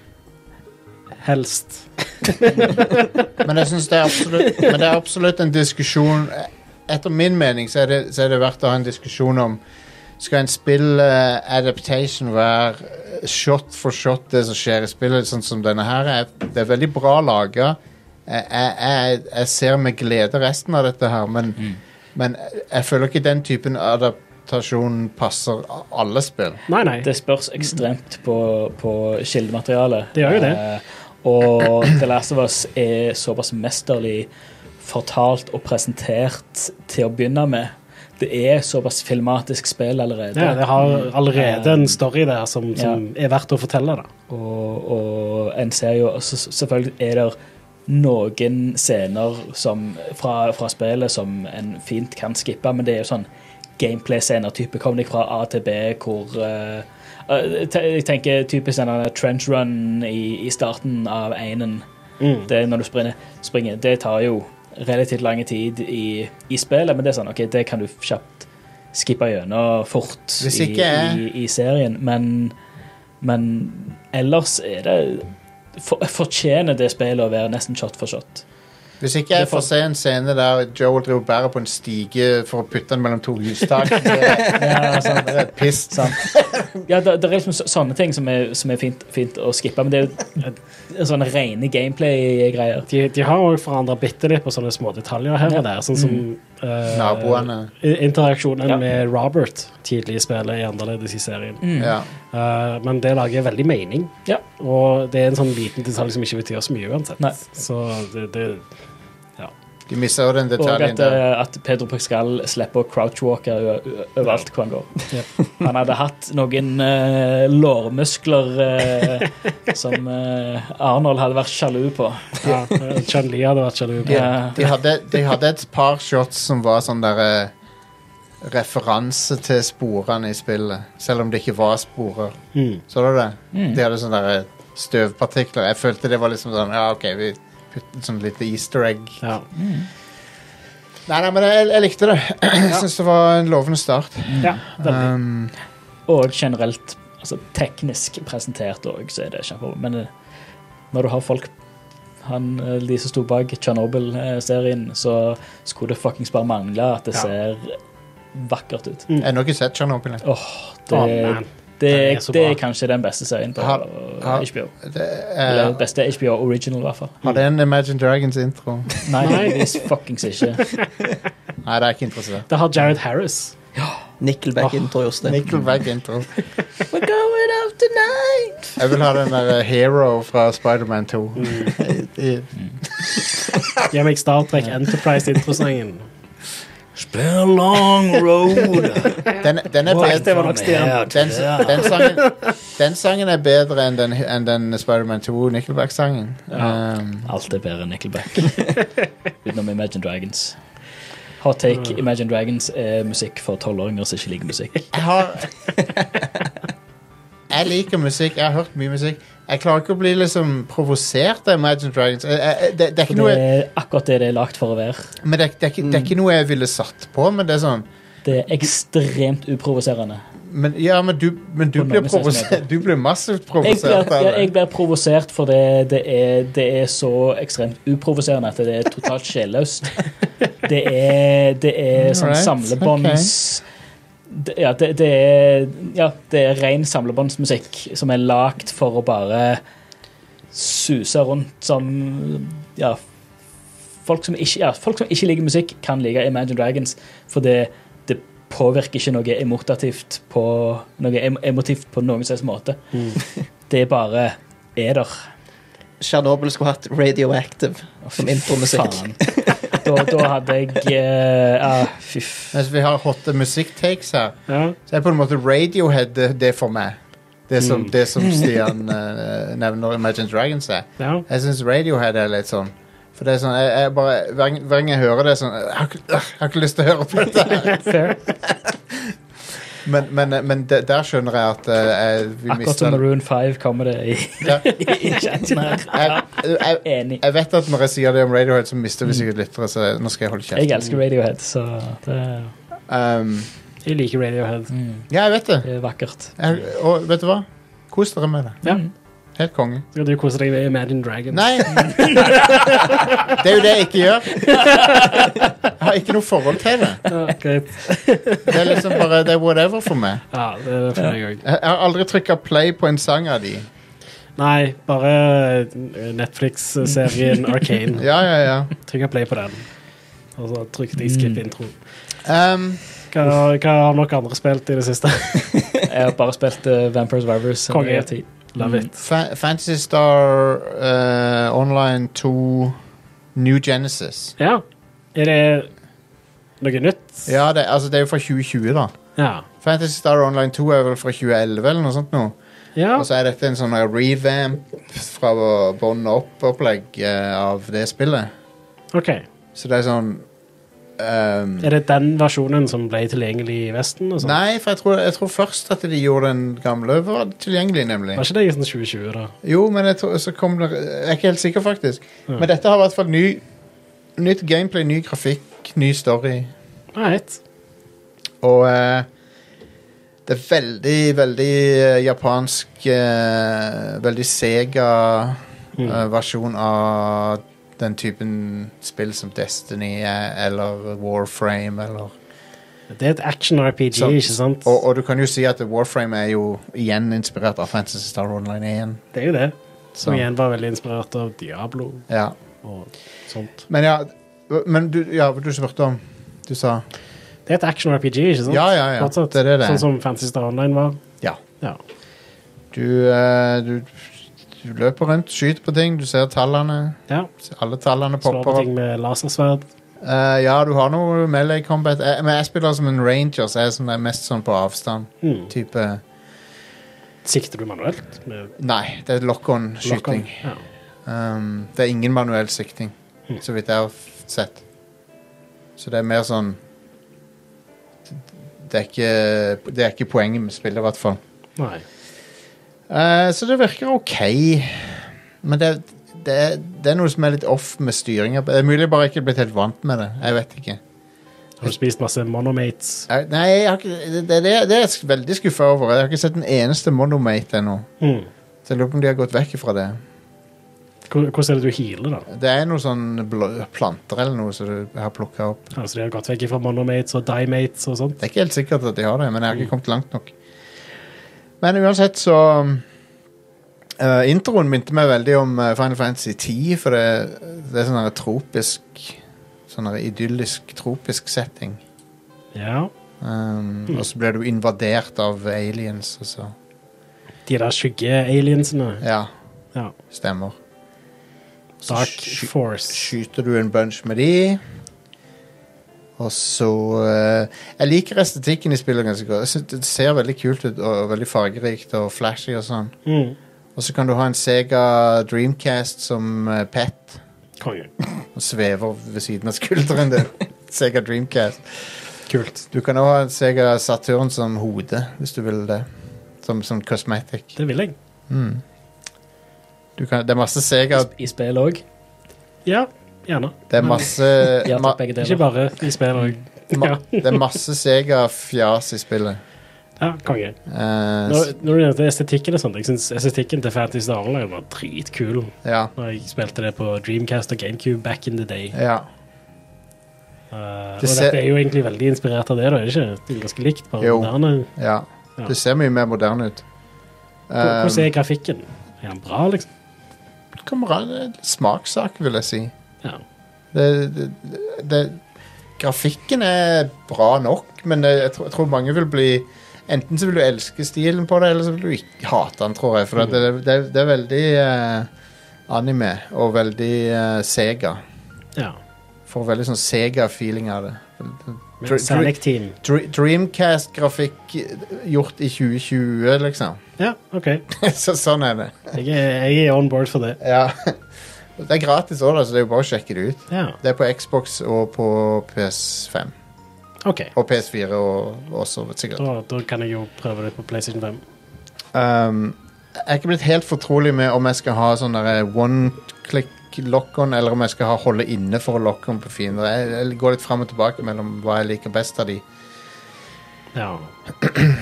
B: Helst.
A: Men jeg synes det er absolutt Men det er absolutt en diskusjon Etter min mening så er det, så er det verdt å ha en diskusjon om Skal en spill eh, adaptation være eh, shot for shot det som skjer i spillet, sånn som denne her? er- Det er veldig bra laga. Jeg, jeg, jeg, jeg ser med glede resten av dette her, men, men jeg- jeg føler ikke den typen adaptasjon passer a- alle spill.
B: Nei, nei.
D: Det spørs ekstremt på, på kildematerialet.
B: Det gjør jo det.
D: Eh, og The Last of Us er såpass mesterlig fortalt og presentert til å begynne med. Det er såpass filmatisk spill allerede.
B: Ja, det har allerede
D: Eh,
B: en story der som, som er verdt å fortelle. da.
D: Og, og en ser jo s- s- Selvfølgelig er det noen scener som, fra, fra spillet som en fint kan skippe, men det er jo sånn gameplay-scener. type Kom deg fra A til B, hvor eh, eh, te- Jeg tenker typisk den der trench run i, i starten av einen.
B: Mm.
D: Det er når du springer, springer. Det tar jo relativt lang tid i, i spillet, men det er sånn, ok, det kan du kjapt skippe gjennom fort
A: Hvis
D: i,
A: ikke jeg-
D: i, i serien. Men, men ellers er det for, Fortjener det spillet å være nesten shot for shot.
A: Hvis ikke jeg får se en scene der Joel driver og bærer på en stige for å putte den mellom to hustak, så er
D: Ja, sant.
A: jeg- jeg er pissed.
D: sant. Ja, det, det er liksom så- sånne ting som er, som er fint, fint å skippe, men det er jo sånne rene gameplay-greier.
B: De, de har òg forandra bitte litt på sånne små detaljer her og der. Sånn som eh,
A: Naboene.
B: i- Interaksjonen
D: Mm. Ja.
B: med Robert tidlig i spillet er annerledes i serien.
A: Ja.
B: Eh, men det lager veldig mening,
D: Ja.
B: og det er en sånn liten detalj som ikke betyr så mye uansett.
D: Nei.
B: Så det, det
A: De missa jo den
D: Og
A: detaljen
D: at,
A: der.
D: eh, at Pedro Pascal slipper å crouchwalke ø- ø- overalt hvor han går. Han hadde hatt noen eh, lårmuskler eh, som eh, Arnold hadde vært sjalu på. Eh,
B: ja, eh, Chun-Li hadde vært sjalu. på.
D: Ja.
A: De hadde, de hadde et par shots som var sånn der eh, Referanse til sporene i spillet, selv om det ikke var sporer.
B: Mm.
A: Så du det? De hadde sånne der eh, støvpartikler. Jeg følte det var liksom sånn Ja, OK, vi putter sånn litt easter egg.
B: Ja.
A: Nei, nei, men jeg, jeg likte det. Jeg syns det var en lovende start.
B: ja, veldig.
A: Um,
D: Og generelt altså, teknisk presentert òg, så er det kjempebra. Men eh, når du har folk han, eh, de som sto bak Tsjernobyl-serien, så skulle det fuckings bare mangle at det
B: Ja.
D: ser vakkert ut.
A: jeg har nok ikke sett Tsjernobyl. jeg.
D: Åh, det,
B: Å, man. Den
D: det,
B: er
D: er,
B: så
D: det
B: bra.
D: er kanskje den beste serien på eh,
A: Har-
D: og-
A: har-
D: HBO.
A: Det,
D: Eller
A: eh,
D: beste HBO Original, i hvert fall.
A: har det en Imagine Dragons-intro?
D: Nei,
B: Nei.
D: heldigvis fuckings ikke.
A: Nei, det er jeg ikke interessert.
B: Det har Jared Harris.
C: Nickelback intro, Jostein.
A: Nickelback-intro.
C: We're going out tonight.
A: Jeg vil ha den der eh, Hero fra Spiderman 2. I,
B: Mm. Gi meg Star Trek Enterprise-introsangen.
F: It's been a long road.
A: den, den, er
C: det var
A: bedre,
C: nok Stian.
F: Yeah,
A: den, den, sangen, den sangen er bedre enn den, enn den Spiderman 2 Nickelback-sangen. Um,
D: Alt er bedre enn Nickelback. Utenom Imagine Dragons. Hot take. Imagine Dragons er musikk for tolvåringer som ikke liker musikk.
A: jeg har Jeg liker musikk, jeg har hørt mye musikk. Jeg klarer ikke å bli liksom provosert av Imagine Dragons. Jeg, jeg, det, det er ikke
D: For
A: noe
D: det
A: jeg,
D: er akkurat det det er lagd for å være.
A: men det, er- det, er ikke, det er ikke noe jeg ville satt på, men det er sånn
D: Det er ekstremt uprovoserende.
A: Men, ja, men du, men du
D: På
A: blir
D: navnet sier som
A: provosert. Du blir massivt
D: Jeg blir,
A: provosert av
D: ja, jeg
A: det.
D: blir provosert fordi det, det, er, det er så ekstremt uprovoserende at det er totalt sjelløst. Det er, det er sånn
A: Alright,
D: samlebånds... Det, ja, det, det er, ja, det er ren samlebåndsmusikk som er lagd for å bare suse rundt som ja, folk, som ikke, ja, folk som ikke liker musikk, kan like Imagine Dragons, for det, det påvirker ikke noe emotivt på, noe em emotivt på noen slags måte.
B: Mm.
D: Det er bare er der.
C: Tsjernobyl skulle hatt Radioactive som intromusikk.
D: Faen. Da, da hadde jeg eh, ah, Fy f-
A: Mens vi har hotte musikktakes her,
B: Ja.
A: så er på en måte Radiohead det, det for meg. Det som,
B: Mm.
A: det som Stian eh, nevner Imagine Dragons er.
B: ja.
A: Jeg syns Radiohead er litt sånn For det er sånn, jeg, jeg bare, hver, gang- hver gang jeg hører det, er sånn Jeg har, ikke- øh, jeg har ikke lyst til å høre på dette. her.
D: Fair.
A: Men, men, men de, der skjønner jeg at eh, jeg, vi
D: Akkurat som
A: mister
D: Maroon 5 kommer det i,
A: Ja.
D: i chatten her.
A: jeg, jeg,
D: Enig.
A: jeg vet at når jeg sier det om Radiohead, så mister vi sikkert lyttere, så nå skal jeg holde
D: Jeg
A: kjeft.
D: elsker Radiohead, så det,
A: Um,
B: Jeg liker Radiohead.
A: ja, jeg vet det.
D: det er vakkert. Mm.
A: Jeg, og vet du hva? Kos dere med det.
B: Ja.
A: Helt konge.
B: Så kan du kose deg med Imagine Dragons.
A: Nei! Det er jo det jeg ikke gjør. Jeg har ikke noe forhold til det.
B: Ja, greit.
A: Det er liksom bare, det er whatever for meg.
B: Ja, det føler jeg òg.
A: Jeg jeg har aldri trykka play på en sang av de.
B: Nei, bare eh, Netflix-serien Arcane.
A: Ja, ja, ja.
B: Trykk play på den. Og så trykket jeg skip intro.
A: Um,
B: Hva, hva har nok andre spilt i det siste?
D: Jeg har bare spilt eh, Vampire Survivors.
B: Konge.
D: Jeg har tid.
B: Love it.
A: Fa Fantasy Star eh, Online 2 New Genesis.
B: Ja. Er det noe nytt?
A: Ja, det, altså, det er jo fra 2020, da.
B: Ja.
A: Fantasy Star Online 2 er vel fra 2011 eller noe sånt nå.
B: ja.
A: Og så er dette en sånn revamp fra bånn opp-opplegg eh, av det spillet.
B: OK.
A: Så det er sånn ehm,
B: Er det den versjonen som ble tilgjengelig i Vesten? Og sånn? sånt?
A: Nei, for jeg tror, jeg tror først at de gjorde den gamle var tilgjengelig, nemlig.
B: Var ikke det i sånn 2020, da?
A: Jo, men jeg tror, så kom det Jeg er ikke helt sikker, faktisk. Men dette har i hvert fall ny, nytt gameplay, ny grafikk, ny story.
B: Right.
A: Og eh, det er veldig, veldig eh, japansk eh, Veldig sega
B: Mm.
A: eh, versjon av den typen spill som Destiny er, eller Warframe, eller
B: Det er et action-RPG,
A: Så-
B: ikke sant?
A: Sånn. og, og du kan jo si at Warframe er jo igjen inspirert av Fantasy Star Online 1.
B: Det er jo det.
A: Så,
B: Som igjen var veldig inspirert av Diablo
A: ja.
B: og sånt.
A: Men ja, men du, ja, du spurte om Du sa
B: Det er et action-RPG, ikke sant?
A: Ja, ja, ja.
B: Fortsatt.
A: Det er det det er.
B: Sånn som Fantasy Star Online var.
A: Ja.
B: Ja.
A: Du, eh, du, du løper rundt, skyter på ting, du ser tallene.
B: ja.
A: Alle tallene
B: Slår på
A: popper opp.
B: ting med lasersverd.
A: Eh, ja, du har noe melee combat. Eh, men jeg spiller som en ranger, så jeg er sånn- er mest sånn på avstand.
B: Mm.
A: Type
B: Sikter du manuelt? Med
A: Nei, det er lock-on-skyting.
B: Ja.
A: Um, det er ingen manuell sikting,
B: Mm.
A: så vidt jeg har f- sett. Så det er mer sånn Det er ikke, det er ikke poenget med spillet, i hvert fall.
B: Nei.
A: Eh, så det virker ok. Men det, det, er- det er noe som er litt off med styringa. Det er mulig jeg bare ikke er blitt helt vant med det. Jeg vet ikke.
B: Har du spist masse monomates?
A: Jeg, nei, jeg har ikke, det, det, det er jeg sk- veldig skuffa over. Jeg har ikke sett en eneste Monomate ennå.
B: Mm.
A: Så jeg lurer på om de har gått vekk fra det.
B: Hvor- Hvordan er det du healer, da?
A: Det er noen sånn blå- planter eller noe som du har plukka opp.
B: Altså, de har gått vekk fra monomates og dimates og sånn. sånt.
A: Det er ikke helt sikkert at de har det, men jeg har ikke kommet langt nok. Men uansett så um, eh, Introen minte meg veldig om eh, Final Fantasy 10, for det, det er sånn her tropisk Sånn her idyllisk, tropisk setting.
B: Ja.
A: Um, Og så blir du invadert av aliens, og så
B: De der skygge-aliensene.
A: Ja,
B: Ja.
A: stemmer. Så
B: Dark
A: sky-
B: Force.
A: skyter du en bunch med de. Og så eh, Jeg liker estetikken i spillet ganske godt. Jeg synes Det ser veldig kult ut og veldig fargerikt og flashy og sånn.
B: Mm.
A: Og så kan du ha en Sega Dreamcast som eh, pet
B: Konge.
A: og svever ved siden av skulderen din. Sega Dreamcast.
B: Kult.
A: Du kan òg ha en Sega Saturn som hode, hvis du vil det. Som, som cosmetic.
B: Det vil jeg.
A: Mm. Du kan, det er masse Sega
D: I spill òg.
B: Ja, gjerne.
A: Det er masse Eh,
D: Ja,
A: ma,
D: takk, begge
B: Ikke
D: deler.
B: bare i spill òg.
A: ma,
B: Ja.
A: Det er masse Sega-fjas i spillet.
B: Ja, konge.
A: Eh,
B: Når, når det gjelder estetikken og sånt, jeg synes estetikken til Fantasy Star Online var dritkul
A: Ja.
B: Når jeg spilte det på Dreamcast og GameCube back in the day.
A: ja.
B: Eh, og
A: Det ser-
B: dette er jo egentlig veldig inspirert av det, da, er det ikke? Det er ganske likt, bare
A: Jo.
B: moderne.
A: ja.
B: Ja.
A: Det ser mye mer moderne ut.
B: Hvor- Hvordan
A: Eh,
B: er grafikken? Er den bra, liksom?
A: kamera- det er en Smakssak, vil jeg si.
B: Ja.
A: Det, det, det, grafikken er bra nok, men det, jeg, tror, jeg tror mange vil bli Enten så vil du elske stilen på det, eller så vil du ikke hate den, tror jeg. For at det, det, det er veldig eh, anime og veldig eh, Sega.
B: ja.
A: Får veldig sånn Sega-feeling av det.
B: Men
A: Dr- dr-
B: Sonic Team.
A: Dre- Dreamcast-grafikk eh, gjort i 2020, liksom.
B: Ja, OK.
A: så sånn er det.
B: Jeg er, jeg er on board for det.
A: Ja. Det er gratis òg, så det er jo bare å sjekke det ut.
B: Ja,
A: Det er på Xbox og på PS5.
B: OK.
A: Og PS4 og også, sikkert.
B: Da, da kan jeg jo prøve det på PlayStation 5.
A: Um, jeg er ikke blitt helt fortrolig med om jeg skal ha sånn der one click lock-on, eller om jeg skal ha holde inne for å lock-on på fiender. Jeg, jeg går litt fram og tilbake mellom hva jeg liker best av de.
B: Ja.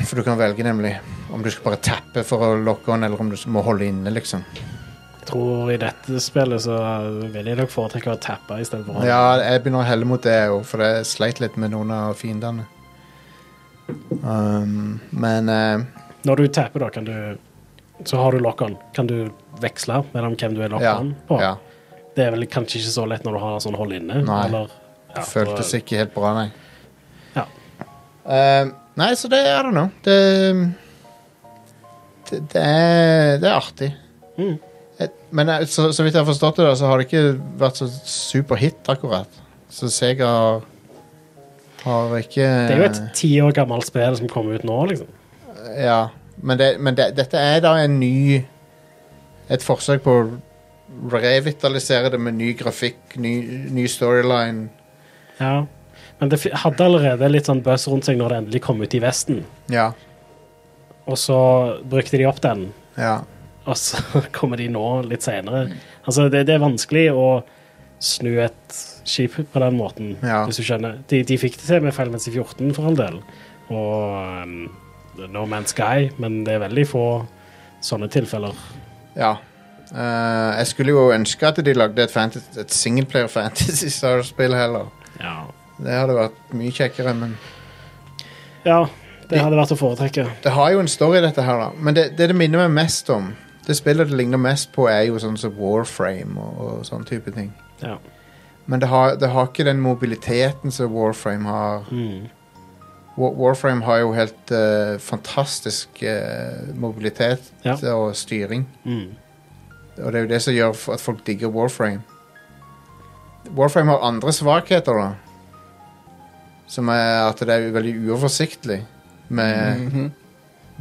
A: For du kan velge nemlig om du skal bare tappe for å lock-on, eller om du må holde inne, liksom.
B: Jeg tror i dette spillet så vil jeg nok foretrekke å tappe istedenfor å
A: Ja, jeg begynner å helle mot det òg, for jeg sleit litt med noen av fiendene. Um, men eh,
B: Når du tapper, da, kan du Så har du lock-on. Kan du veksle mellom hvem du er
A: ja,
B: lock-on på?
A: ja.
B: Det er vel kanskje ikke så lett når du har sånn hold inne.
A: Nei.
B: Eller, ja,
A: Det føltes
B: da-
A: ikke helt bra, nei.
B: Ja.
A: Um, nei, så det er det nå. Det, det, det, er, det er artig.
B: Mm.
A: Et- Men eh, så, så vidt jeg har forstått det, da, så har det ikke vært så superhit, akkurat. Så Sega har, har ikke
B: Det er jo et ti år gammelt spill som kommer ut nå, liksom.
A: Ja, men, det, men det, dette er da en ny Et forsøk på å revitalisere det med ny grafikk, ny, ny storyline.
B: Ja. Men det fi- hadde allerede litt sånn buzz rundt seg når det endelig kom ut i Vesten.
A: Ja.
B: Og så brukte de opp den,
A: ja.
B: og så kommer de nå, litt senere. Altså, det, det er vanskelig å snu et skip på den måten,
A: Ja.
B: hvis du skjønner. De, de fikk det til med Final Fantasy 14 for all del, og um, No Man's Sky, men det er veldig få sånne tilfeller.
A: ja. Eh, jeg skulle jo ønske at de lagde et, fantas- et singleplayer Fantasy Star-spill heller.
B: Ja.
A: Det hadde vært mye kjekkere, men
B: ja, det hadde vært å foretrekke.
A: Det har jo en story, dette her, da. Men det det, det minner meg mest om, det spillet det ligner mest på, er jo sånn som Warframe og, og sånn type ting.
B: Ja.
A: Men det har, det har ikke den mobiliteten som Warframe har.
B: Mm.
A: Wa- Warframe har jo helt eh, fantastisk eh, mobilitet
B: Ja.
A: og styring.
B: Mm.
A: Og det er jo det som gjør f- at folk digger Warframe. Warframe har andre svakheter, da. Som er at det er veldig uoversiktlig med
C: Mhm.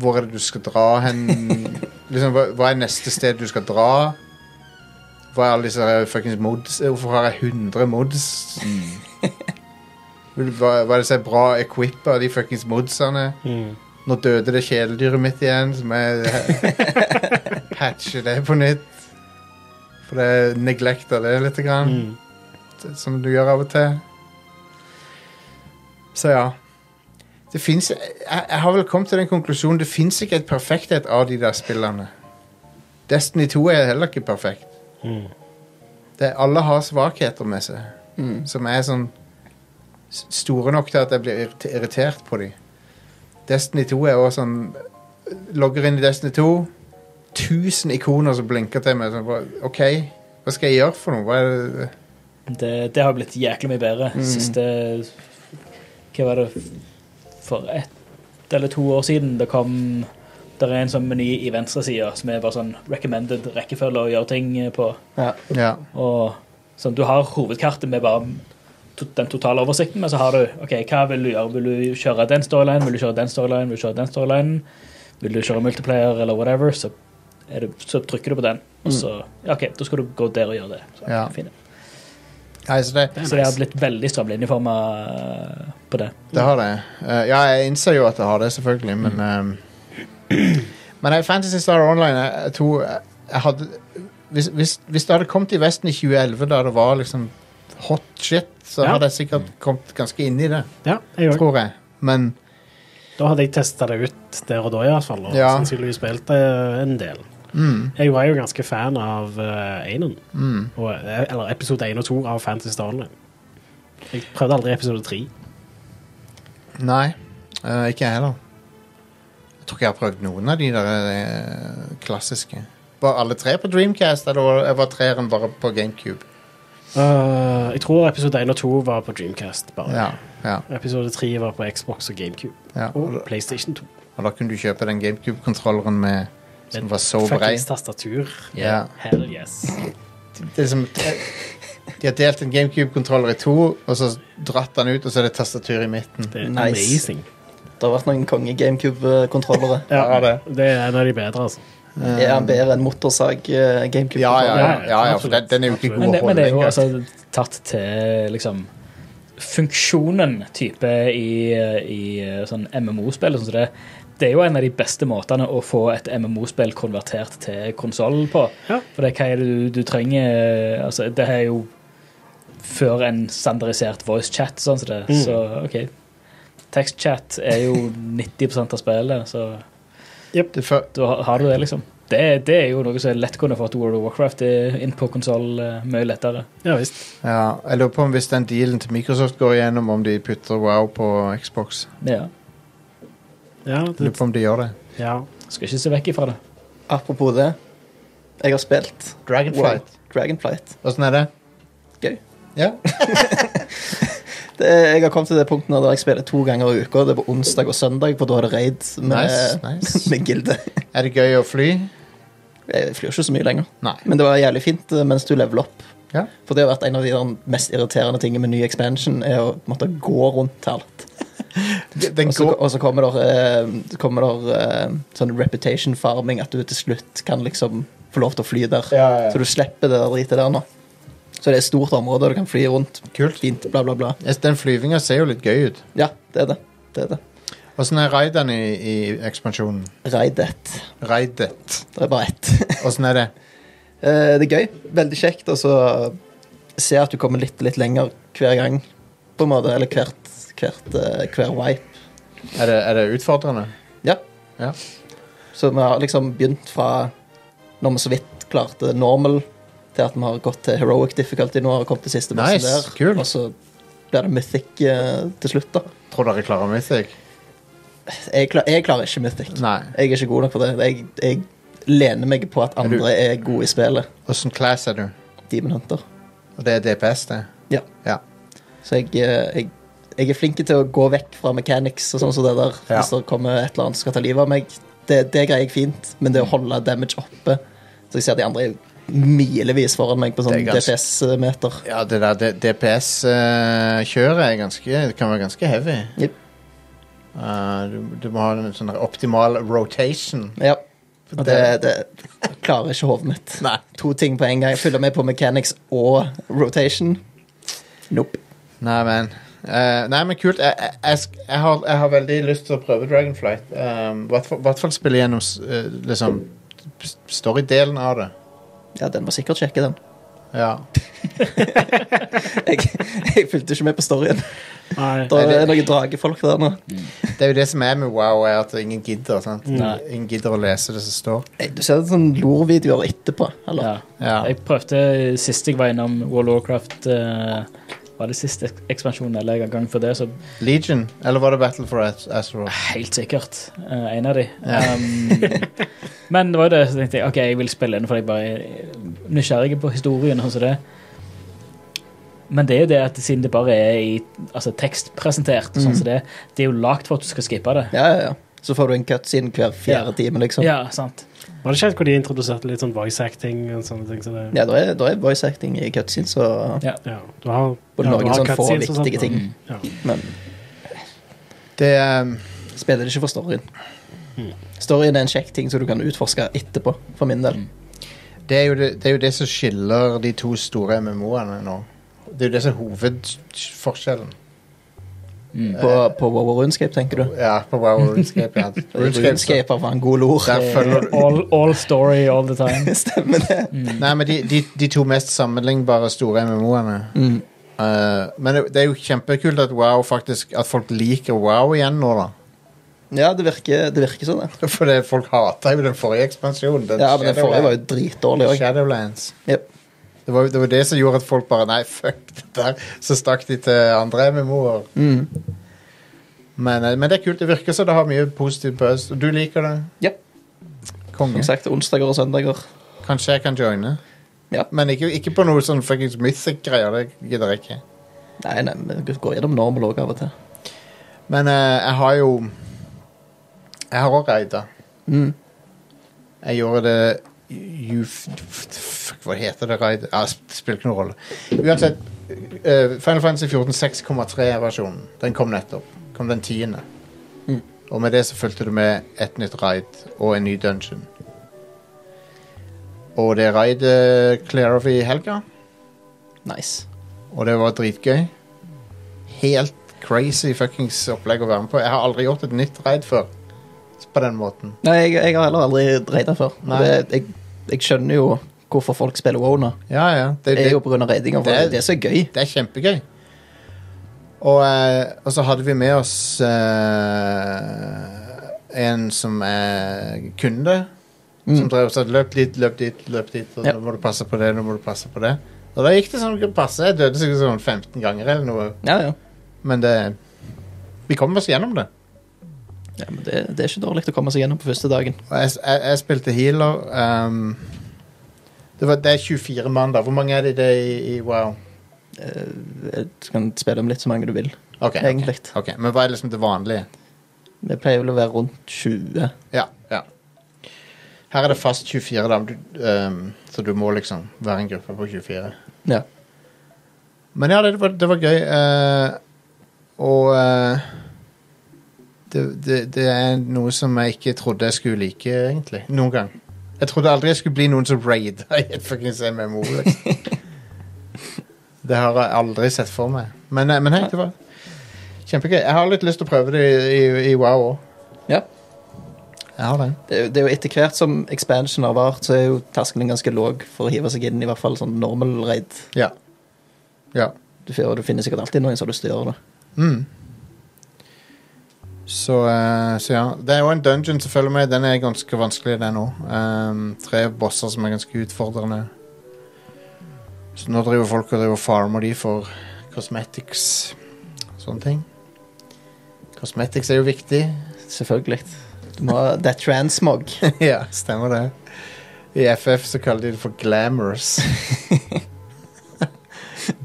A: hvor er det du skal dra hen. liksom, hva, hva er neste sted du skal dra? Hva er alle disse her fuckings mods? Hvorfor har jeg 100 mods? hva, hva er det som er bra equippa, de fuckings modsene?
B: Mm.
A: Nå døde det kjæledyret mitt igjen, så må jeg patche det på nytt. For jeg neglekter det litt, grann,
B: Mm.
A: som du gjør av og til. Så ja. Det finnes, jeg, jeg har vel kommet til den konklusjonen det fins ikke et perfekthet av de der spillene. Destiny 2 er heller ikke perfekt.
B: Mm.
A: Det, alle har svakheter med seg,
C: Mm.
A: som er sånn s- store nok til at jeg blir irrit- irritert på dem. Destiny 2 er også sånn Logger inn i Destiny 2, 1000 ikoner som blinker til meg. Sånn, hva- OK, hva skal jeg gjøre for noe? Hva er det?
D: Det, det har blitt jæklig mye bedre. Siste Hva var det f- For ett eller to år siden det kom Det er en sånn meny i venstre side som er bare sånn recommended rekkefølge å gjøre ting eh, på.
C: Ja.
A: Ja.
D: Og sånn, Du har hovedkartet med bare to- den totale oversikten, men så har du ok, hva vil du gjøre. Vil du kjøre den storylinen, vil du kjøre den storylinen, vil du kjøre den storylinen? Vil du kjøre multiplayer eller whatever, så, er det, så trykker du på den. Og så ja, OK, da skal du gå der og gjøre det. Så,
A: Ja.
D: fint.
A: Nei, så det,
D: så det har blitt veldig strømlinjeforma eh, på det.
A: det har det. Eh, ja, jeg innser jo at det har det, selvfølgelig,
B: Mm.
A: men ehm, Men eh, Fantasy Star Online jeg, jeg tror jeg, jeg hadde hvis, hvis, hvis det hadde kommet i Vesten i 2011, da det var liksom hot shit, så
B: Ja. Mm.
A: hadde jeg sikkert kommet ganske inn i det,
B: Ja, jeg òg.
A: tror jeg. Men
B: Da hadde jeg testa det ut der og da, i hvert fall. Og
A: Ja.
B: sannsynligvis spilt det en del.
A: mm,
B: Jeg var jo ganske fan av uh, Einon.
A: mm.
B: Og, eh, eller episode 1 og 2 av Fantasy Star Online. Jeg prøvde aldri episode 3.
A: Nei, eh, ikke jeg heller. Jeg tror ikke jeg har prøvd noen av de der eh, klassiske. Var alle tre på Dreamcast, eller var- var treeren bare på GameCube?
C: Ah.
B: Eh, jeg tror episode 1 og 2 var på Dreamcast. bare.
A: Ja, ja,
B: Episode 3 var på Xbox og GameCube.
A: ja.
C: Ah.
B: Og PlayStation 2.
A: Og da kunne du kjøpe den GameCube-kontrolleren med som var så brei.
B: Fuckings tastatur.
A: Ja.
B: Hell yes.
A: Det er som, de har delt en GameCube-kontroller i to, og så dratt den ut, og så er det tastatur i midten.
B: Det er
C: Nice.
B: amazing.
C: Det har vært noen konge GameCube-kontrollere.
A: Ja, det.
B: det er en av de bedre, altså.
C: Er han bedre enn motorsag eh, GameCube?
A: Eh. Ja, ja, ja, ja, ja for den, den er jo ikke
B: Absolutt.
A: god
D: Men
A: å
D: det, men
A: holde
D: det er jo
A: lenger.
D: altså tatt til liksom funksjonen type i, i sånn MMO-spill. Sånn som det, det er jo en av de beste måtene å få et MMO-spill konvertert til konsoll på.
B: Ja.
D: For det, hva er det du, du trenger altså, Det er jo før en standardisert voice chat, sånn som det.
B: Mm.
D: Så OK. Tekstchat er jo 90 av spillet, så
A: Det fø-
D: da har- har du det, liksom. Det, det er jo noe som er lett kunne fått World of Warcraft eh, inn på konsoll eh, mye lettere.
B: Ja visst.
A: Ja, jeg lurer på om hvis den dealen til Microsoft går igjennom, om de putter Wow på Xbox.
D: Ja.
B: Ja,
A: Jeg Lurer
B: det,
A: på om de gjør det.
B: ja.
D: Skal ikke se vekk ifra det.
C: Apropos det, jeg har spilt
A: Dragonflight.
C: Wow, Dragonflight.
A: Åssen er det?
C: Gøy.
A: Ja.
C: Det, jeg har kommet til det punktet nå der jeg spiller to ganger i uka. Det er på onsdag og søndag, for da er det raid med,
A: Nice, nice.
C: med gilde.
A: Er det gøy å fly?
C: Jeg flyr ikke så mye lenger.
A: Nei.
C: Men det var jævlig fint eh, mens du leveler opp.
A: Ja.
C: For det har vært en av de der mest irriterende tingene med ny expansion, er å måtte gå rundt til alt.
A: Den
C: Og så,
A: går
C: og så kommer der, eh, så kommer der eh, sånn reputation farming, at du til slutt kan liksom få lov til å fly der.
A: Ja, ja.
C: Så du slipper det der dritet der nå. Så det er et stort område, og du kan fly rundt.
A: Kult.
C: Fint, bla, bla, bla.
A: Yes, Den flyvinga ser jo litt gøy ut.
C: Ja, det er det. Det er det.
A: Åssen er raidene i, i ekspansjonen?
C: Raid ett.
A: Raidet.
C: Det er bare ett.
A: Åssen er det?
C: Eh, det er gøy. Veldig kjekt. Og så se at du kommer litt, litt lenger hver gang, på en måte. Eller hvert, hvert, eh, hver wipe.
A: Er det, er det utfordrende?
C: Ja.
A: Ja.
C: Så vi har liksom begynt fra når vi så vidt klarte normal, til at vi har gått til heroic difficulty nå og kommet til siste bossen
A: Nice,
C: der.
A: kult.
C: Og så blir det mythic eh, til slutt, da.
A: Tror dere klarer Mythic?
C: Jeg, klar, jeg klarer ikke mythic.
A: Nei.
C: Jeg er ikke god nok for det. Jeg, jeg lener meg på at
A: Er du-
C: andre er gode i spillet.
A: Åssen class er du?
C: Demon Hunter.
A: Og det er DPS, det?
C: Ja.
A: Ja.
C: Så jeg, eh, jeg, jeg er flink til å gå vekk fra mechanics og sånn som det der.
A: Ja.
C: Hvis det kommer et eller annet som skal ta livet av meg, det, det greier jeg fint. Men det å holde damage oppe Så jeg ser at de andre er milevis foran meg på sånn
A: Det er ganske-
C: DPS-meter.
A: ja, det der DPS-kjøret eh, er ganske Det kan være ganske heavy.
C: Jep.
A: Eh, du, du må ha en sånn der optimal rotation.
C: Ja.
A: Det-
C: Og det, det jeg klarer ikke hodet mitt.
A: Nei.
C: To ting på en gang. Jeg følger med på mechanics og rotation. Nope.
A: Nei, men eh, Nei, men kult. Jeg, jeg, jeg, sk- jeg, har, jeg har veldig lyst til å prøve Dragonflight. Um, hvert fall- hvert fall spille gjennom s- eh, liksom s- storydelen av det.
C: Ja, den var sikkert sjekke, den.
A: Ja.
C: Jeg, jeg fulgte ikke med på storyen.
B: Nei.
C: Det er noen dragefolk der nå.
A: Det er jo det som er med Wow, er at ingen gidder. Sant?
C: Mm.
D: Nei.
A: Ingen gidder å lese det som står.
C: Nei, Du ser sånn lor-videoer etterpå. Eller?
D: Ja.
A: Ja.
D: Jeg prøvde sist jeg var innom World of Warcraft eh, Var det siste ekspansjon eller en gang før det? Så
A: Legion, eller var det Battle for Az- Azeroth?
D: helt sikkert eh, en av de.
A: Ja.
D: Um, men det var jo det, så tenkte jeg OK, jeg vil spille den, for jeg bare er nysgjerrig på historien. og sånn som det. Men det er jo det at siden det
A: Mm.
D: bare er i altså, tekstpresentert, sånn som det, det er jo lagt for at du skal skippe det.
C: Ja, ja, ja. Så får du en cutscene hver fjerde
D: Ja.
C: time, liksom.
D: Ja, sant.
B: Var det ikke helt hvor de introduserte litt sånn voice acting og sånne ting? Så det,
C: Ja, da er, da er voice acting i cutscenes, så
D: Ja.
B: ja, du har, ja,
C: På
B: du
C: noen
B: har
C: sånn få
B: cutscenes og sånt,
C: viktige ting.
D: Mm.
B: Ja.
C: Men
A: Det um,
C: spiller det ikke for storyen. Storyen er en kjekk ting som du kan utforske etterpå, for min del.
A: det er, jo det, det er jo det som skiller de to store MMO-ene nå. Det er jo det som er hovedforskjellen.
D: Mm.
C: På, på WoW og Runescape, tenker du.
A: Ja, på WoW og RuneScape. Ja.
C: Runescape er faen gode ord.
A: Der følger du
D: All, all story all the time.
C: Stemmer det.
D: Mm.
A: Nei, men de, de, de to mest sammenlignbare store MMO-ene.
C: Mm.
A: Eh, men det, det er jo kjempekult at WoW faktisk At folk liker WoW igjen nå, da.
C: Ja, det virker, det virker sånn, det.
A: For det, folk hata jo den forrige ekspansjonen. Den
C: Ja, men den forrige var jo dritdårlig òg.
A: Shadowlands.
C: Yep.
A: Det var, det var det som gjorde at folk bare Nei, fuck det der. Så stakk de til andre MMO-er.
C: Mm.
A: Men, eh, men det er kult. Det virker som det har mye positiv buzz. Og du liker det?
C: Ja.
A: Konge.
C: Som sagt, onsdager og søndager.
A: Kanskje jeg kan joine?
C: Ja.
A: Men ikke, ikke på noe sånn fuckings mythic-greier. Det gidder jeg ikke.
C: Nei, nei, men vi går gjennom normal òg av og til.
A: Men eh, jeg har jo Jeg har òg raida.
C: Mm.
A: Jeg gjorde det you, Fuck, hva heter det? Raid? Ja, sp- spiller ikke noen rolle. Uansett, eh, Final Fantasy 14 6,3-versjonen, den kom nettopp. Kom den tiende.
C: Mm.
A: Og med det så fulgte det med et nytt raid og en ny dungeon. Og det raidet clear of i helga,
C: Nice.
A: og det var dritgøy. Helt crazy fuckings opplegg å være med på. Jeg har aldri gjort et nytt raid før på den måten.
C: Nei, jeg, jeg har heller aldri dreid den før. Og
A: Nei.
C: Det, jeg, jeg skjønner jo hvorfor folk spiller WoW nå.
A: Ja, ja.
C: Det er jo pga. raidinga.
A: det
C: for Det
A: er-
C: er det som er gøy.
A: Det er kjempegøy. Og, eh, og så hadde vi med oss eh, en som er kunde.
C: Mm.
A: Som drev og sa 'løp dit, løp dit, løp dit', og
C: Ja.
A: nå må du passe på det, nå må du passe på det. Og da gikk det sånn passe. Jeg døde sikkert sånn 15 ganger eller noe.
C: Ja, ja.
A: Men det Vi kom oss gjennom det.
C: ja men det, det er ikke dårlig å komme seg gjennom på første dagen.
A: Og jeg, jeg, jeg spilte healer. ehm, det, var, det er 24 mann, da. Hvor mange er det i det i, i Wow?
C: Eh, Du kan spille om litt så mange du vil,
A: Ok, ok.
C: egentlig.
A: ok, Men hva er liksom det vanlige?
C: Vi pleier vel å være rundt 20.
A: Ja, ja. Her er det fast 24, da, men du, ehm, så du må liksom være en gruppe på 24.
C: Ja.
A: Men ja, det var, det var gøy. eh, og eh, det, det, det er noe som jeg ikke trodde jeg skulle like, egentlig. Noen gang. Jeg trodde aldri jeg skulle bli noen som raida i et fuckings MMO. Liksom. det har jeg aldri sett for meg. Men, eh, men hei, det var kjempegøy. Jeg har litt lyst til å prøve det i, i, i Wow òg.
C: Ja.
A: Jeg har det.
C: Det, er jo- det er jo etter hvert som expansion har vart, så er jo terskelen ganske låg for å hive seg inn i hvert fall sånn normal raid.
A: Ja. Ja.
C: Du, får- du finner sikkert alltid noen som har lyst til å gjøre det.
A: Mm. Så, eh, så ja. Det er jo en dungeon som følger med. Den er ganske vanskelig, den òg. tre bosser som er ganske utfordrende. Så nå driver folk og driver farmer de for cosmetics. Sånne ting. Cosmetics er jo viktig.
C: Selvfølgelig. Du må ha Det er transmog.
A: ja, stemmer det. I FF så kaller de det for glamours.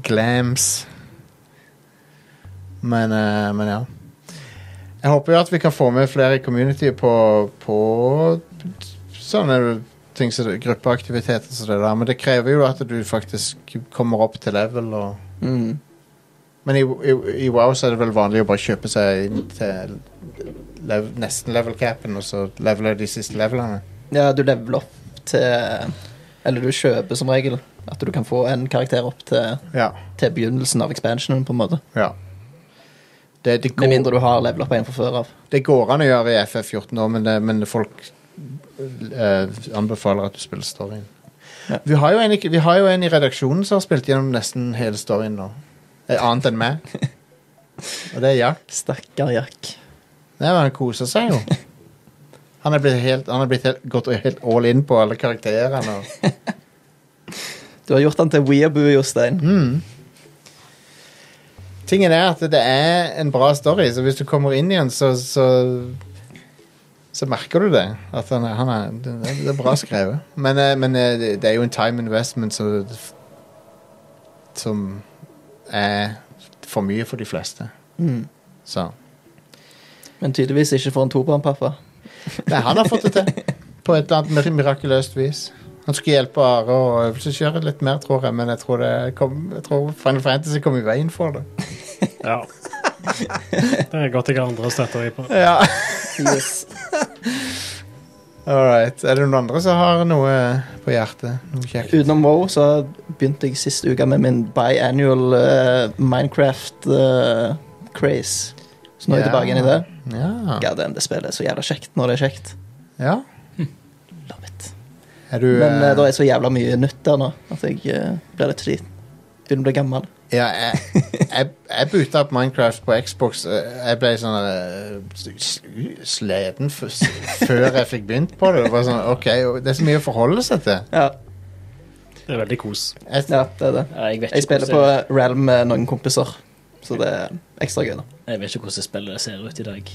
A: Glams. Men, eh, men ja. Jeg håper jo at vi kan få med flere i community på, på sånne ting som det- gruppeaktiviteter som det der. Men det krever jo at du faktisk kommer opp til level og
C: Mm.
A: men i, i, i WoW så er det vel vanlig å bare kjøpe seg inn til lev, nesten level capen, og så leveler de siste levelene.
C: Ja, du leveler opp til Eller du kjøper som regel at du kan få en karakter opp til,
A: Ja.
C: til begynnelsen av expansionen, på en måte.
A: Ja. Det, det,
C: Med mindre
A: går,
C: du har level opp en fra før av.
A: det går an å gjøre i FF14 år, men, det, men folk eh, anbefaler at du spiller storyen.
C: Ja.
A: Vi, har jo en, i- vi har jo en i redaksjonen som har spilt gjennom nesten hele storyen nå. Eh, Annet enn meg. Og det er Jack.
C: Stakkar Jack.
A: Nei, men han koser seg jo. Han er blitt, helt, han er blitt helt, gått helt all in på alle karakterene. Og
C: Du har gjort han til weeaboo, Jostein.
A: Mm. Tingen er at det er en bra story, så hvis du kommer inn igjen, så Så, så merker du det. At han er, han er, det er- det er bra skrevet. Men, eh, men eh, det det er jo en time investment så, som er for mye for de fleste.
C: Mm.
A: Så
C: Men tydeligvis ikke for en tobarnpappa.
A: Nei, han har fått det til. På et eller annet mir- mirakuløst vis. Han skulle hjelpe Are å øvelseskjøre litt mer, tror jeg, men jeg tror, det kom, jeg tror Final Fantasy kom i veien for det.
B: Ja. Det er godt jeg har andre å støtte meg på.
A: Ja.
C: Yes.
A: All right. Er det noen andre som har noe på hjertet? Noe kjekt?
C: Utenom WoW så begynte jeg sist uke med min biannual eh, Minecraft eh, craze. Så nå er jeg
A: Ja.
C: tilbake igjen i det.
A: Ja.
C: God damn, det spillet er så jævla kjekt når det er kjekt.
A: ja.
C: Love it.
A: Er du
C: Men
A: eh,
C: eh, det er så jævla mye nytt der nå at jeg eh, blir litt sliten. Begynner å bli gammel.
A: eh, Ja, jeg, jeg, jeg boota opp Minecraft på Xbox. eh, Jeg ble sånn eh, s- sliten f s- før jeg fikk begynt på det. Det, var sånn, ok, og det er så mye å forholde seg til.
C: Ja,
B: Det er veldig kos.
A: Jeg,
C: ja det er det.
D: Ja, jeg vet
C: Jeg
D: ikke
C: spiller på
D: hvordan,
C: Realm med noen kompiser, så det er ekstra gøy. da
D: jeg vet ikke hvordan spillet ser ut i dag.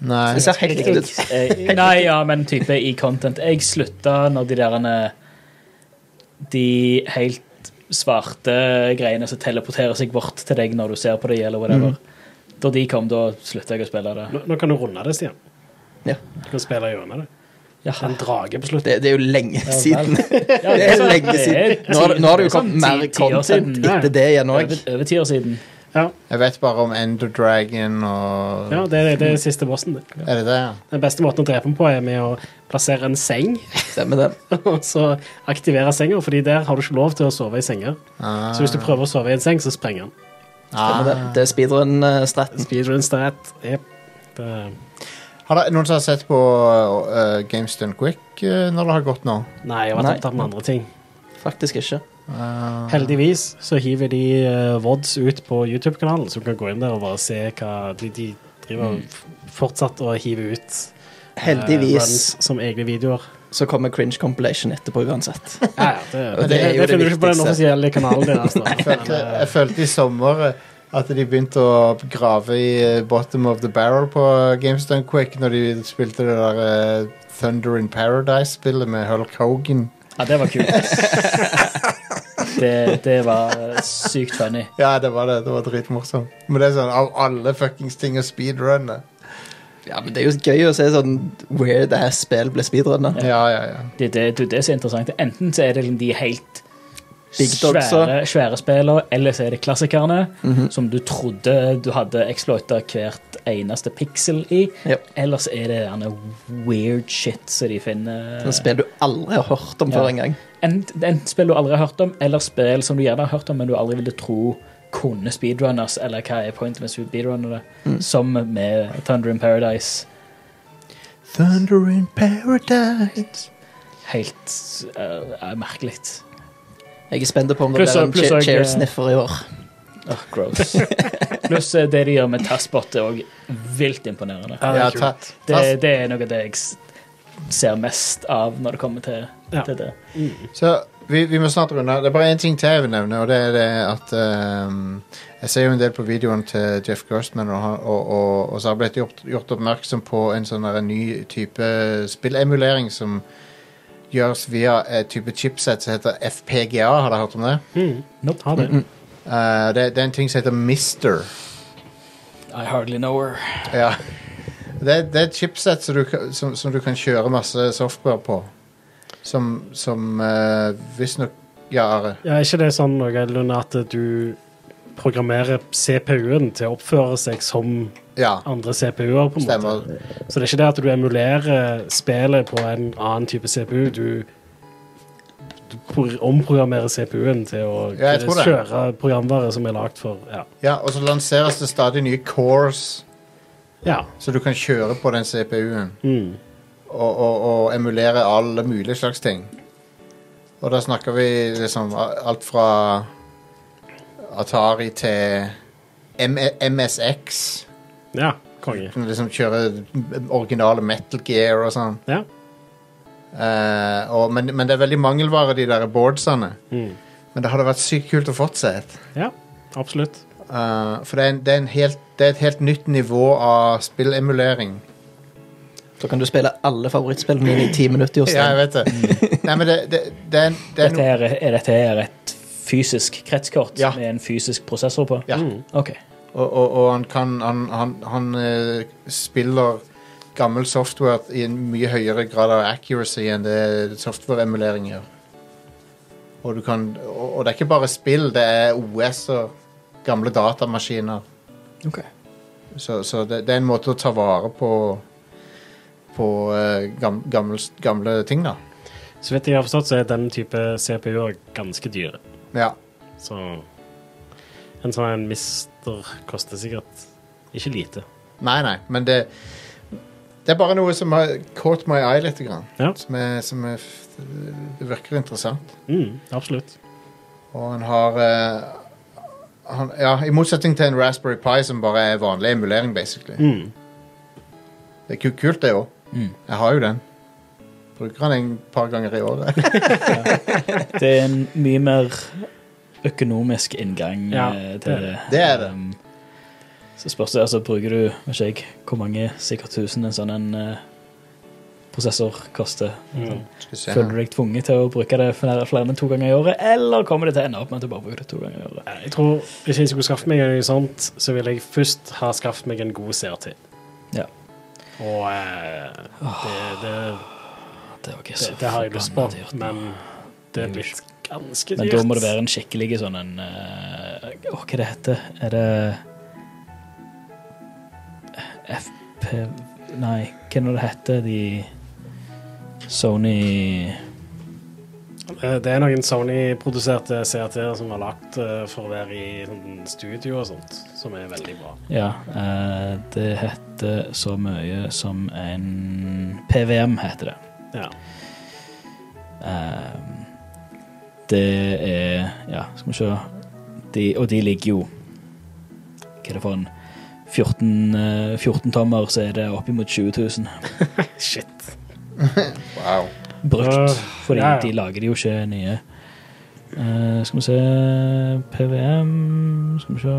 A: nei.
C: Det ser helt likt ut.
D: Eh, Nei, ja, men type i content. Jeg slutta når de derene De helt svarte greiene som teleporterer seg bort til deg når du ser på det, eller whatever. Da de kom, da slutta jeg å spille det.
B: Nå, nå kan du runde det, Stian.
C: Ja.
B: Du kan spille gjennom det.
D: Ja,
B: En drage på slutten.
C: Det, det er jo lenge siden.
D: ja,
C: Det er lenge siden. Nå har, nå har det jo
D: sånn
C: kommet mer
D: ti- ti år
C: content
D: siden.
C: etter det igjen òg.
D: Over, over ti år siden.
B: Ja,
A: Jeg vet bare om Ender Dragon og
B: ja det, er, det er siste bossen. Det.
A: Er det det, ja?
B: Den beste måten å drepe den på er med å plassere en seng,
C: Stemmer det.
B: og så aktivere senga, fordi der har du ikke lov til å sove i senger.
A: Ah,
B: Så hvis du prøver å sove i en seng, så sprenger den.
C: Stemmer det.
A: ah.
C: det er eh, speedrun-stratten.
B: Speedrun stat. Yep. Det,
A: Har det, noen som har sett på uh, Games Done Quick eh, når det har gått nå?
B: nei, jeg har vært
C: Nei.
B: opptatt med andre ting.
C: Faktisk ikke.
A: Ah.
B: Heldigvis så hiver de eh, VODs ut på YouTube-kanalen, så du kan gå inn der og bare se hva de, de driver og f- fortsatt å hive ut. eh,
C: Heldigvis
B: runs som egne videoer.
C: så kommer cringe compilation etterpå uansett.
B: Ja, ja, det,
C: Og
B: det, det,
C: det er jo det
B: finner du ikke på den
C: viktigste.
B: offisielle kanalen altså.
A: Jeg
B: deres. da.
A: følte, jeg følte i sommer eh, at de begynte å grave i eh, bottom of the barrel på eh, Games Done Quick når de spilte det der eh, Thunder in Paradise-spillet med Hulk Hogan.
D: Ja, det var kult. Det, det var sykt funny.
A: Ja, det var det. Det var dritmorsomt. Men det er sånn av alle fuckings ting å speedrunne.
C: Ja, men Det er jo gøy å se sånn weird ass-spill blir speedrunna.
A: Ja, ja, ja.
D: Det, er det, det, det er så interessant. Enten så er det liksom de helt
C: Big dogs,
D: svære, svære spillene, eller så er det klassikerne
C: Mhm.
D: som du trodde du hadde exploita hvert eneste pixel i.
C: Ja.
D: Eller så er det gjerne weird shit som de finner.
C: Sånn spill du aldri har hørt om
D: Ja.
C: før engang.
D: Ent- Enten spill du aldri har hørt om, eller spill som du gjerne har hørt om, men du aldri ville tro kunne speedrunners, eller hva er pointet med speedrunnere,
C: Mm.
D: som med Thunder in Paradise.
A: Thunder in Paradise.
D: Helt uh, merkelig.
C: Jeg er spent på om det
D: Pluss-
C: blir en
D: pluss
C: cha-
D: også-
C: chair sniffer i år.
D: Åh, gross. Pluss eh, det de gjør med Tassbot, er òg vilt imponerende.
B: Ja, det
A: Ja,
B: er kult.
A: ta,
D: Det,
A: ta,
D: det er noe av det jeg s- ser mest av når det kommer til,
B: Ja.
D: til det.
A: Så vi, vi må snart runde. av. Det er bare én ting til jeg vil nevne, og det er det at ehm, Jeg ser jo en del på videoen til Jeff Gerstmann, og, han- og, og, og så har jeg blitt gjort, gjort oppmerksom på en sånn der ny type spillemulering som gjøres via et type chipset som heter FPGA. Har dere hørt om det?
B: Mm. Ha det.
A: Eh, det? Det er en ting som heter Mister.
D: I hardly know her.
A: Ja. Det, det er et chipset som du, kan- som, som du kan kjøre masse software på. Som, som eh, visstnok Ja, Are.
B: Ja, er ikke det sånn noenlunde at du programmerer CPU-en til å oppføre seg som
A: Ja,
B: andre CPU-er, på en
A: stemmer.
B: måte? Så det er ikke det at du emulerer spillet på en annen type CPU, du, du pro- omprogrammerer CPU-en til å
A: Ja, jeg tror det.
B: kjøre programvare som er lagd for ja.
A: Ja, og så lanseres det stadig nye cores
B: ja.
A: så du kan kjøre på den CPU-en
B: Mm.
A: og, og, og emulere alle mulige slags ting. Og da snakker vi liksom a- alt fra Atari til M MSX.
B: Ja, konge.
A: Kunne liksom kjøre originale Metal Gear og sånn.
B: Ja.
A: Eh, og, men, men det er veldig mangelvare, de der boardsene.
B: Mm.
A: Men det hadde vært sykt kult å fortsette.
B: ja, absolutt.
A: Eh, for det er, en, det, er en helt, det er et helt nytt nivå av spillemulering.
C: Da kan du spille alle favorittspillene dine i ti minutter.
A: Ja, jeg
C: Jostein.
A: vet det. Nei, men det, det, det, er, det er
D: Dette
A: no...
D: her er, er dette her et fysisk kretskort
A: Ja.
D: med en fysisk prosessor på?
A: Ja.
D: OK.
A: Og, og, og han kan Han, han, han eh, spiller gammel software i en mye høyere grad av accuracy enn det softwareemulering gjør. Og, du kan, og, og det er ikke bare spill, det er OS og gamle datamaskiner.
C: Ok.
A: Så, så det, det er en måte å ta vare på På eh, gam, gamle, gamle ting, da.
B: Så vidt jeg har forstått, så er den type CPU-er ganske dyre.
A: Ja.
B: Så en sånn en mister koster sikkert ikke lite.
A: Nei, nei, men det Det er bare noe som har caught my eye litt. Grann,
B: Ja.
A: som er, som er, f- det virker interessant.
B: Mm, absolutt.
A: Og han har eh, han, Ja, i motsetning til en Raspberry Pi som bare er vanlig emulering, basically.
B: Mm.
A: Det er ku- kult, det òg.
D: Mm.
A: Jeg har jo den. Bruker den en par ganger i året.
D: Det er en mye mer økonomisk inngang
B: Ja, det
D: eh,
B: er
D: til det.
A: Det er det.
D: Um, så spørs det, altså bruker du, vet ikke jeg, hvor mange, sikkert tusen en sånn en eh, prosessor koster.
B: Mm.
A: Skal vi se
D: Føler
A: her.
D: du deg tvunget til å bruke det flere, flere enn to ganger i året, eller kommer det til å ende opp med at du bare bruker det to ganger i året?
B: Jeg tror Hvis jeg skulle skaffe meg noe sånt, så ville jeg først ha skaffet meg en god CRT.
D: Ja.
B: Og eh, det, det,
D: Det, var ikke
B: det,
D: så
B: det har jeg lyst på,
D: forbannet dyrt.
B: men det er blitt ganske dyrt.
D: Men da må det være en skikkelig sånn en eh, Å, hva det heter Er det FP Nei, hva nå det heter de Sony
B: Eh, Det er noen Sony-produserte CRT-er som var lagt eh, for å være i sånn studio og sånt, som er veldig bra.
D: Ja, eh, det heter så mye som en PVM heter det.
B: Ja.
D: Eh, det er Ja, skal vi se. De, og de ligger jo Hva er det for en 14, eh, 14 tommer, så er det oppimot 20 000.
B: Shit.
A: Wow.
D: brukt,
B: Øh,
D: fordi
B: ja, ja.
D: de lager de jo ikke nye. Eh, skal vi se PVM Skal vi se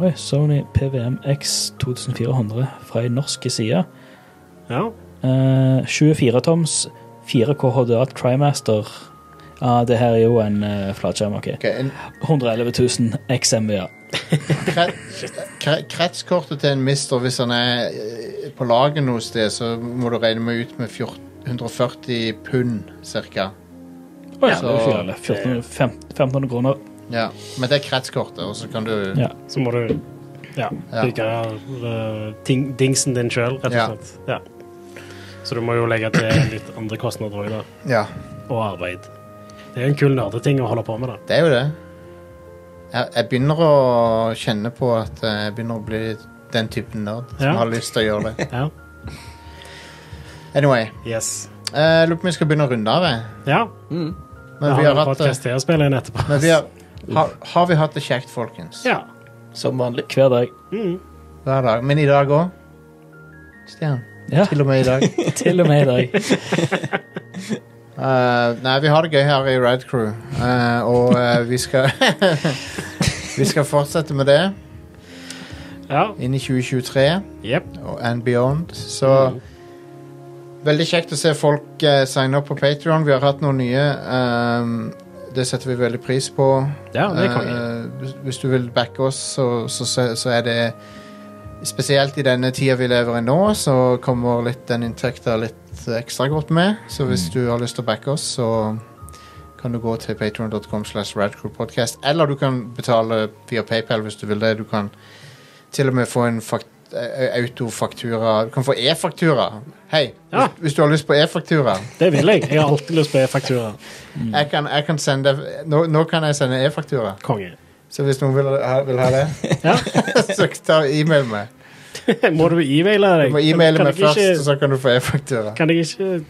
D: Oi, Sony PVM X 2400 fra en norsk side.
B: Ja.
D: Eh, 24 toms 4K HDA Trimaster. Ja, det her er jo en uh, flatskjerm, OK.
A: Ok, en
D: 111 000 XMVA.
A: kre- kre- Kretskortet til en mister, hvis han er eh, på laget noe sted, så må du regne med ut med 14, 140 pund, cirka.
D: Å ja,
A: Så-
D: det er jo fjerde. 14 fem- 1500 kroner.
A: Ja, men det er kretskortet, og så kan du
D: Ja.
B: Så må du ja,
A: Ja.
B: bygge eh, ting, dingsen din sjøl, rett
A: Ja.
B: og slett. Ja. Så du må jo legge til litt andre kostnader òg, da.
A: Ja,
B: Og arbeid. Det er jo en kul nerdeting å holde på med, da.
A: det er jo det. Jeg, jeg begynner å kjenne på at eh, jeg begynner å bli den typen nerd som
B: Ja.
A: har lyst til å gjøre det.
B: Ja.
A: Anyway,
B: Yes.
A: eh, jeg lurer på om vi skal begynne å runde av. jeg.
B: Ja.
C: Mm.
A: Men
B: vi
A: vi
B: har
A: har
B: en
A: hatt det,
B: podkast til å spille inn etterpå.
A: men vi har, har, har vi hatt det kjekt, folkens?
B: Ja.
C: Som vanlig.
D: Hver dag.
B: Mm.
A: Hver dag. Men i dag òg? Stian.
D: Ja,
A: Til og med i dag.
D: til og med i dag.
A: Eh, nei, vi har det gøy her i Ride Crew, eh, og eh, vi skal Vi skal fortsette med det
B: Ja.
A: inn i 2023
B: Jepp.
A: og and beyond. Så
B: Mm.
A: Veldig kjekt å se folk eh, signe opp på Patreon Vi har hatt noen nye. ehm, det setter vi veldig pris på.
B: Ja, det er konge.
A: Eh, hvis- hvis du vil backe oss, så, så, så, så er det Spesielt i denne tida vi lever i nå, så kommer litt den inntekta litt ekstra godt med. Så hvis
B: Mm.
A: du har lyst til å backe oss, så kan du gå til patreon.com slash radcrewpodcast. Eller du kan betale via PayPal hvis du vil det. Du kan til og med få en fakt eh, autofaktura. Du kan få e-faktura. Hei,
B: Ja.
A: hvis, hvis du har lyst på e-faktura.
B: Det vil jeg. Jeg har alltid lyst på e-faktura.
A: Jeg kan, jeg kan sende nå, nå kan jeg sende e-faktura.
B: Konge.
A: Så hvis noen vil ha, vil ha det,
B: Ja.
A: så ta og e-mail meg.
B: Må du e-maile
A: Du
B: deg?
A: må e-maile
B: Kan
A: meg
B: jeg
A: først,
B: ikke-
A: og så kan du få e-faktura.
B: Kan jeg ikke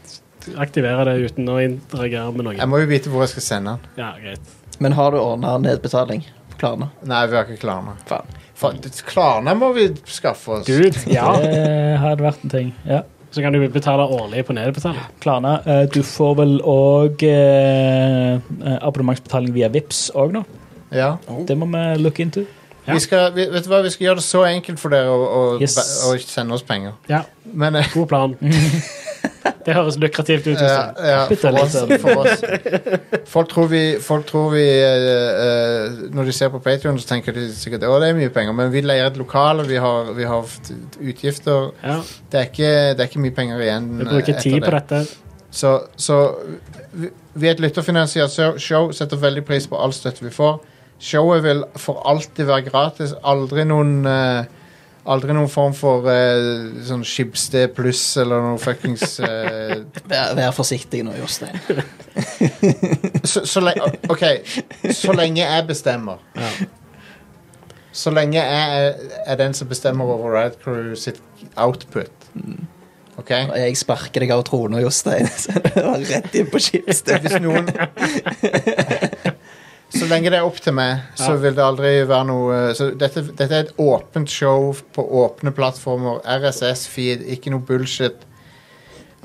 B: aktivere det uten å interagere med
A: Jeg
B: noen?
A: må jo vite hvor jeg skal sende den.
B: Ja, greit.
C: Men har du ordna nedbetaling på Klarna?
A: Nei, vi har ikke Klarna.
C: Faen.
A: Faen, det- Klarna må vi skaffe oss.
B: Gud, ja.
D: Det hadde vært en ting. Ja.
B: Så kan du betale årlig på nedbetaling.
D: Klarna, eh, du får vel eh, òg abonnementsbetaling via Vips òg nå.
A: Ja.
D: Det må vi look into.
B: Ja.
A: Vi skal, vi, vet du hva, vi skal gjøre det så enkelt for dere å, å,
D: Yes.
A: å sende oss penger.
B: Ja,
A: Men eh,
B: god plan. Det høres lukrativt ut.
A: ja,
B: Jostein.
A: ja,
D: Bitte
A: for, oss,
D: litt.
A: for oss Folk tror vi, folk tror vi eh, eh, Når de ser på Patreon så tenker de sikkert å, det er mye penger, men vi leier et lokale, vi har, vi har haft utgifter.
B: Ja,
A: Det er ikke, det er ikke mye penger igjen.
B: vi
A: eh,
B: bruker
A: etter
B: tid på
A: det.
B: dette.
A: Så, så vi, vi er et lytterfinansiert show- show, setter veldig pris på all støtte vi får. Showet vil for alltid være gratis. Aldri noen eh, Aldri noen form for eh, sånn Skibsted pluss eller noe fuckings eh,
C: Vær, vær forsiktig nå, Jostein.
A: så, så le OK, så lenge jeg bestemmer. Så lenge jeg er, er den som bestemmer over Rad Crew sitt output. OK?
C: Og Jeg sparker deg av tronen, Jostein. Så det var Rett inn på skipsstedet.
A: Hvis noen Så lenge det er opp til meg, så vil det aldri være noe eh, så dette, dette er et åpent show på åpne plattformer. RSS-feed, ikke noe bullshit.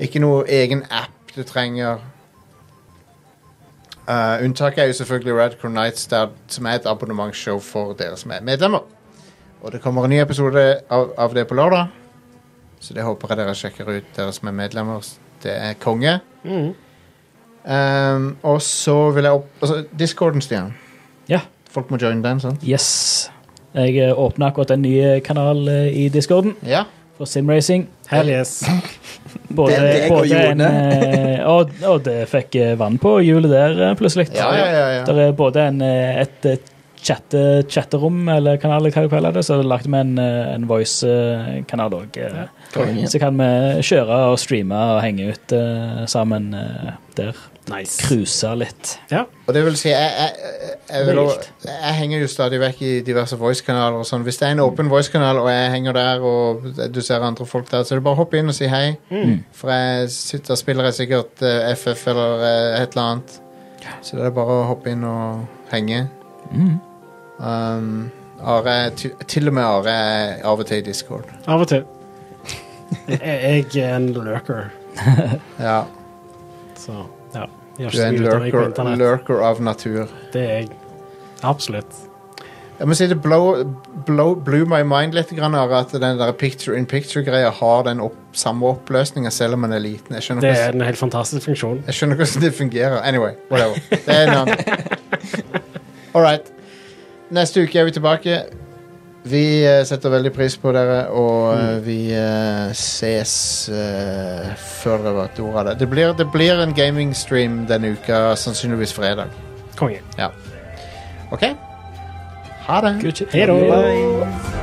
A: Ikke noe egen app du trenger. Eh, unntaket er jo selvfølgelig Radcore Nights, der, som er et abonnementsshow for dere som er medlemmer. Og det kommer en ny episode av, av det på lørdag, så det håper jeg dere sjekker ut, dere som er medlemmer. Det er konge.
B: Mm.
A: Ehm, og så vil jeg opp altså, Discorden, Stian.
D: Ja.
A: Folk må joine den, sant?
D: Yes. Jeg åpna akkurat en ny kanal eh, i discorden
A: Ja.
D: for simracing.
B: Hell yes.
D: Både,
C: Den jeg og
D: både en,
C: Jone.
D: eh, og, og det fikk eh, vann på hjulet der, eh, plutselig.
A: Ja, ja, ja, ja.
D: Der er både en, eh, et eh, chatte, chatterom, eller kanal, eller hva du kaller det, så lagde vi en, eh, en voice-kanal òg.
C: Kongen.
D: Så kan vi kjøre og streame og henge ut eh, sammen eh, der.
B: Nice.
D: Cruise litt.
A: Og det vil si, jeg, jeg, jeg, jeg, vil,
D: Det er
A: også- jeg henger jo stadig vekk i diverse voice-kanaler og sånn. Hvis det er en åpen voice-kanal, og jeg henger der, og du ser andre folk der, så er det bare å hoppe inn og si hei.
B: Mm.
A: For jeg sitter og spiller jeg sikkert eh, FF eller eh, et eller annet. Så det er bare å hoppe inn og henge.
D: Mm.
A: Um, Are, er ty, til og med Are er av og til i Discord.
B: Av og til. Jeg jeg er en lurker,
A: Ja,
B: så ja. Jeg
A: du er en lurker, lurker av natur.
B: Det er jeg. Absolutt.
A: Jeg må si det blow, blow, blew my mind litt grann, Are, at den der picture in picture-greia har den opp, samme oppløsninga selv om den er liten. Jeg skjønner,
B: Det
A: ikke
B: er
A: hvordan,
B: en helt fantastisk funksjon.
A: jeg skjønner ikke hvordan det fungerer. Anyway, whatever. Det er en annen. All right. Neste uke er vi tilbake. Vi eh, setter veldig pris på dere, og eh,
B: Mm.
A: vi eh, ses eh, før dere vet ordet av det. Det blir, det blir en gamingstream denne uka, sannsynligvis fredag.
B: Konge.
A: Ja. OK? Ha det.
B: Hei da.
D: Bye.